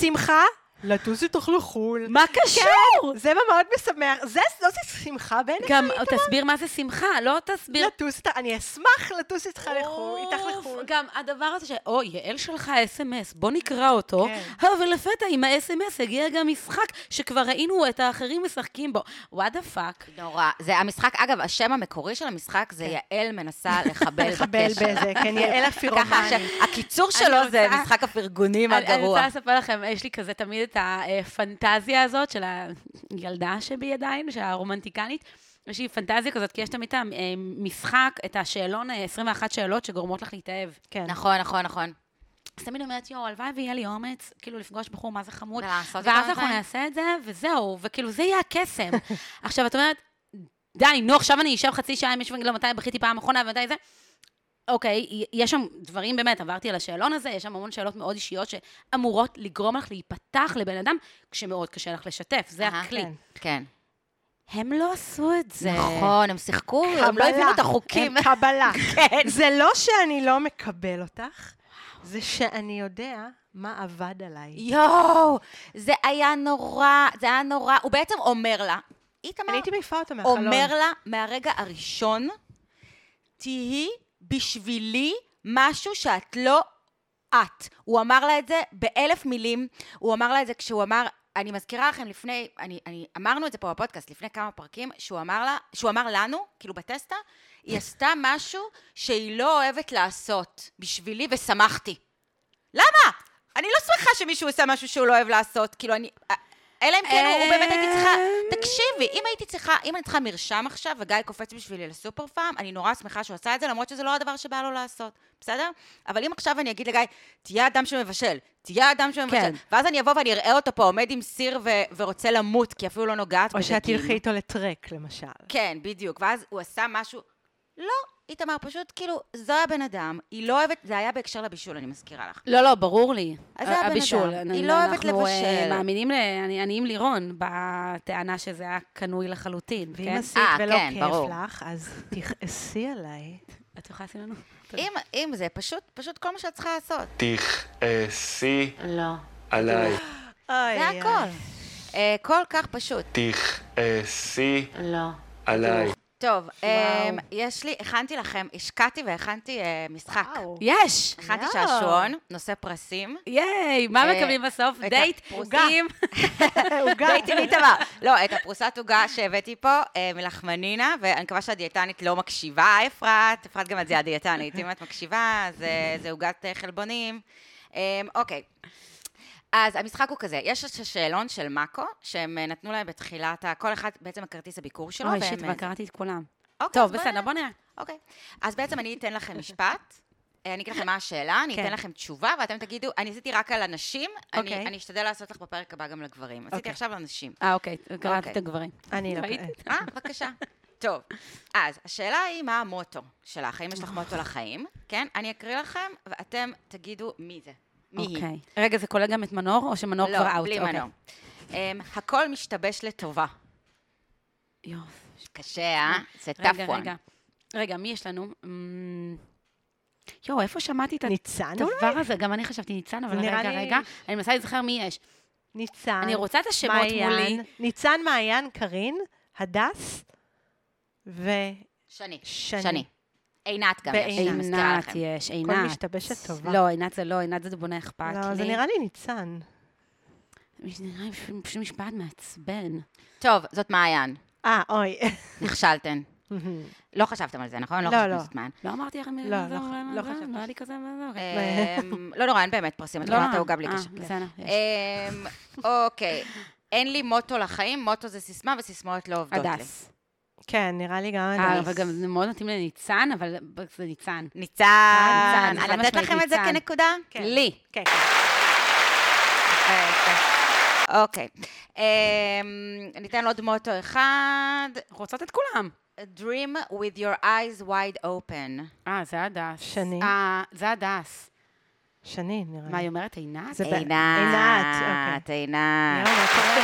[SPEAKER 2] שמחה, לטוס איתך לחו"ל.
[SPEAKER 3] מה
[SPEAKER 1] כן.
[SPEAKER 3] קשור?
[SPEAKER 2] זה מאוד משמח, זה לא זה שמחה בעיניך?
[SPEAKER 3] גם תסביר מה זה שמחה, לא תסביר.
[SPEAKER 2] לטוס איתך, אני אשמח לטוס איתך לחו"ל, איתך
[SPEAKER 3] אוף,
[SPEAKER 2] לחו"ל.
[SPEAKER 3] גם הדבר הזה ש... או, יעל שלחה אס.אם.אס, בוא נקרא אותו.
[SPEAKER 2] כן.
[SPEAKER 3] אה, ולפתע עם האס.אם.אס הגיע גם משחק שכבר ראינו את האחרים משחקים בו. וואט דה פאק.
[SPEAKER 1] נורא, זה המשחק, אגב, השם המקורי של המשחק זה
[SPEAKER 3] כן.
[SPEAKER 1] יעל מנסה לחבל
[SPEAKER 2] לחבל
[SPEAKER 1] בקשר.
[SPEAKER 2] בזה, כן, יעל
[SPEAKER 1] ככה,
[SPEAKER 2] הפירומני.
[SPEAKER 1] השם- הקיצור
[SPEAKER 3] אני
[SPEAKER 1] שלו זה
[SPEAKER 3] רוצה-
[SPEAKER 1] משחק הפרגונים
[SPEAKER 3] אני- אני
[SPEAKER 1] הגרוע.
[SPEAKER 3] רוצה לספר לכם, יש לי כזה תמיד את הפנטזיה הזאת של הילדה שבי עדיין, של הרומנטיקנית. יש לי פנטזיה כזאת, כי יש תמיד את המשחק, את השאלון, אה, 21 שאלות שגורמות לך להתאהב.
[SPEAKER 2] כן.
[SPEAKER 1] נכון, נכון, נכון.
[SPEAKER 3] אז תמיד אומרת, יואו, הלוואי ויהיה לי אומץ, כאילו, לפגוש בחור, מה זה חמוד.
[SPEAKER 1] ולעשות איתו
[SPEAKER 3] ואז אנחנו
[SPEAKER 1] דברים.
[SPEAKER 3] נעשה את זה, וזהו, וכאילו, זה יהיה הקסם. עכשיו, את אומרת, די, נו, עכשיו אני אשב חצי שעה עם מישהו ואני אגיד לו מתי בכיתי פעם אחרונה ומתי זה. אוקיי, יש שם דברים באמת, עברתי על השאלון הזה, יש שם המון שאלות מאוד אישיות שאמורות לגרום לך להיפתח לבן אדם, כשמאוד קשה לך לשתף, זה
[SPEAKER 1] אהה,
[SPEAKER 3] הכלי.
[SPEAKER 2] כן.
[SPEAKER 1] כן.
[SPEAKER 3] הם לא עשו את זה.
[SPEAKER 1] נכון, הם שיחקו, הם לא
[SPEAKER 2] קבלה.
[SPEAKER 1] הבינו את החוקים.
[SPEAKER 2] הם קבלה. כן. זה לא שאני לא מקבל אותך, זה שאני יודע מה עבד עליי.
[SPEAKER 1] יואו, זה היה נורא, זה היה נורא, הוא בעצם אומר לה, איתמר
[SPEAKER 2] אני הייתי מעיפה אותו מהחלון.
[SPEAKER 1] אומר לה מהרגע הראשון, תהיי בשבילי משהו שאת לא את. הוא אמר לה את זה באלף מילים, הוא אמר לה את זה כשהוא אמר, אני מזכירה לכם לפני, אני, אני אמרנו את זה פה בפודקאסט לפני כמה פרקים, שהוא אמר לה, שהוא אמר לנו, כאילו בטסטה, היא עשתה משהו שהיא לא אוהבת לעשות בשבילי ושמחתי. למה? אני לא שמחה שמישהו עושה משהו שהוא לא אוהב לעשות, כאילו אני... אלא אם כן הוא- הוא באמת הייתי צריכה... תקשיבי, אם הייתי צריכה, אם אני צריכה מרשם עכשיו, וגיא קופץ בשבילי לסופר פארם, אני נורא שמחה שהוא עשה את זה, למרות שזה לא הדבר שבא לו לעשות, בסדר? אבל אם עכשיו אני אגיד לגיא, תהיה אדם שמבשל, תהיה אדם שמבשל,
[SPEAKER 3] כן.
[SPEAKER 1] ואז אני אבוא ואני אראה אותו פה עומד עם סיר ו- ורוצה למות, כי אפילו לא נוגעת
[SPEAKER 2] או שאת
[SPEAKER 1] בדגים.
[SPEAKER 2] תלכי איתו לטרק, למשל.
[SPEAKER 1] כן, בדיוק. ואז הוא עשה משהו... לא, איתמר, פשוט כאילו, זה הבן אדם, היא לא אוהבת, זה היה בהקשר לבישול, אני מזכירה לך.
[SPEAKER 3] לא, לא, ברור לי.
[SPEAKER 1] אז אה, זה הבן אדם.
[SPEAKER 3] הבישול.
[SPEAKER 1] היא
[SPEAKER 3] אני-
[SPEAKER 1] לא אוהבת
[SPEAKER 3] אנחנו, אה,
[SPEAKER 1] לבשל.
[SPEAKER 3] מאמינים, ל- אני- אני עם לירון, בטענה שזה היה קנוי לחלוטין,
[SPEAKER 2] ואם
[SPEAKER 3] כן?
[SPEAKER 2] עשית
[SPEAKER 1] אה,
[SPEAKER 2] ולא
[SPEAKER 1] כן, ברור.
[SPEAKER 2] כיף לך, אז תכעסי עליי.
[SPEAKER 3] את יכולה לשים לנו?
[SPEAKER 1] אם, אם זה, פשוט, פשוט כל מה שאת צריכה לעשות.
[SPEAKER 5] תכעסי
[SPEAKER 3] לא.
[SPEAKER 5] אה, עליי.
[SPEAKER 1] זה הכל. אה, כל כך פשוט.
[SPEAKER 5] תכעסי
[SPEAKER 3] לא.
[SPEAKER 5] אה, עליי.
[SPEAKER 1] טוב, אמ, יש לי, הכנתי לכם, השקעתי והכנתי אה, משחק.
[SPEAKER 2] וואו.
[SPEAKER 3] יש!
[SPEAKER 1] הכנתי
[SPEAKER 2] וואו.
[SPEAKER 1] שעשועון, נושא פרסים.
[SPEAKER 3] ייי, מה
[SPEAKER 1] אה,
[SPEAKER 3] מקבלים בסוף?
[SPEAKER 1] את
[SPEAKER 3] דייט
[SPEAKER 1] הפרוסה.
[SPEAKER 3] עם...
[SPEAKER 2] עוגה.
[SPEAKER 1] דייטים איתמר. לא, את הפרוסת עוגה שהבאתי פה אה, מלחמנינה, ואני מקווה שהדיאטנית לא מקשיבה, אפרת. אפרת גם את זה הדיאטנית. אם את מקשיבה, אז אה, זה עוגת אה, חלבונים. אמ, אוקיי. אז המשחק הוא כזה, יש ש- שאלון של מאקו, שהם אה, נתנו להם בתחילת, ה- כל אחד בעצם הכרטיס הביקור שלו,
[SPEAKER 3] אוי,
[SPEAKER 1] והם,
[SPEAKER 3] שיט,
[SPEAKER 1] אה,
[SPEAKER 3] כבר קראתי את כולם.
[SPEAKER 1] אוקיי, אז
[SPEAKER 3] טוב,
[SPEAKER 1] בוא
[SPEAKER 3] בסדר,
[SPEAKER 1] נראה.
[SPEAKER 3] בוא נראה.
[SPEAKER 1] אוקיי. אז בעצם אני אתן לכם משפט, אה, אני אגיד לכם מה השאלה, אני אתן
[SPEAKER 2] כן.
[SPEAKER 1] לכם תשובה, ואתם תגידו, אני עשיתי רק על הנשים, אני
[SPEAKER 2] אוקיי.
[SPEAKER 1] אני אשתדל לעשות לך בפרק הבא גם לגברים. עשיתי
[SPEAKER 2] אוקיי.
[SPEAKER 1] עכשיו לנשים.
[SPEAKER 3] אה, אוקיי, קראתי
[SPEAKER 1] אוקיי.
[SPEAKER 3] את הגברים.
[SPEAKER 2] אני לא...
[SPEAKER 3] ראית?
[SPEAKER 1] אה, בבקשה. טוב, אז השאלה היא מה המוטו שלך, האם יש לך מוטו לחיים, כן? אני אקריא לכם, ואתם תגידו מי זה. מי היא.
[SPEAKER 3] אוקיי. רגע, זה כולל גם את מנור, או שמנור כבר אאוט?
[SPEAKER 1] לא, בלי
[SPEAKER 3] אוקיי.
[SPEAKER 1] מנור. אמ, הכל משתבש לטובה.
[SPEAKER 3] יופי.
[SPEAKER 1] קשה, אה? זה טאף
[SPEAKER 3] רגע,
[SPEAKER 1] וואן.
[SPEAKER 3] רגע. רגע, מי יש לנו? אמ, יואו, איפה שמעתי את
[SPEAKER 2] ניצן אולי?
[SPEAKER 3] הדבר הזה? גם אני חשבתי ניצן, אבל
[SPEAKER 2] נראה
[SPEAKER 3] רגע,
[SPEAKER 2] לי-
[SPEAKER 3] רגע. אני מנסה להיזכר מי יש.
[SPEAKER 1] אה,
[SPEAKER 2] ניצן.
[SPEAKER 3] אני רוצה את השמות מולי.
[SPEAKER 2] מעיין. ניצן, מעיין, קארין, הדס וכל
[SPEAKER 1] שני.
[SPEAKER 2] שני.
[SPEAKER 1] שני. עינת גם יש, אני מזכירה
[SPEAKER 3] עינת
[SPEAKER 1] לכם.
[SPEAKER 3] יש, עינת.
[SPEAKER 2] משתבשת טובה.
[SPEAKER 3] לא, עינת זה לא, עינת זה בונה אכפת לי.
[SPEAKER 2] לא, זה נראה לי ניצן.
[SPEAKER 3] מש- נראה לי פשוט- פשוט משפט מעצבן.
[SPEAKER 1] טוב, זאת מעיין.
[SPEAKER 2] אה, אוי.
[SPEAKER 1] נכשלתן. לא חשבתם על זה, נכון?
[SPEAKER 2] לא,
[SPEAKER 1] חשבתם
[SPEAKER 2] לא.
[SPEAKER 1] שזאת מעיין.
[SPEAKER 3] לא אמרתי לכם
[SPEAKER 2] לא, לא ח- לא
[SPEAKER 3] זה,
[SPEAKER 2] חשבתי. אה,
[SPEAKER 3] לא היה לי כזה, מה זה, אוקיי.
[SPEAKER 1] אמ, לא נורא, אין באמת פרסים, את
[SPEAKER 3] לא
[SPEAKER 1] רואה
[SPEAKER 3] נורא.
[SPEAKER 1] את העוגה בלי
[SPEAKER 3] אה,
[SPEAKER 2] כן.
[SPEAKER 1] קשר.
[SPEAKER 3] בסדר, יש.
[SPEAKER 1] אמ, אוקיי, אין לי מוטו לחיים, מוטו זה סיסמה וסיסמאות לא עובדות לי.
[SPEAKER 3] הדס.
[SPEAKER 2] כן, נראה לי גם
[SPEAKER 3] אה,
[SPEAKER 2] הדס.
[SPEAKER 3] אבל גם זה מאוד מתאים לניצן, אבל זה ניצן.
[SPEAKER 1] ניצן,
[SPEAKER 3] אה, ניצן, חד
[SPEAKER 1] לתת
[SPEAKER 3] משמעית,
[SPEAKER 1] לכם את זה
[SPEAKER 3] ניצן.
[SPEAKER 1] כנקודה?
[SPEAKER 2] כן.
[SPEAKER 1] לי.
[SPEAKER 2] כן, כן.
[SPEAKER 1] יפה, יפה. אוקיי. אמ, ניתן עוד מוטו אחד.
[SPEAKER 3] רוצות את כולם.
[SPEAKER 1] Dream with your eyes wide open.
[SPEAKER 3] אה, זה הדס.
[SPEAKER 2] שני.
[SPEAKER 3] אה, זה הדס.
[SPEAKER 2] שני, נראה לי.
[SPEAKER 3] מה, היא אומרת עינת?
[SPEAKER 2] זה-
[SPEAKER 3] זה
[SPEAKER 2] ב-
[SPEAKER 1] עינת,
[SPEAKER 2] עינת, אוקיי.
[SPEAKER 1] עינת.
[SPEAKER 2] יאללה,
[SPEAKER 3] כן,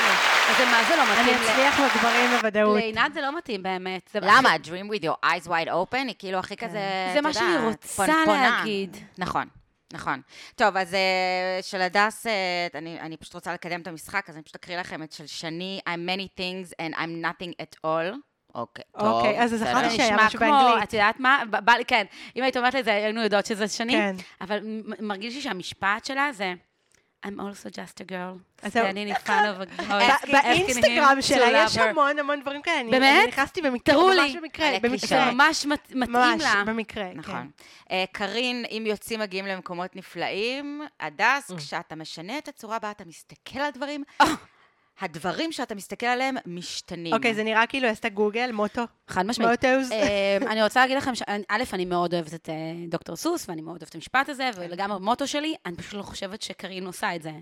[SPEAKER 2] תראי.
[SPEAKER 3] מה זה לא
[SPEAKER 2] אני
[SPEAKER 3] מתאים? ל-
[SPEAKER 2] אצליח בגברים בוודאות.
[SPEAKER 3] לעינת זה לא מתאים באמת. זה-
[SPEAKER 1] למה? Dream with your eyes wide open היא כאילו
[SPEAKER 2] כן.
[SPEAKER 1] הכי כזה,
[SPEAKER 3] זה מה
[SPEAKER 1] את
[SPEAKER 3] שהיא
[SPEAKER 1] יודעת,
[SPEAKER 3] רוצה
[SPEAKER 1] פונפונה.
[SPEAKER 3] להגיד.
[SPEAKER 1] נכון, נכון. טוב, אז אה, של הדס, אה, אני אני פשוט רוצה לקדם את המשחק, אז אני פשוט אקריא לכם את של שני, I'm many things and I'm nothing at all. אוקיי, טוב.
[SPEAKER 2] אוקיי, אז זה
[SPEAKER 1] בסדר.
[SPEAKER 2] זכרתי
[SPEAKER 3] זה
[SPEAKER 2] שהיה
[SPEAKER 3] נשמע
[SPEAKER 2] משהו
[SPEAKER 3] כמו,
[SPEAKER 2] באנגלית.
[SPEAKER 3] את יודעת מה? ב- בא לי, כן. אם היית אומרת לי את זה, היינו יודעות שזה שנים.
[SPEAKER 2] כן.
[SPEAKER 3] אבל מ- מרגיש לי שהמשפט שלה זה... I'm also just a girl. כן,
[SPEAKER 2] אז
[SPEAKER 3] זה
[SPEAKER 2] זהו.
[SPEAKER 3] אני נפעל אבל...
[SPEAKER 2] ב- באינסטגרם שלה יש המון המון דברים כאלה. אני-
[SPEAKER 3] באמת?
[SPEAKER 2] אני נכנסתי במקרה,
[SPEAKER 3] תראו
[SPEAKER 2] ממש
[SPEAKER 3] לי.
[SPEAKER 2] במקרה.
[SPEAKER 1] מלא
[SPEAKER 3] זה
[SPEAKER 1] כן.
[SPEAKER 2] במקרה.
[SPEAKER 3] ממש מת- מתאים
[SPEAKER 2] ממש,
[SPEAKER 3] לה.
[SPEAKER 2] במקרה, כן.
[SPEAKER 1] נכון. אה, קארין, אם יוצאים מגיעים
[SPEAKER 2] Mm. אה.
[SPEAKER 1] למקומות נפלאים, הדס, כשאתה משנה את הצורה בה אתה מסתכל על דברים, הדברים שאתה מסתכל עליהם משתנים.
[SPEAKER 2] אוקיי, זה נראה כאילו עשתה גוגל, מוטו.
[SPEAKER 3] חד משמעית.
[SPEAKER 2] מוטוס.
[SPEAKER 3] אמ, אני רוצה להגיד לכם, ש- א', אני מאוד אוהבת את אה, דוקטור סוס, ואני מאוד אוהבת את המשפט הזה, ולגמרי מוטו שלי, אני פשוט לא חושבת שקרין עושה את זה.
[SPEAKER 1] אה,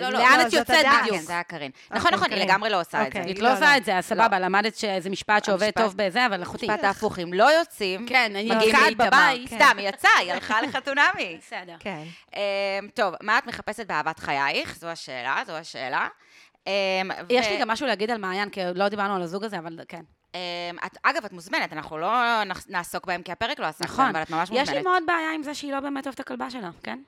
[SPEAKER 1] לא, לא,
[SPEAKER 3] לאן
[SPEAKER 1] לא,
[SPEAKER 3] את
[SPEAKER 1] זאת
[SPEAKER 3] יוצאת
[SPEAKER 1] הדעת.
[SPEAKER 3] בדיוק? אוקיי,
[SPEAKER 1] כן, זה היה קארין. נכון, נכון, היא
[SPEAKER 2] קארין.
[SPEAKER 1] לגמרי לא עושה את זה.
[SPEAKER 2] אוקיי.
[SPEAKER 3] את
[SPEAKER 2] לא,
[SPEAKER 3] לא עושה
[SPEAKER 2] לא.
[SPEAKER 3] את זה, אז סבבה, למדת שזה משפט שעובד
[SPEAKER 1] המשפט-
[SPEAKER 3] טוב בזה, אבל אחותי.
[SPEAKER 1] משפט ההפוך, אם לא יוצאים,
[SPEAKER 3] כן, אני
[SPEAKER 1] מגיעים
[SPEAKER 3] נתקעת
[SPEAKER 1] לאיתמר.
[SPEAKER 3] בבית.
[SPEAKER 1] סתם, היא יצאה, היא הלכה לחתונמי.
[SPEAKER 3] בסדר.
[SPEAKER 2] כן.
[SPEAKER 1] אמ, טוב, מה את מחפשת באהבת חייך? זו השאלה, זו השאלה. אמ, ו-
[SPEAKER 3] יש לי גם משהו להגיד על מעיין, כי לא דיברנו על הזוג הזה, אבל כן.
[SPEAKER 1] אמ, את- אגב, את מוזמנת, אנחנו לא נח- נעסוק בהם כי הפרק לא עסק
[SPEAKER 3] נכון.
[SPEAKER 1] בהם, אבל את ממש
[SPEAKER 3] יש לי
[SPEAKER 1] מוזמנת.
[SPEAKER 3] מאוד בעיה עם זה שהיא לא באמת אוהבת את הכלבה שלה, כן?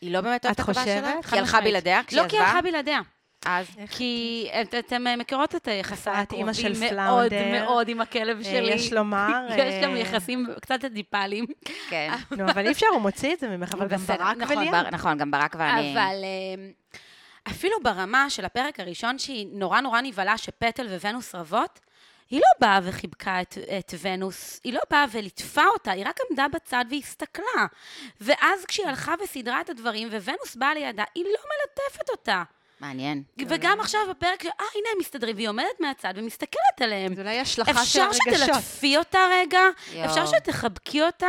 [SPEAKER 1] היא לא באמת אוהבת
[SPEAKER 2] את
[SPEAKER 1] את הכלבה
[SPEAKER 2] חושבת?
[SPEAKER 1] שלה? כי
[SPEAKER 3] חד
[SPEAKER 1] היא הלכה
[SPEAKER 3] משמעית.
[SPEAKER 1] בלעדיה כשהיא
[SPEAKER 3] לא כי היא
[SPEAKER 1] עזבה?
[SPEAKER 3] הלכה בלעדיה.
[SPEAKER 1] אז
[SPEAKER 3] כי את- אתם אה, מכירות את יחסי
[SPEAKER 2] את אימא של
[SPEAKER 3] הקרובים מאוד
[SPEAKER 2] פלאונדר.
[SPEAKER 3] מאוד עם הכלב
[SPEAKER 2] אה,
[SPEAKER 3] שלי.
[SPEAKER 2] יש לומר...
[SPEAKER 3] יש גם
[SPEAKER 2] אה,
[SPEAKER 3] יחסים קצת אדיפליים. אה,
[SPEAKER 1] כן.
[SPEAKER 3] נכון,
[SPEAKER 2] נו, אבל אי אפשר, הוא מוציא את זה ממך, אבל גם
[SPEAKER 3] בסדר,
[SPEAKER 2] ברק
[SPEAKER 3] נכון,
[SPEAKER 2] וליאם.
[SPEAKER 1] בר- נכון, גם ברק ואני...
[SPEAKER 3] אבל אמ, אפילו ברמה של הפרק הראשון, שהיא נורא נורא נבהלה שפטל וונוס רבות, היא לא באה וחיבקה את, את ונוס, היא לא באה וליטפה אותה, היא רק עמדה בצד והסתכלה. ואז כשהיא הלכה וסידרה את הדברים, וונוס באה לידה, היא לא מלטפת אותה.
[SPEAKER 1] מעניין.
[SPEAKER 2] כן.
[SPEAKER 3] וגם עכשיו בפרק, אה, הנה הם מסתדרים, והיא עומדת מהצד ומסתכלת עליהם.
[SPEAKER 2] זה אולי השלכה של
[SPEAKER 3] אפשר
[SPEAKER 2] הרגשות.
[SPEAKER 3] שתלטפי אותה רגע?
[SPEAKER 1] יואו.
[SPEAKER 3] אפשר שתחבקי אותה?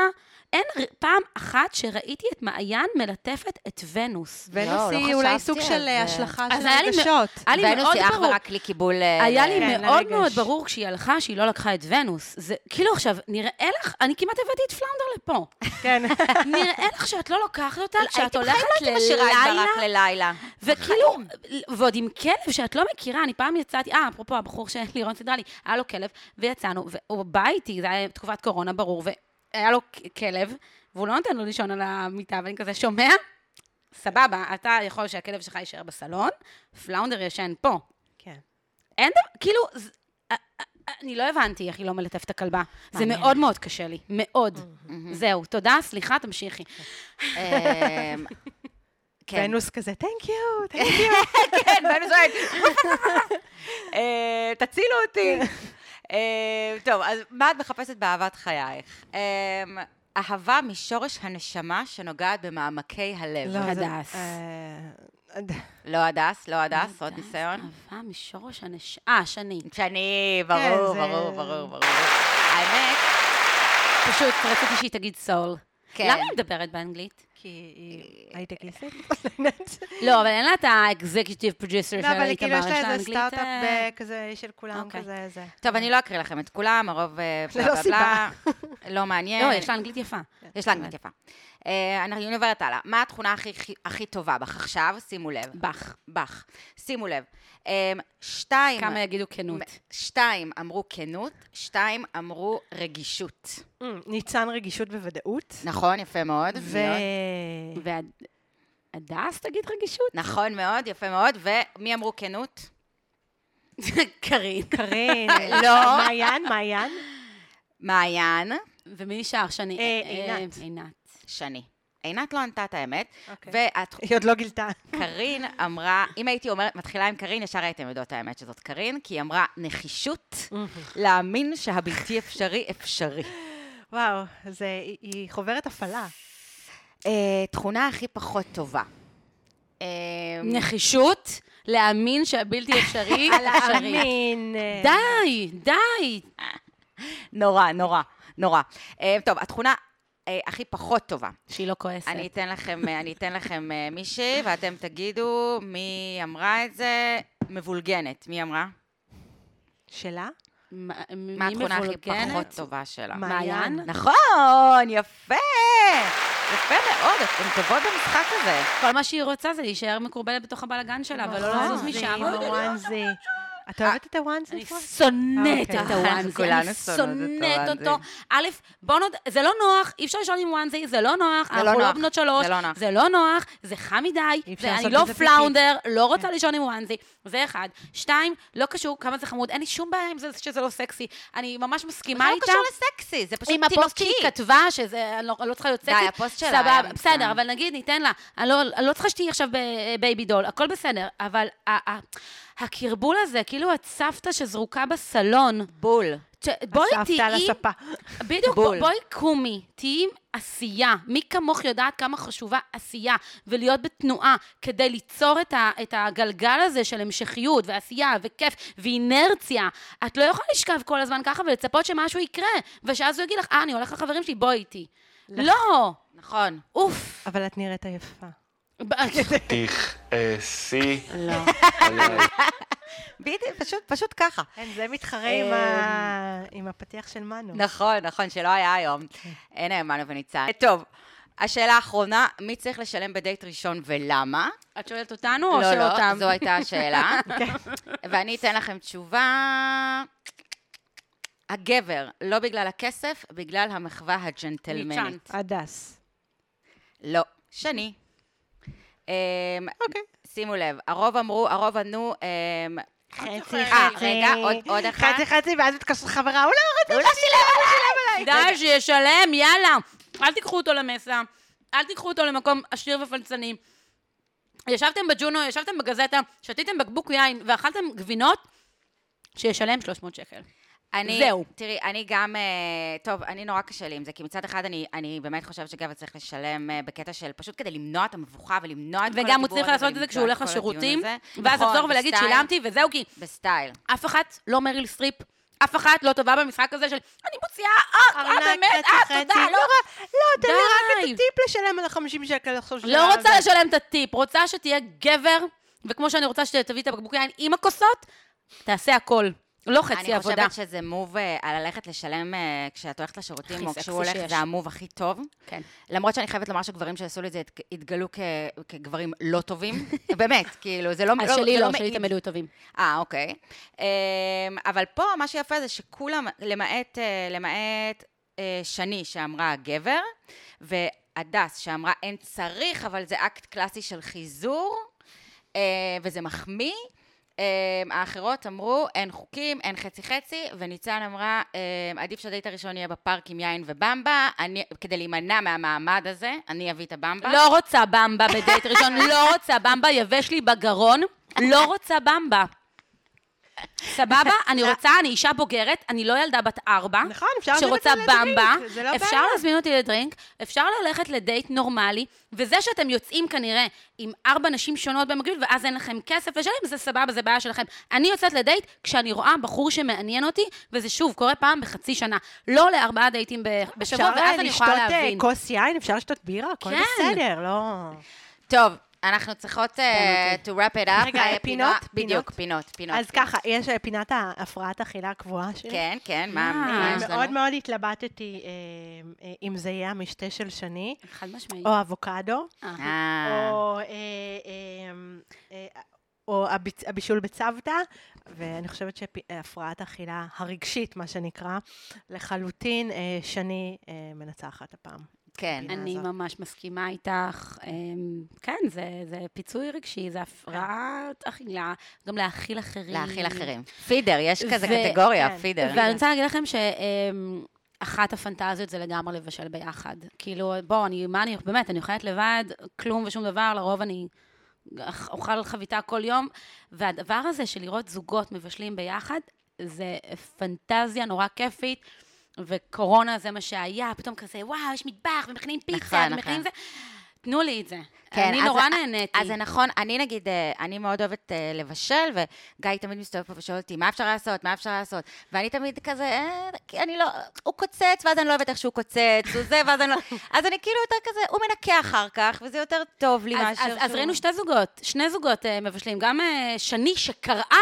[SPEAKER 3] אין ר- פעם אחת שראיתי את מעיין מלטפת את ונוס.
[SPEAKER 1] לא,
[SPEAKER 2] ונוס
[SPEAKER 1] לא
[SPEAKER 2] היא אולי
[SPEAKER 1] חשבתי
[SPEAKER 2] סוג
[SPEAKER 1] על
[SPEAKER 2] של אה,
[SPEAKER 1] זה.
[SPEAKER 2] השלכה
[SPEAKER 3] אז
[SPEAKER 2] של
[SPEAKER 3] היה לי מאוד-
[SPEAKER 2] הרגשות.
[SPEAKER 3] היה לי
[SPEAKER 1] ונוס
[SPEAKER 3] מאוד
[SPEAKER 1] היא אך
[SPEAKER 3] ברור.
[SPEAKER 1] ורק לקיבול... אה,
[SPEAKER 3] היה לי
[SPEAKER 2] כן,
[SPEAKER 3] מאוד
[SPEAKER 2] לרגש.
[SPEAKER 3] מאוד ברור כשהיא הלכה שהיא לא לקחה את ונוס. זה כאילו עכשיו, נראה לך, אני כמעט הבאתי את פלאונדר לפה.
[SPEAKER 2] כן.
[SPEAKER 3] נראה לך שאת לא לוקחת אותה, שאת
[SPEAKER 1] הייתי- לא
[SPEAKER 3] הולכת
[SPEAKER 1] הייתי משאירה את
[SPEAKER 3] ללילה,
[SPEAKER 1] ברק ללילה.
[SPEAKER 3] וכאילו, ועוד עם כלב שאת לא מכירה, אני פעם יצאתי, אה, אפרופו הבחור שלירון סידרה לי, היה לו כלב, ויצאנו, והוא בא איתי, זה היה תקופת קורונה, ברור, והיה לו כ- כלב, והוא לא נותן לו לישון על המיטה, ואני כזה, שומע? סבבה, אתה יכול שהכלב שלך יישאר בסלון, פלאונדר ישן פה.
[SPEAKER 2] כן.
[SPEAKER 3] אין דבר, כאילו, ז- א- א- א- אני לא הבנתי איך היא לא מלטפת את הכלבה. זה
[SPEAKER 1] מעניין.
[SPEAKER 3] מאוד מאוד קשה לי, מאוד. זהו, תודה, סליחה, תמשיכי.
[SPEAKER 1] אמ, כן.
[SPEAKER 2] ונוס כזה, thank you, thank you.
[SPEAKER 1] כן, ואני זועק, אה, תצילו אותי. אה, טוב, אז מה את מחפשת באהבת חייך? אמ, אהבה משורש הנשמה שנוגעת במעמקי הלב.
[SPEAKER 2] לא, זה-
[SPEAKER 3] הדס.
[SPEAKER 2] אה, הד-
[SPEAKER 1] לא הדס, לא הדס, לא. עוד ניסיון.
[SPEAKER 3] אהבה משורש הנש... אה, שני.
[SPEAKER 1] שאני,
[SPEAKER 2] כן,
[SPEAKER 1] ברור,
[SPEAKER 2] זה-
[SPEAKER 1] ברור, ברור, ברור. האמת,
[SPEAKER 3] פשוט רציתי שהיא תגיד סול.
[SPEAKER 1] כן.
[SPEAKER 3] למה היא מדברת באנגלית?
[SPEAKER 2] כי היא הייטקיסטית.
[SPEAKER 3] לא, אבל אין לה את האקזקיוטיב פרוג'יסר של
[SPEAKER 2] לא, אבל כאילו יש
[SPEAKER 3] איתמר,
[SPEAKER 2] לה
[SPEAKER 3] יש לה
[SPEAKER 2] איזה
[SPEAKER 3] אנגלית...
[SPEAKER 2] סטארט-אפ
[SPEAKER 3] אה,
[SPEAKER 2] אה, כזה של כולם,
[SPEAKER 3] אוקיי.
[SPEAKER 2] כזה זה.
[SPEAKER 1] טוב, אני לא אקריא לכם את כולם, הרוב אה, בלה
[SPEAKER 2] ללא
[SPEAKER 1] בלה בלה. לא מעניין.
[SPEAKER 3] לא, יש לה אנגלית יפה.
[SPEAKER 1] יש לה אנגלית יפה. אה, אני אני עוברת הלאה. מה התכונה הכי- הכי- הכי טובה בך עכשיו? שימו לב.
[SPEAKER 3] בך.
[SPEAKER 1] בך. שימו לב. אמ,
[SPEAKER 2] כן.
[SPEAKER 1] שתיים...
[SPEAKER 3] כמה יגידו כנות.
[SPEAKER 1] שתיים אמרו כנות, שתיים אמרו רגישות.
[SPEAKER 2] אמ, ניצן רגישות בוודאות.
[SPEAKER 1] נכון, יפה מאוד.
[SPEAKER 2] ו...
[SPEAKER 1] מאוד.
[SPEAKER 2] אה.
[SPEAKER 3] והדס תגיד רגישות?
[SPEAKER 1] נכון מאוד, יפה מאוד. ומי אמרו כנות?
[SPEAKER 3] קרין.
[SPEAKER 2] קרין.
[SPEAKER 1] לא.
[SPEAKER 2] מעיין, מעיין.
[SPEAKER 1] מעיין,
[SPEAKER 3] ומי נשאר? שני.
[SPEAKER 2] אה,
[SPEAKER 3] אה,
[SPEAKER 2] עינת.
[SPEAKER 3] עינת.
[SPEAKER 1] שני. עינת לא ענתה את האמת,
[SPEAKER 2] אוקיי.
[SPEAKER 1] וקרין
[SPEAKER 2] היא עוד לא גילתה.
[SPEAKER 1] אמרה, אם הייתי אומרת, מתחילה עם קרין, ישר הייתם יודעות את האמת שזאת קרין, כי היא אמרה נחישות, להאמין שהבלתי אפשרי אפשרי.
[SPEAKER 2] וואו, זה, היא- היא חוברת הפעלה.
[SPEAKER 1] אה, תכונה הכי פחות טובה. אה,
[SPEAKER 3] נחישות, להאמין שהבלתי אפשרי אפשרי.
[SPEAKER 2] להאמין. אה,
[SPEAKER 3] די, די.
[SPEAKER 1] נורא, נורא, נורא. אה, טוב, התכונה אה, הכי פחות טובה.
[SPEAKER 3] שהיא לא כועסת.
[SPEAKER 1] אני אתן לכם, אני אתן לכם אה, מישהי, ואתם תגידו מי אמרה את זה. מבולגנת, מי אמרה?
[SPEAKER 2] שלה?
[SPEAKER 3] מה
[SPEAKER 1] מה
[SPEAKER 3] מי
[SPEAKER 1] התכונה הכי פחות
[SPEAKER 3] מבולגנת?
[SPEAKER 1] טובה שלה?
[SPEAKER 2] מה?
[SPEAKER 3] מעיין?
[SPEAKER 2] מעיין?
[SPEAKER 1] נכון, יפה! יפה מאוד, אתן טובות במשחק הזה.
[SPEAKER 3] כל מה שהיא רוצה זה להישאר מקורבלת בתוך הבלגן שלה, ולא
[SPEAKER 2] נכון,
[SPEAKER 3] לזוז
[SPEAKER 2] זה
[SPEAKER 3] משם.
[SPEAKER 2] עם הוואנזי. את אוהבת את הוואנזי?
[SPEAKER 3] אני
[SPEAKER 2] פרס?
[SPEAKER 3] שונאת
[SPEAKER 2] אוקיי.
[SPEAKER 3] את הוואנזי,
[SPEAKER 1] כולנו
[SPEAKER 3] אני
[SPEAKER 1] שונאות את
[SPEAKER 3] שונאת
[SPEAKER 1] הוואנזי.
[SPEAKER 3] אותו. א', בוא נוד... זה לא נוח, אי אפשר לישון עם וואנזי, זה לא נוח,
[SPEAKER 1] זה לא
[SPEAKER 3] אנחנו לא
[SPEAKER 1] נוח,
[SPEAKER 3] בנות שלוש,
[SPEAKER 1] זה לא נוח.
[SPEAKER 3] זה לא נוח, זה חם מדי,
[SPEAKER 2] אי אפשר
[SPEAKER 3] זה- אני
[SPEAKER 2] לעשות
[SPEAKER 3] לא
[SPEAKER 2] בזה פיפי.
[SPEAKER 3] פלאונדר,
[SPEAKER 1] כן.
[SPEAKER 3] לא רוצה לישון עם וואנזי, זה אחד. שתיים, לא קשור כמה זה חמוד, אין לי שום בעיה עם זה שזה לא סקסי, אני ממש
[SPEAKER 1] זה
[SPEAKER 3] מסכימה
[SPEAKER 1] לא
[SPEAKER 3] איתה.
[SPEAKER 1] קשור לסקסי, זה פשוט
[SPEAKER 3] עם הפוסט שהיא
[SPEAKER 1] טיפשי.
[SPEAKER 3] כתבה, שזה, אני לא, אני לא צריכה להיות
[SPEAKER 1] די,
[SPEAKER 3] סקסית.
[SPEAKER 1] הפוסט שלה היה
[SPEAKER 3] סבבה,
[SPEAKER 1] מצוין.
[SPEAKER 3] בסדר, אבל נגיד, ניתן לה. אני לא, אני לא צריכה שתהיי עכשיו בבייבי דול, הכל בסדר, אבל ה- ה- הקרבול הזה, כאילו את סבתא שזרוקה בסלון,
[SPEAKER 1] בול.
[SPEAKER 3] ת- בואי
[SPEAKER 2] הסבתא
[SPEAKER 3] תהיי...
[SPEAKER 2] על הספה.
[SPEAKER 3] בדיוק,
[SPEAKER 1] בול.
[SPEAKER 3] בול. בואי קומי, תהיי עם עשייה. מי כמוך יודעת כמה חשובה עשייה, ולהיות בתנועה כדי ליצור את, ה, את הגלגל הזה של המשכיות, ועשייה, וכיף, ואינרציה. את לא יכולה לשכב כל הזמן ככה ולצפות שמשהו יקרה, ושאז הוא יגיד לך, אה, אני הולך לחברים שלי, בואי איתי. לא!
[SPEAKER 1] נכון.
[SPEAKER 3] אוף!
[SPEAKER 2] אבל את נראית עייפה.
[SPEAKER 5] תכעסי
[SPEAKER 3] לא.
[SPEAKER 5] אה, עליי.
[SPEAKER 1] בדיוק, פשוט, פשוט ככה.
[SPEAKER 2] כן, זה מתחרה עם, ה... עם הפתיח של מנו.
[SPEAKER 1] נכון, נכון, שלא היה היום.
[SPEAKER 2] כן.
[SPEAKER 1] אין היום מנו וניצן. אה, טוב, השאלה האחרונה, מי צריך לשלם בדייט ראשון ולמה?
[SPEAKER 3] את שואלת אותנו או
[SPEAKER 1] לא,
[SPEAKER 3] של
[SPEAKER 1] לא,
[SPEAKER 3] אותם?
[SPEAKER 1] זו הייתה השאלה.
[SPEAKER 2] כן.
[SPEAKER 1] ואני אתן לכם תשובה. הגבר, לא בגלל הכסף, בגלל המחווה
[SPEAKER 3] ניצן.
[SPEAKER 1] הג'נטלמנית.
[SPEAKER 2] הדס.
[SPEAKER 1] לא. שני. אמ,
[SPEAKER 2] אוקיי.
[SPEAKER 1] שימו לב, הרוב אמרו, הרוב ענו, אמ,
[SPEAKER 2] חצי
[SPEAKER 1] אה, רגע, עוד- עוד אחת?
[SPEAKER 2] כן, חצי חצי, ואז מתקשרת חברה, הוא לא
[SPEAKER 1] הוא לא שילם
[SPEAKER 3] די, שישלם, יאללה. אל תיקחו אותו למסע, אל תיקחו אותו למקום עשיר ופלצני. ישבתם בג'ונו, ישבתם בגזטה, שתיתם בקבוק יין ואכלתם גבינות, שישלם 300 שקל.
[SPEAKER 1] אני,
[SPEAKER 3] זהו.
[SPEAKER 1] תראי, אני גם, אה, טוב, אני נורא קשה לי עם זה, כי מצד אחד אני, אני באמת חושבת שגבר צריך לשלם אה, בקטע של פשוט כדי למנוע את המבוכה ולמנוע את כל הדיבור
[SPEAKER 3] וגם הוא צריך
[SPEAKER 1] הזה
[SPEAKER 3] לעשות את
[SPEAKER 1] ולמנוע
[SPEAKER 3] זה כשהוא הולך
[SPEAKER 1] כל הדיון
[SPEAKER 3] לשירותים,
[SPEAKER 1] הזה.
[SPEAKER 3] ואז
[SPEAKER 1] נכון,
[SPEAKER 3] לחזור ולהגיד
[SPEAKER 1] בסטייל-
[SPEAKER 3] שילמתי, וזהו, כי
[SPEAKER 1] בסטייל.
[SPEAKER 3] אף אחת לא מריל סטריפ, אף אחת לא טובה במשחק הזה של אני מוציאה, אה, אה, באמת, אה, תודה, לא רע.
[SPEAKER 2] לא, תן לי רק את
[SPEAKER 3] די.
[SPEAKER 2] הטיפ לשלם על ה-50 שקל לחשוב שלא
[SPEAKER 3] לא רוצה לשלם את הטיפ, רוצה שתהיה גבר, וכמו שאני רוצה שתביא את הבקבוק יין עם הכוסות, תעשה הכל. לא חצי
[SPEAKER 1] אני
[SPEAKER 3] עבודה.
[SPEAKER 1] חושבת שזה מוב אה, על ללכת לשלם אה, כשאת הולכת לשירותים,
[SPEAKER 3] הכי
[SPEAKER 1] או
[SPEAKER 3] סקסי
[SPEAKER 1] כשהוא הולך,
[SPEAKER 3] שיש.
[SPEAKER 1] זה המוב הכי טוב.
[SPEAKER 3] כן.
[SPEAKER 1] למרות שאני חייבת לומר שגברים שעשו לי את זה הת- התגלו כ- כגברים לא טובים. באמת, כאילו, זה לא
[SPEAKER 3] אז
[SPEAKER 1] לא-
[SPEAKER 3] שלי
[SPEAKER 1] זה
[SPEAKER 3] לא, שלי
[SPEAKER 1] מעיד.
[SPEAKER 3] תמיד היו טובים.
[SPEAKER 1] אה, אוקיי. אמ, אבל פה מה שיפה זה שכולם, למעט, אה, למעט אה, שני שאמרה הגבר, והדס שאמרה אין צריך, אבל זה אקט קלאסי של חיזור, אה, וזה מחמיא. אמ, האחרות אמרו, אין חוקים, אין חצי-חצי, וניצן אמרה, אמ, עדיף שהדייט הראשון יהיה בפארק עם יין ובמבה, אני, כדי להימנע מהמעמד הזה, אני אביא את הבמבה.
[SPEAKER 3] לא רוצה במבה בדייט ראשון, לא רוצה במבה, יבש לי בגרון, לא רוצה במבה. סבבה? אני רוצה, אני אישה בוגרת, אני לא ילדה בת ארבע.
[SPEAKER 2] נכון, אפשר להזמין
[SPEAKER 3] שרוצה
[SPEAKER 2] אותי לדרינק,
[SPEAKER 3] במבה,
[SPEAKER 2] זה לא
[SPEAKER 3] אפשר
[SPEAKER 2] בעיה.
[SPEAKER 3] להזמין אותי לדרינק, אפשר ללכת לדייט נורמלי, וזה שאתם יוצאים כנראה עם ארבע נשים שונות במקביל, ואז אין לכם כסף לשלם, זה סבבה, זה בעיה שלכם. אני יוצאת לדייט כשאני רואה בחור שמעניין אותי, וזה שוב קורה פעם בחצי שנה, לא לארבעה דייטים ב- בשבוע,
[SPEAKER 2] אפשר
[SPEAKER 3] ואז אני יכולה
[SPEAKER 2] לשתות אה,
[SPEAKER 3] להבין.
[SPEAKER 2] כוס יין, אפשר לשתות בירה, הכל
[SPEAKER 3] כן.
[SPEAKER 2] בסדר, לא...
[SPEAKER 1] טוב, אנחנו צריכות אה, to wrap it up.
[SPEAKER 2] רגע,
[SPEAKER 1] אה,
[SPEAKER 2] פינות?
[SPEAKER 1] בדיוק,
[SPEAKER 2] פינות?
[SPEAKER 1] פינות,
[SPEAKER 3] לא,
[SPEAKER 1] פינות.
[SPEAKER 2] אז
[SPEAKER 3] כן.
[SPEAKER 2] ככה, יש אה, פינת ההפרעת האכילה הקבועה שלי.
[SPEAKER 1] כן, כן, מה מה
[SPEAKER 3] אה,
[SPEAKER 1] יש
[SPEAKER 2] מאוד
[SPEAKER 1] לנו?
[SPEAKER 2] מאוד התלבטתי אה, אה, אם זה יהיה המשתה של שני,
[SPEAKER 3] חד משמעית.
[SPEAKER 2] או אבוקדו,
[SPEAKER 3] אה.
[SPEAKER 1] אה,
[SPEAKER 2] או, אה, אה, אה, או הביצ- הבישול בצוותא, ואני חושבת שהפרעת האכילה הרגשית, מה שנקרא, לחלוטין אה, שני אה, מנצחת הפעם.
[SPEAKER 1] כן.
[SPEAKER 2] הפינה
[SPEAKER 3] אני
[SPEAKER 2] הזאת.
[SPEAKER 3] ממש מסכימה איתך. אמ, כן, זה, זה פיצוי רגשי, זה הפרעת אכילה, גם להאכיל אחרים.
[SPEAKER 1] להאכיל אחרים. פידר, יש כזה
[SPEAKER 3] ו-
[SPEAKER 1] קטגוריה,
[SPEAKER 2] כן.
[SPEAKER 1] פידר.
[SPEAKER 3] ואני רוצה להגיד לכם שאחת הפנטזיות זה לגמרי לבשל ביחד. כאילו, בואו, אני, מה אני, באמת, אני אוכלת לבד, כלום ושום דבר, לרוב אני אכ- אוכל חביתה כל יום, והדבר הזה של לראות זוגות מבשלים ביחד, זה פנטזיה נורא כיפית. וקורונה זה מה שהיה, פתאום כזה, וואו, יש מטבח, ומכינים פיצה,
[SPEAKER 1] נכון,
[SPEAKER 3] ומכינים
[SPEAKER 1] נכון.
[SPEAKER 3] זה. תנו לי את זה.
[SPEAKER 1] כן,
[SPEAKER 3] אני
[SPEAKER 1] אז-
[SPEAKER 3] נורא נהניתי.
[SPEAKER 1] אז זה נכון, אני נגיד, אה, אני מאוד אוהבת אה, לבשל, וגיא תמיד מסתובב פה ושואל אותי, מה אפשר לעשות, מה אפשר לעשות? ואני תמיד כזה, "אה, כי אני לא, הוא קוצץ, ואז אני לא אוהבת איך שהוא קוצץ, הוא זה, ואז אני לא... אז אני כאילו יותר כזה, הוא מנקה אחר כך, וזה יותר טוב לי
[SPEAKER 3] אז,
[SPEAKER 1] כאילו, מאשר
[SPEAKER 3] אז,
[SPEAKER 1] שהוא...
[SPEAKER 3] אז ראינו שתי זוגות, שני זוגות אה, מבשלים, גם אה, שני שקראה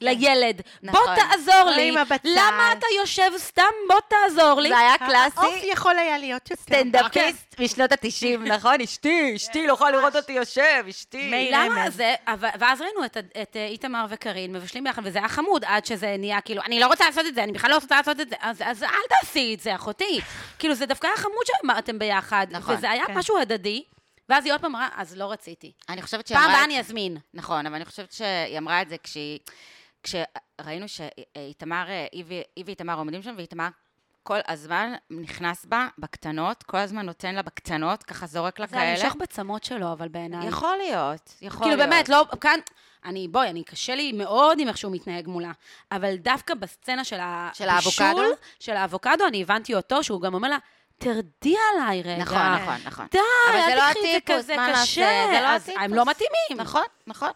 [SPEAKER 3] לילד,
[SPEAKER 1] נכון.
[SPEAKER 3] בוא תעזור
[SPEAKER 2] או
[SPEAKER 3] לי,
[SPEAKER 2] עם הבצל.
[SPEAKER 3] למה אתה יושב סתם, בוא תעזור לי.
[SPEAKER 1] זה היה
[SPEAKER 3] אה, אוקיי.
[SPEAKER 2] העוף
[SPEAKER 1] קלאסי,
[SPEAKER 2] יכול היה להיות יותר.
[SPEAKER 1] סטנדאפיסט משנות ה-90, נכון? אשתי, אשתי, לא יכולה לראות אותי יושב, אשתי.
[SPEAKER 2] מילא.
[SPEAKER 3] למה
[SPEAKER 2] רמז.
[SPEAKER 3] זה, אבל- ואז ראינו את, ה- את אה, איתמר וקארין מבשלים ביחד, וזה היה חמוד עד שזה נהיה כאילו, אני לא רוצה לעשות את זה, אני בכלל לא רוצה לעשות את זה, אז, אז אל תעשי את זה, אחותי. כאילו, זה דווקא היה חמוד שאמרתם ביחד,
[SPEAKER 1] נכון,
[SPEAKER 3] וזה היה
[SPEAKER 2] כן.
[SPEAKER 3] משהו הדדי, ואז היא עוד פעם אמרה, אז לא רציתי.
[SPEAKER 1] אני חושבת שהיא
[SPEAKER 3] פעם
[SPEAKER 1] אמרה
[SPEAKER 3] הבאה
[SPEAKER 1] את
[SPEAKER 3] אני אזמין.
[SPEAKER 1] נכון, אבל אני חושבת שהיא אמרה את זה כשהיא... כשראינו שאיתמר, היא ואיתמר עומדים שם, ואיתמר כל הזמן נכנס בה בקטנות, כל הזמן נותן לה בקטנות, ככה זורק לה
[SPEAKER 3] זה היה
[SPEAKER 1] כאלה.
[SPEAKER 3] נמשך בצמות שלו, אבל בעיניי.
[SPEAKER 1] יכול להיות, יכול
[SPEAKER 3] כאילו
[SPEAKER 1] להיות.
[SPEAKER 3] באמת, לא, כאן, אני, בואי, אני, קשה לי מאוד עם איך שהוא מתנהג מולה, אבל דווקא בסצנה של
[SPEAKER 1] של האבוקדו?
[SPEAKER 3] של האבוקדו, אני הבנתי אותו, שהוא גם אומר לה, תרדי עליי רגע.
[SPEAKER 1] נכון, נכון, נכון.
[SPEAKER 3] די,
[SPEAKER 1] אבל זה לא
[SPEAKER 3] אל תקחי את זה
[SPEAKER 1] הטיפוס,
[SPEAKER 3] כזה
[SPEAKER 1] מה נעשה?
[SPEAKER 3] קשה.
[SPEAKER 1] זה לא
[SPEAKER 3] אז
[SPEAKER 1] הטיפוס.
[SPEAKER 3] הם לא מתאימים.
[SPEAKER 1] נכון, נכון.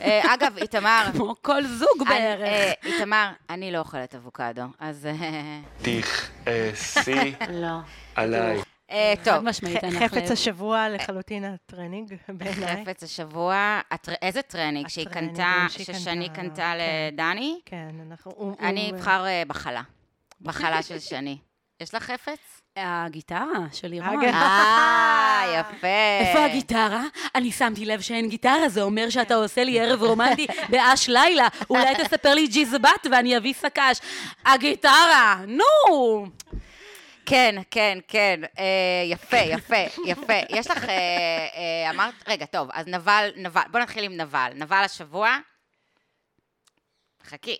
[SPEAKER 1] אה, אגב, איתמר,
[SPEAKER 3] כמו כל זוג
[SPEAKER 1] אני- אה,
[SPEAKER 3] בערך.
[SPEAKER 1] איתמר, אני לא אוכלת אבוקדו, אז... אה,
[SPEAKER 5] תכעסי
[SPEAKER 3] לא.
[SPEAKER 5] אה, עליי.
[SPEAKER 1] אה,
[SPEAKER 3] חד
[SPEAKER 1] טוב,
[SPEAKER 3] משמעית,
[SPEAKER 2] ח-
[SPEAKER 3] אין לך לב.
[SPEAKER 2] חפץ השבוע לחלוטין הטרנינג בעיניי.
[SPEAKER 1] חפץ השבוע, הטר- איזה טרנינג שהיא
[SPEAKER 2] הטרנינג
[SPEAKER 1] קנתה,
[SPEAKER 2] שהיא
[SPEAKER 1] ששני
[SPEAKER 2] קנתה,
[SPEAKER 1] קנתה
[SPEAKER 2] כן.
[SPEAKER 1] לדני?
[SPEAKER 2] כן, אנחנו... הוא-
[SPEAKER 1] אני
[SPEAKER 2] הוא-
[SPEAKER 1] אבחר אה, בחלה. בחלה של שני. יש לך חפץ?
[SPEAKER 3] אה, הגיטרה של לירון.
[SPEAKER 2] אגב.
[SPEAKER 1] אה, יפה.
[SPEAKER 3] איפה הגיטרה? אני שמתי לב שאין גיטרה, זה אומר
[SPEAKER 1] כן.
[SPEAKER 3] שאתה עושה לי ערב רומנטי באש לילה. אולי תספר לי ג'יזבט ואני אביא סק"ש. הגיטרה, נו!
[SPEAKER 1] כן, כן, כן. אה, יפה, יפה, יפה. יש לך, אה, אה, אמרת, רגע, טוב, אז נבל, נבל, בוא נתחיל עם נבל. נבל השבוע. חכי.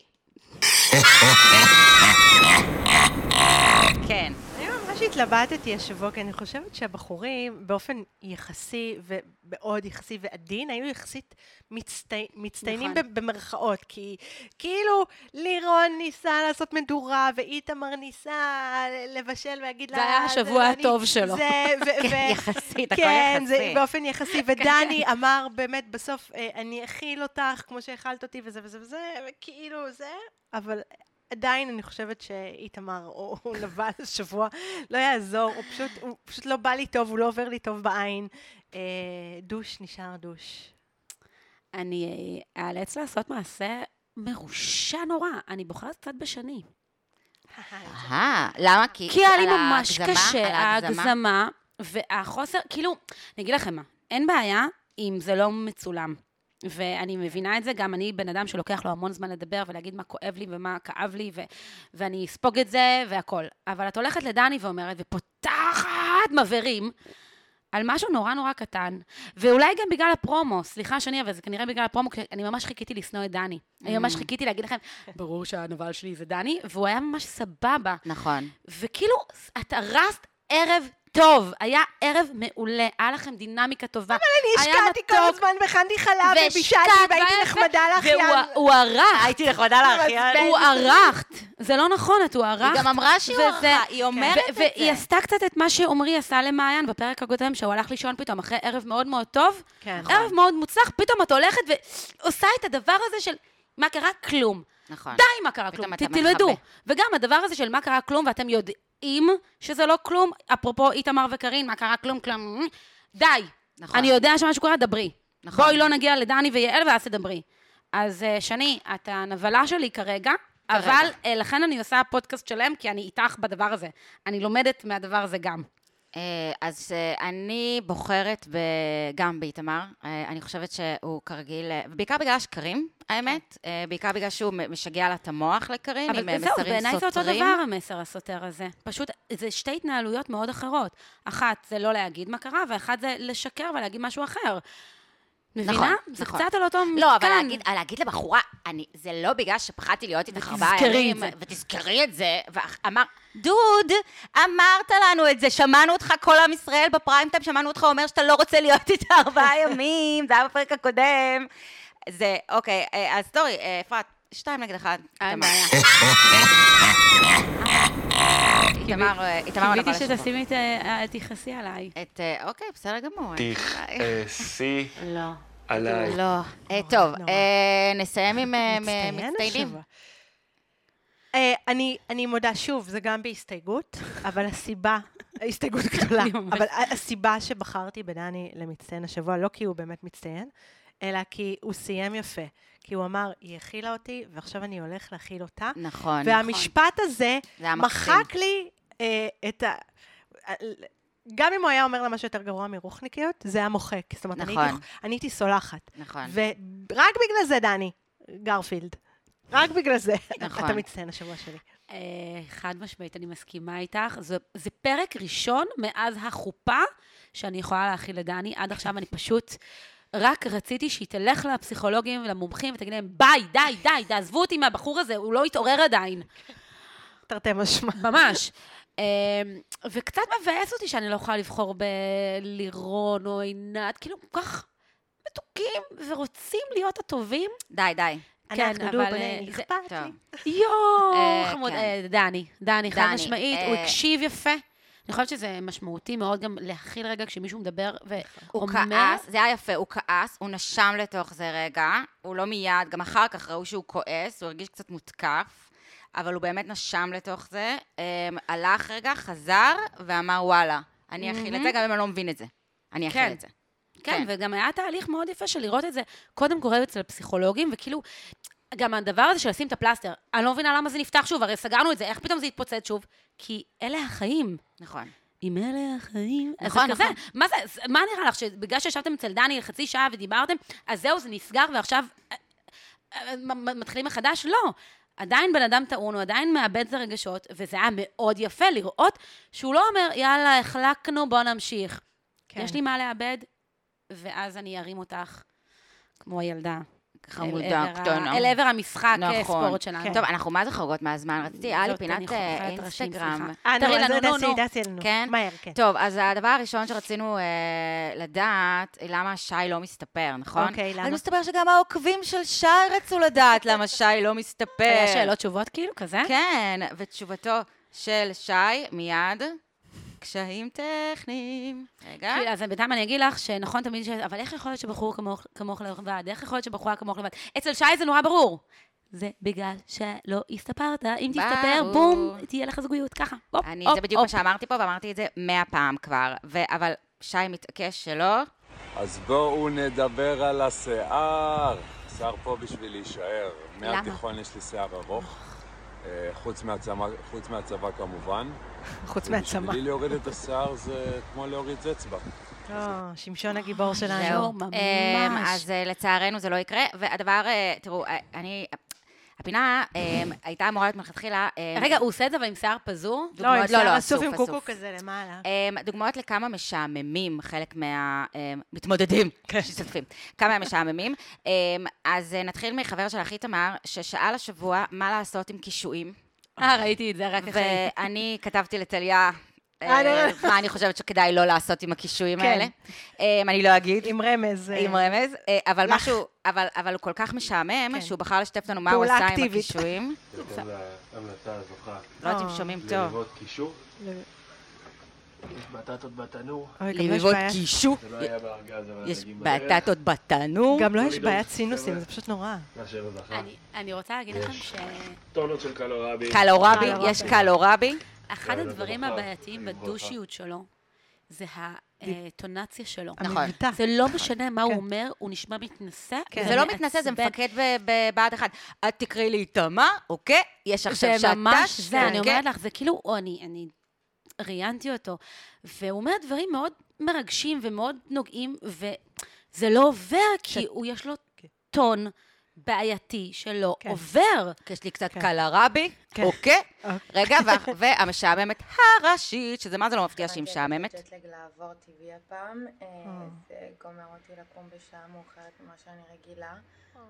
[SPEAKER 1] כן.
[SPEAKER 2] אני ממש התלבטתי השבוע, כי אני חושבת שהבחורים באופן יחסי ומאוד יחסי ועדין, היו יחסית מצטי... מצטיינים
[SPEAKER 3] נכון.
[SPEAKER 2] ב- במרכאות, כי כאילו לירון ניסה לעשות מדורה, ואיתמר ניסה לבשל ולהגיד לה...
[SPEAKER 3] זה היה
[SPEAKER 2] "זה
[SPEAKER 3] השבוע
[SPEAKER 2] לא אני",
[SPEAKER 3] הטוב שלו.
[SPEAKER 2] זה... ו-
[SPEAKER 1] כן,
[SPEAKER 2] ו-
[SPEAKER 1] יחסית, הכל
[SPEAKER 2] כן, זה
[SPEAKER 1] יחסי.
[SPEAKER 2] באופן יחסי, ודני אמר באמת בסוף, אה, אני אכיל אותך כמו שהאכלת אותי וזה וזה וזה, וכאילו זה, אבל עדיין אני חושבת שאיתמר, או הוא נבל השבוע, לא יעזור, הוא פשוט, הוא פשוט לא בא לי טוב, הוא לא עובר לי טוב בעין. אה, דוש נשאר דוש.
[SPEAKER 3] אני אה, אאלץ לעשות מעשה מרושע נורא. אני בוחרת קצת בשני.
[SPEAKER 1] אהה, אה, למה? כי
[SPEAKER 3] כי היה לי
[SPEAKER 1] על
[SPEAKER 3] ממש
[SPEAKER 1] ההגזמה, על
[SPEAKER 3] קשה,
[SPEAKER 1] ההגזמה.
[SPEAKER 3] ההגזמה והחוסר, כאילו, אני אגיד לכם מה, אין בעיה אם זה לא מצולם. ואני מבינה את זה, גם אני בן אדם שלוקח לו המון זמן לדבר ולהגיד מה כואב לי ומה כאב לי, ו- ואני אספוג את זה והכל. אבל את הולכת לדני ואומרת, ופותחת מבערים על משהו נורא נורא קטן, ואולי גם בגלל הפרומו, סליחה שני, אבל זה כנראה בגלל הפרומו, כי אני ממש חיכיתי לשנוא את דני. אני
[SPEAKER 1] Mm.
[SPEAKER 3] ממש חיכיתי להגיד לכם, ברור שהנבל שלי זה דני, והוא היה ממש סבבה.
[SPEAKER 1] נכון.
[SPEAKER 3] וכאילו, את הרסת ערב טוב. היה ערב מעולה, היה לכם דינמיקה טובה. אבל
[SPEAKER 2] אני השקעתי כל הזמן, והכנתי חלב, ובישלתי, והייתי נחמדה לאחיין.
[SPEAKER 3] והוא ערך,
[SPEAKER 1] אה, הייתי נחמדה לאחיין.
[SPEAKER 3] הוא ערכת. זה לא נכון, את הוא
[SPEAKER 1] היא
[SPEAKER 3] ערכת.
[SPEAKER 1] גם אמרה שהיא
[SPEAKER 3] וזה-
[SPEAKER 1] ערכה, היא אומרת
[SPEAKER 3] ו-
[SPEAKER 1] את זה.
[SPEAKER 3] והיא עשתה קצת את מה שעמרי עשה למעיין בפרק הקודם, שהוא הלך לישון פתאום אחרי ערב מאוד מאוד טוב.
[SPEAKER 2] כן.
[SPEAKER 1] נכון.
[SPEAKER 3] ערב מאוד מוצלח, פתאום את הולכת ועושה את הדבר הזה של מה קרה? כלום.
[SPEAKER 1] נכון.
[SPEAKER 3] די מה קרה
[SPEAKER 1] פתאום
[SPEAKER 3] כלום,
[SPEAKER 1] אתה
[SPEAKER 3] ת- תלמדו.
[SPEAKER 1] מכבה.
[SPEAKER 3] וגם הדבר הזה של מה קרה כלום, ואתם יודעים שזה לא כלום, אפרופו איתמר וקארין, מה קרה כלום, כלום, די.
[SPEAKER 1] נכון.
[SPEAKER 3] אני יודע שמשהו קרה, דברי.
[SPEAKER 1] נכון.
[SPEAKER 3] בואי לא נגיע לדני ויעל ואז תדברי. אז אה, שני, את הנבלה שלי כרגע,
[SPEAKER 1] כרגע.
[SPEAKER 3] אבל אה, לכן אני עושה פודקאסט שלם, כי אני איתך בדבר הזה. אני לומדת מהדבר הזה גם.
[SPEAKER 1] אה, אז אה, אני בוחרת ב- גם באיתמר. אה, אני חושבת שהוא כרגיל, אה, בעיקר בגלל השקרים,
[SPEAKER 3] כן.
[SPEAKER 1] האמת. אה, בעיקר בגלל שהוא מ- משגע לה את המוח לקרים, עם אה,
[SPEAKER 3] אבל
[SPEAKER 1] מסרים
[SPEAKER 3] זהו,
[SPEAKER 1] סותרים.
[SPEAKER 3] בעיניי זה אותו דבר המסר הסותר הזה. פשוט, זה שתי התנהלויות מאוד אחרות. אחת זה לא להגיד מה קרה, ואחת זה לשקר ולהגיד משהו אחר. מבינה?
[SPEAKER 1] נכון,
[SPEAKER 3] זה
[SPEAKER 1] נכון.
[SPEAKER 3] קצת על אותו מתקן.
[SPEAKER 1] לא, אבל להגיד, אבל להגיד לבחורה, אני, זה לא בגלל שפחדתי להיות איתך ארבעה
[SPEAKER 3] ותזכרי
[SPEAKER 1] ימים,
[SPEAKER 3] את זה.
[SPEAKER 1] ותזכרי את זה, ואמר, דוד, אמרת לנו את זה, שמענו אותך כל עם ישראל בפריים טיים, שמענו אותך אומר שאתה לא רוצה להיות איתה ארבעה ימים, זה היה בפרק הקודם. זה, אוקיי, אה, אז סטורי, אה, אפרת, שתיים נגד אחד.
[SPEAKER 3] אין
[SPEAKER 1] איתמר.
[SPEAKER 3] בעיה.
[SPEAKER 1] איתמר, אה, איתמר הנבל
[SPEAKER 3] קיוויתי
[SPEAKER 1] השבוע.
[SPEAKER 3] שתשימי את ה- תכעסי עליי.
[SPEAKER 1] את, אה, אוקיי, בסדר גמור. אין בעיה.
[SPEAKER 5] אה, תכעסי
[SPEAKER 3] לא.
[SPEAKER 5] עליי.
[SPEAKER 1] לא. אה, טוב,
[SPEAKER 2] נורא.
[SPEAKER 1] אה, נסיים עם אה,
[SPEAKER 2] מצטיין
[SPEAKER 1] מצטיינים.
[SPEAKER 2] השבוע. אה, אני, אני מודה שוב, זה גם בהסתייגות, אבל הסיבה, הסתייגות גדולה,
[SPEAKER 3] אני ממש-
[SPEAKER 2] אבל ה- הסיבה שבחרתי בדני למצטיין השבוע, לא כי הוא באמת מצטיין, אלא כי הוא סיים יפה. כי הוא אמר, היא הכילה אותי, ועכשיו אני הולך להכיל אותה.
[SPEAKER 1] נכון.
[SPEAKER 2] והמשפט הזה
[SPEAKER 1] זה היה מקסים.
[SPEAKER 2] מחק לי אה, את ה... גם אם הוא היה אומר לה משהו יותר גרוע מרוחניקיות, זה היה מוחק. זאת אומרת, אני,
[SPEAKER 1] נכון.
[SPEAKER 2] הייתי, אני הייתי סולחת.
[SPEAKER 1] נכון.
[SPEAKER 2] ורק בגלל זה, דני, גרפילד. רק בגלל זה.
[SPEAKER 1] נכון.
[SPEAKER 2] אתה מצטיין השבוע שלי.
[SPEAKER 3] אה, חד משמעית, אני מסכימה איתך. זה, זה פרק ראשון מאז החופה שאני יכולה להכיל לדני. עד עכשיו אני פשוט רק רציתי שהיא תלך לפסיכולוגים ולמומחים ותגיד להם, ביי, די, די, תעזבו אותי מהבחור הזה, הוא לא התעורר עדיין.
[SPEAKER 2] תרתי משמע.
[SPEAKER 3] ממש. אמ, וקצת מבאס אותי שאני לא יכולה לבחור בלירון או עינת, כאילו כל כך מתוקים ורוצים להיות הטובים.
[SPEAKER 1] די, די.
[SPEAKER 3] כן,
[SPEAKER 2] אנחנו
[SPEAKER 3] אבל,
[SPEAKER 2] דובלני,
[SPEAKER 3] אה, זה-
[SPEAKER 2] אכפת לי.
[SPEAKER 1] טוב.
[SPEAKER 3] יואו,
[SPEAKER 1] אה,
[SPEAKER 3] חמוד.
[SPEAKER 1] כן.
[SPEAKER 3] אה, דני, דני, חד
[SPEAKER 1] דני,
[SPEAKER 3] משמעית, הוא
[SPEAKER 1] אה,
[SPEAKER 3] הקשיב יפה. אני חושבת שזה משמעותי מאוד גם להכיל רגע כשמישהו מדבר
[SPEAKER 1] הוא
[SPEAKER 3] ואומר...
[SPEAKER 1] כעס, זה היה יפה, הוא כעס, הוא נשם לתוך זה רגע, הוא לא מיד, גם אחר כך ראו שהוא כועס, הוא הרגיש קצת מותקף, אבל הוא באמת נשם לתוך זה, אמ, הלך רגע, חזר, ואמר וואלה, אני אכיל את זה, גם אם אני לא מבין את זה. אני אכיל
[SPEAKER 3] כן.
[SPEAKER 1] את זה.
[SPEAKER 3] כן,
[SPEAKER 1] כן.
[SPEAKER 3] וגם היה תהליך מאוד יפה של לראות את זה, קודם קורה אצל הפסיכולוגים, וכאילו, גם הדבר הזה של לשים את הפלסטר, אני לא מבינה למה זה נפתח שוב, הרי סגרנו את זה, איך פתאום זה התפוצץ שוב? כי אלה החיים.
[SPEAKER 1] נכון.
[SPEAKER 3] אם אלה החיים... אז
[SPEAKER 1] נכון,
[SPEAKER 3] זה כזה,
[SPEAKER 1] נכון.
[SPEAKER 3] מה זה, זה- מה נראה לך, שבגלל שישבתם אצל דני חצי שעה ודיברתם, אז זהו, זה נסגר, ועכשיו אה, אה, מ- מ- מתחילים מחדש? לא. עדיין בן אדם טעון, הוא עדיין מאבד את הרגשות, וזה היה מאוד יפה לראות שהוא לא אומר, יאללה, החלקנו, בוא נמשיך. כן. יש לי מה לאבד, ואז אני ארים אותך, כמו הילדה.
[SPEAKER 1] חמודה,
[SPEAKER 3] אל עבר ה-
[SPEAKER 1] קטנה.
[SPEAKER 3] אל עבר המשחק אה,
[SPEAKER 1] נכון.
[SPEAKER 3] ספורט שלנו.
[SPEAKER 1] טוב, אנחנו מה זה חורגות מהזמן? רציתי, היה לי
[SPEAKER 3] זאת, אני
[SPEAKER 1] פינת
[SPEAKER 3] חוככת
[SPEAKER 1] אה,
[SPEAKER 3] ראשים,
[SPEAKER 1] אינסטגרם.
[SPEAKER 3] סליחה.
[SPEAKER 2] אה, נו,
[SPEAKER 3] תראי
[SPEAKER 2] אז
[SPEAKER 3] לנו, נו,
[SPEAKER 2] דסי,
[SPEAKER 3] נו.
[SPEAKER 2] דסי לנו.
[SPEAKER 1] כן?
[SPEAKER 2] מהר, כן.
[SPEAKER 1] טוב, אז הדבר הראשון שרצינו אה, לדעת, למה שי לא מסתפר, נכון?
[SPEAKER 2] אוקיי, למה?
[SPEAKER 1] אז מסתבר שגם העוקבים של שי רצו לדעת למה שי לא מסתפר.
[SPEAKER 3] היה שאלות תשובות כאילו, כזה?
[SPEAKER 1] כן, ותשובתו של שי, מיד, קשיים טכניים. רגע.
[SPEAKER 3] כאילו, אז בינתיים אני אגיד לך שנכון תמיד ש... אבל איך יכול להיות שבחור כמוך- כמוך לבד? איך יכול להיות שבחורה כמוך לבד? אצל שי זה נורא ברור. זה בגלל שלא הסתפרת. אם תסתפר,
[SPEAKER 1] ברור.
[SPEAKER 3] בום, תהיה לך זוגיות. ככה. הופ,
[SPEAKER 1] אני,
[SPEAKER 3] הופ,
[SPEAKER 1] זה בדיוק מה
[SPEAKER 3] הופ.
[SPEAKER 1] שאמרתי פה, ואמרתי את זה מאה פעם כבר. ו- אבל שי מתעקש שלא.
[SPEAKER 3] אה,
[SPEAKER 4] אז בואו נדבר על השיער. שיער פה בשביל להישאר.
[SPEAKER 1] למה?
[SPEAKER 4] מהתיכון יש לי שיער ארוך. אה, חוץ מהצבא, חוץ מהצבא כמובן.
[SPEAKER 2] חוץ
[SPEAKER 4] ובשבילי
[SPEAKER 2] מהצמא.
[SPEAKER 4] להוריד את השיער זה כמו להוריד אצבע.
[SPEAKER 2] אה, שמשון הגיבור שלנו. לא,
[SPEAKER 3] זהו,
[SPEAKER 1] אמ,
[SPEAKER 3] לא, ממש.
[SPEAKER 1] אז אה, לצערנו זה לא יקרה. והדבר, אה, תראו, אה, אני... הפינה אמ, הייתה אמורה להיות מלכתחילה... אמ,
[SPEAKER 3] רגע, הוא עושה את זה אבל עם שיער פזור?
[SPEAKER 2] לא, עם
[SPEAKER 1] דוגמאות- לא,
[SPEAKER 2] שיער
[SPEAKER 1] לא,
[SPEAKER 2] אסוף
[SPEAKER 1] אסוף,
[SPEAKER 2] עם קוקו
[SPEAKER 1] אסוף.
[SPEAKER 2] כזה למעלה.
[SPEAKER 1] אמ, דוגמאות לכמה משעממים חלק אמ, מהמתמודדים שמשתתפים. כן, כמה הם משעממים. אמ, אז אה, נתחיל מחבר של אחי תמר, ששאל השבוע מה לעשות עם קישואים,
[SPEAKER 3] אה, ראיתי את זה רק
[SPEAKER 1] אה.
[SPEAKER 3] אחרי.
[SPEAKER 1] ואני כתבתי לטליה...
[SPEAKER 2] אוקיי. אה,
[SPEAKER 1] אה,
[SPEAKER 2] לא.
[SPEAKER 1] מה אני חושבת שכדאי לא לעשות עם הקישואים
[SPEAKER 2] כן.
[SPEAKER 1] האלה. אמ, אני לא אגיד.
[SPEAKER 2] עם רמז. אה,
[SPEAKER 1] עם רמז, אה, אבל
[SPEAKER 2] לך.
[SPEAKER 1] משהו, אבל, אבל הוא כל כך משעמם,
[SPEAKER 2] כן.
[SPEAKER 1] שהוא בחר לשתף לנו מה הוא
[SPEAKER 2] פעולה
[SPEAKER 1] עשה עם
[SPEAKER 2] אקטיבית.
[SPEAKER 1] הקישואים.
[SPEAKER 6] בהתאם להמלצה הזוכה
[SPEAKER 1] לא יודעת
[SPEAKER 2] אה.
[SPEAKER 1] אם שומעים טוב.
[SPEAKER 6] ללוות קישור,
[SPEAKER 2] ל-
[SPEAKER 6] יש בטטות בתנור,
[SPEAKER 2] אוי, גם לא יש
[SPEAKER 1] ללוות
[SPEAKER 2] בעיה-
[SPEAKER 1] קישור,
[SPEAKER 6] זה לא היה בארגז אבל
[SPEAKER 1] יש
[SPEAKER 6] הדגים בדרך.
[SPEAKER 1] בטטות בתנור.
[SPEAKER 2] גם לא
[SPEAKER 6] לא
[SPEAKER 2] יש
[SPEAKER 6] לדאוג,
[SPEAKER 2] בעיית סינוסים,
[SPEAKER 6] חבר'ה.
[SPEAKER 2] זה פשוט נורא.
[SPEAKER 6] והשם הזכה.
[SPEAKER 3] אני- אני רוצה להגיד לכם ש...
[SPEAKER 6] טונות של קלורבי.
[SPEAKER 1] קלורבי,
[SPEAKER 2] קלורבי.
[SPEAKER 1] יש קלורבי.
[SPEAKER 3] אחד
[SPEAKER 6] יאללה,
[SPEAKER 3] הדברים
[SPEAKER 6] ברכה.
[SPEAKER 3] הבעייתיים
[SPEAKER 6] אני ברכה.
[SPEAKER 3] בדושיות שלו, זה הטונציה שלו.
[SPEAKER 1] נכון.
[SPEAKER 2] המבטא.
[SPEAKER 3] זה לא משנה מה הוא
[SPEAKER 2] כן.
[SPEAKER 3] אומר, הוא נשמע מתנשא.
[SPEAKER 2] כן.
[SPEAKER 1] זה לא מתנשא, זה
[SPEAKER 3] מעצבן.
[SPEAKER 1] מפקד ב- בבה"ד 1. את תקראי לי איתמר, אוקיי? יש עכשיו שעתש.
[SPEAKER 3] זה ממש זה, אני
[SPEAKER 1] אוקיי?
[SPEAKER 3] אומרת לך, זה כאילו, או אני, אני ראיינתי אותו, והוא אומר דברים מאוד מרגשים ומאוד נוגעים, וזה לא עובר, כי הוא, יש לו
[SPEAKER 2] כן.
[SPEAKER 3] טון בעייתי שלא
[SPEAKER 2] כן.
[SPEAKER 3] עובר.
[SPEAKER 1] יש לי קצת
[SPEAKER 2] כן.
[SPEAKER 1] קלרבי,
[SPEAKER 2] כן.
[SPEAKER 1] אוקיי?
[SPEAKER 2] אוקיי.
[SPEAKER 1] רגע, וה- והמשעממת הראשית, שזה מה זה לא מפתיע שהיא משעממת.
[SPEAKER 7] ג'טלג לעבור טבעי הפעם, אה, זה גומר אותי לקום בשעה מאוחרת ממה שאני רגילה, אה,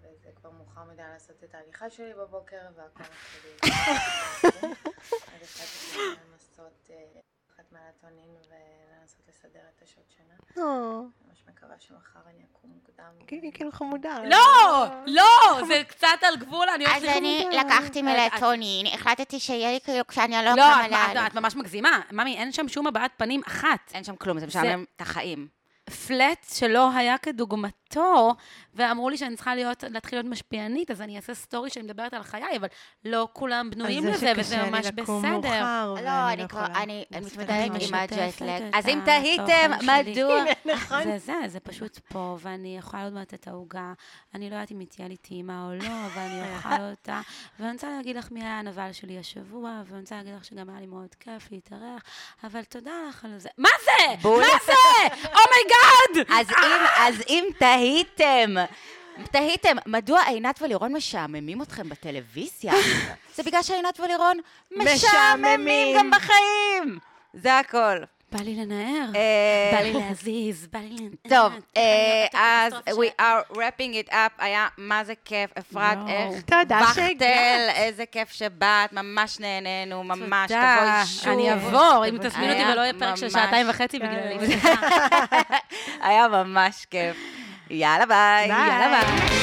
[SPEAKER 7] וזה כבר מאוחר מדי לעשות את ההליכה שלי בבוקר, והכל מתחיל להתחיל. אז החלטתי לנסות אה, לקחת מלטונין ולנסות לסדר את השעות שינה.
[SPEAKER 2] נו,
[SPEAKER 7] ממש מקווה שמחר אני אקום מוקדם.
[SPEAKER 2] כי- אה, היא כאילו חמודה.
[SPEAKER 3] לא, לא, זה קצת על גבול, אני הולכת
[SPEAKER 8] אז אני לקחתי מלטונין, החלטתי שיהיה לי כאילו כשאני לא
[SPEAKER 3] לא,
[SPEAKER 8] קמה
[SPEAKER 3] את- את-
[SPEAKER 8] לה...
[SPEAKER 3] את ממש מגזימה. ממי, אין שם שום הבעת פנים אחת.
[SPEAKER 1] אין שם כלום, זה משעמם את החיים.
[SPEAKER 3] פלט שלא היה כדוגמתו, ואמרו לי שאני צריכה להיות, להתחיל להיות משפיענית, אז אני אעשה סטורי שאני מדברת על חיי, אבל לא כולם
[SPEAKER 2] על
[SPEAKER 3] בנויים
[SPEAKER 2] זה
[SPEAKER 3] לזה, וזה
[SPEAKER 2] שקשה לי
[SPEAKER 3] ממש
[SPEAKER 2] לקום
[SPEAKER 3] בסדר.
[SPEAKER 2] מאוחר,
[SPEAKER 1] לא,
[SPEAKER 2] ואני
[SPEAKER 1] אני כבר,
[SPEAKER 2] יכולה.
[SPEAKER 1] אני
[SPEAKER 2] אני
[SPEAKER 1] מתמודדת
[SPEAKER 2] מצטערת.
[SPEAKER 1] עם הג'טלג.
[SPEAKER 3] משתפת
[SPEAKER 1] אז אם
[SPEAKER 3] את
[SPEAKER 1] תהיתם,
[SPEAKER 3] התוכן שלי.
[SPEAKER 1] מדוע?
[SPEAKER 2] נכון.
[SPEAKER 3] זה זה, זה פשוט פה, ואני אוכל עוד מעט את העוגה. אני לא יודעת אם היא תהיה לי טעימה או לא, אבל אני אוכל אותה. ואני רוצה להגיד לך מי היה הנבל שלי השבוע, ואני רוצה להגיד לך שגם היה לי מאוד כיף להתארח, אבל תודה לך על זה. מה זה?
[SPEAKER 1] בול.
[SPEAKER 3] מה זה?
[SPEAKER 1] Oh
[SPEAKER 3] אומייגאד!
[SPEAKER 1] אז אם, אז אם תהיתם, תהיתם, מדוע עינת ולירון משעממים אתכם בטלוויזיה? זה בגלל שעינת ולירון משעממים
[SPEAKER 2] משעממים.
[SPEAKER 1] גם בחיים! זה הכל.
[SPEAKER 3] בא לי לנער,
[SPEAKER 1] אה,
[SPEAKER 3] בא לי להזיז, בא לי לנער.
[SPEAKER 1] טוב,
[SPEAKER 3] אה,
[SPEAKER 1] אה, אז
[SPEAKER 3] הקטסטרופה שלה.
[SPEAKER 1] we are wrapping it up, היה מה זה כיף, אפרת,
[SPEAKER 3] יואו.
[SPEAKER 1] איך
[SPEAKER 2] תודה
[SPEAKER 1] בכתל, איזה כיף שבאת, ממש נהנינו, ממש,
[SPEAKER 3] תודה.
[SPEAKER 1] תבואי אה, שוב.
[SPEAKER 3] אה,
[SPEAKER 1] אה,
[SPEAKER 3] אני אעבור, אם
[SPEAKER 2] תבואי.
[SPEAKER 3] תזמין אותי ולא יהיה פרק של
[SPEAKER 1] ממש אה,
[SPEAKER 3] שעתיים וחצי
[SPEAKER 2] כן.
[SPEAKER 3] בגללי.
[SPEAKER 1] היה ממש כיף. יאללה ביי.
[SPEAKER 2] יאללה, ביי.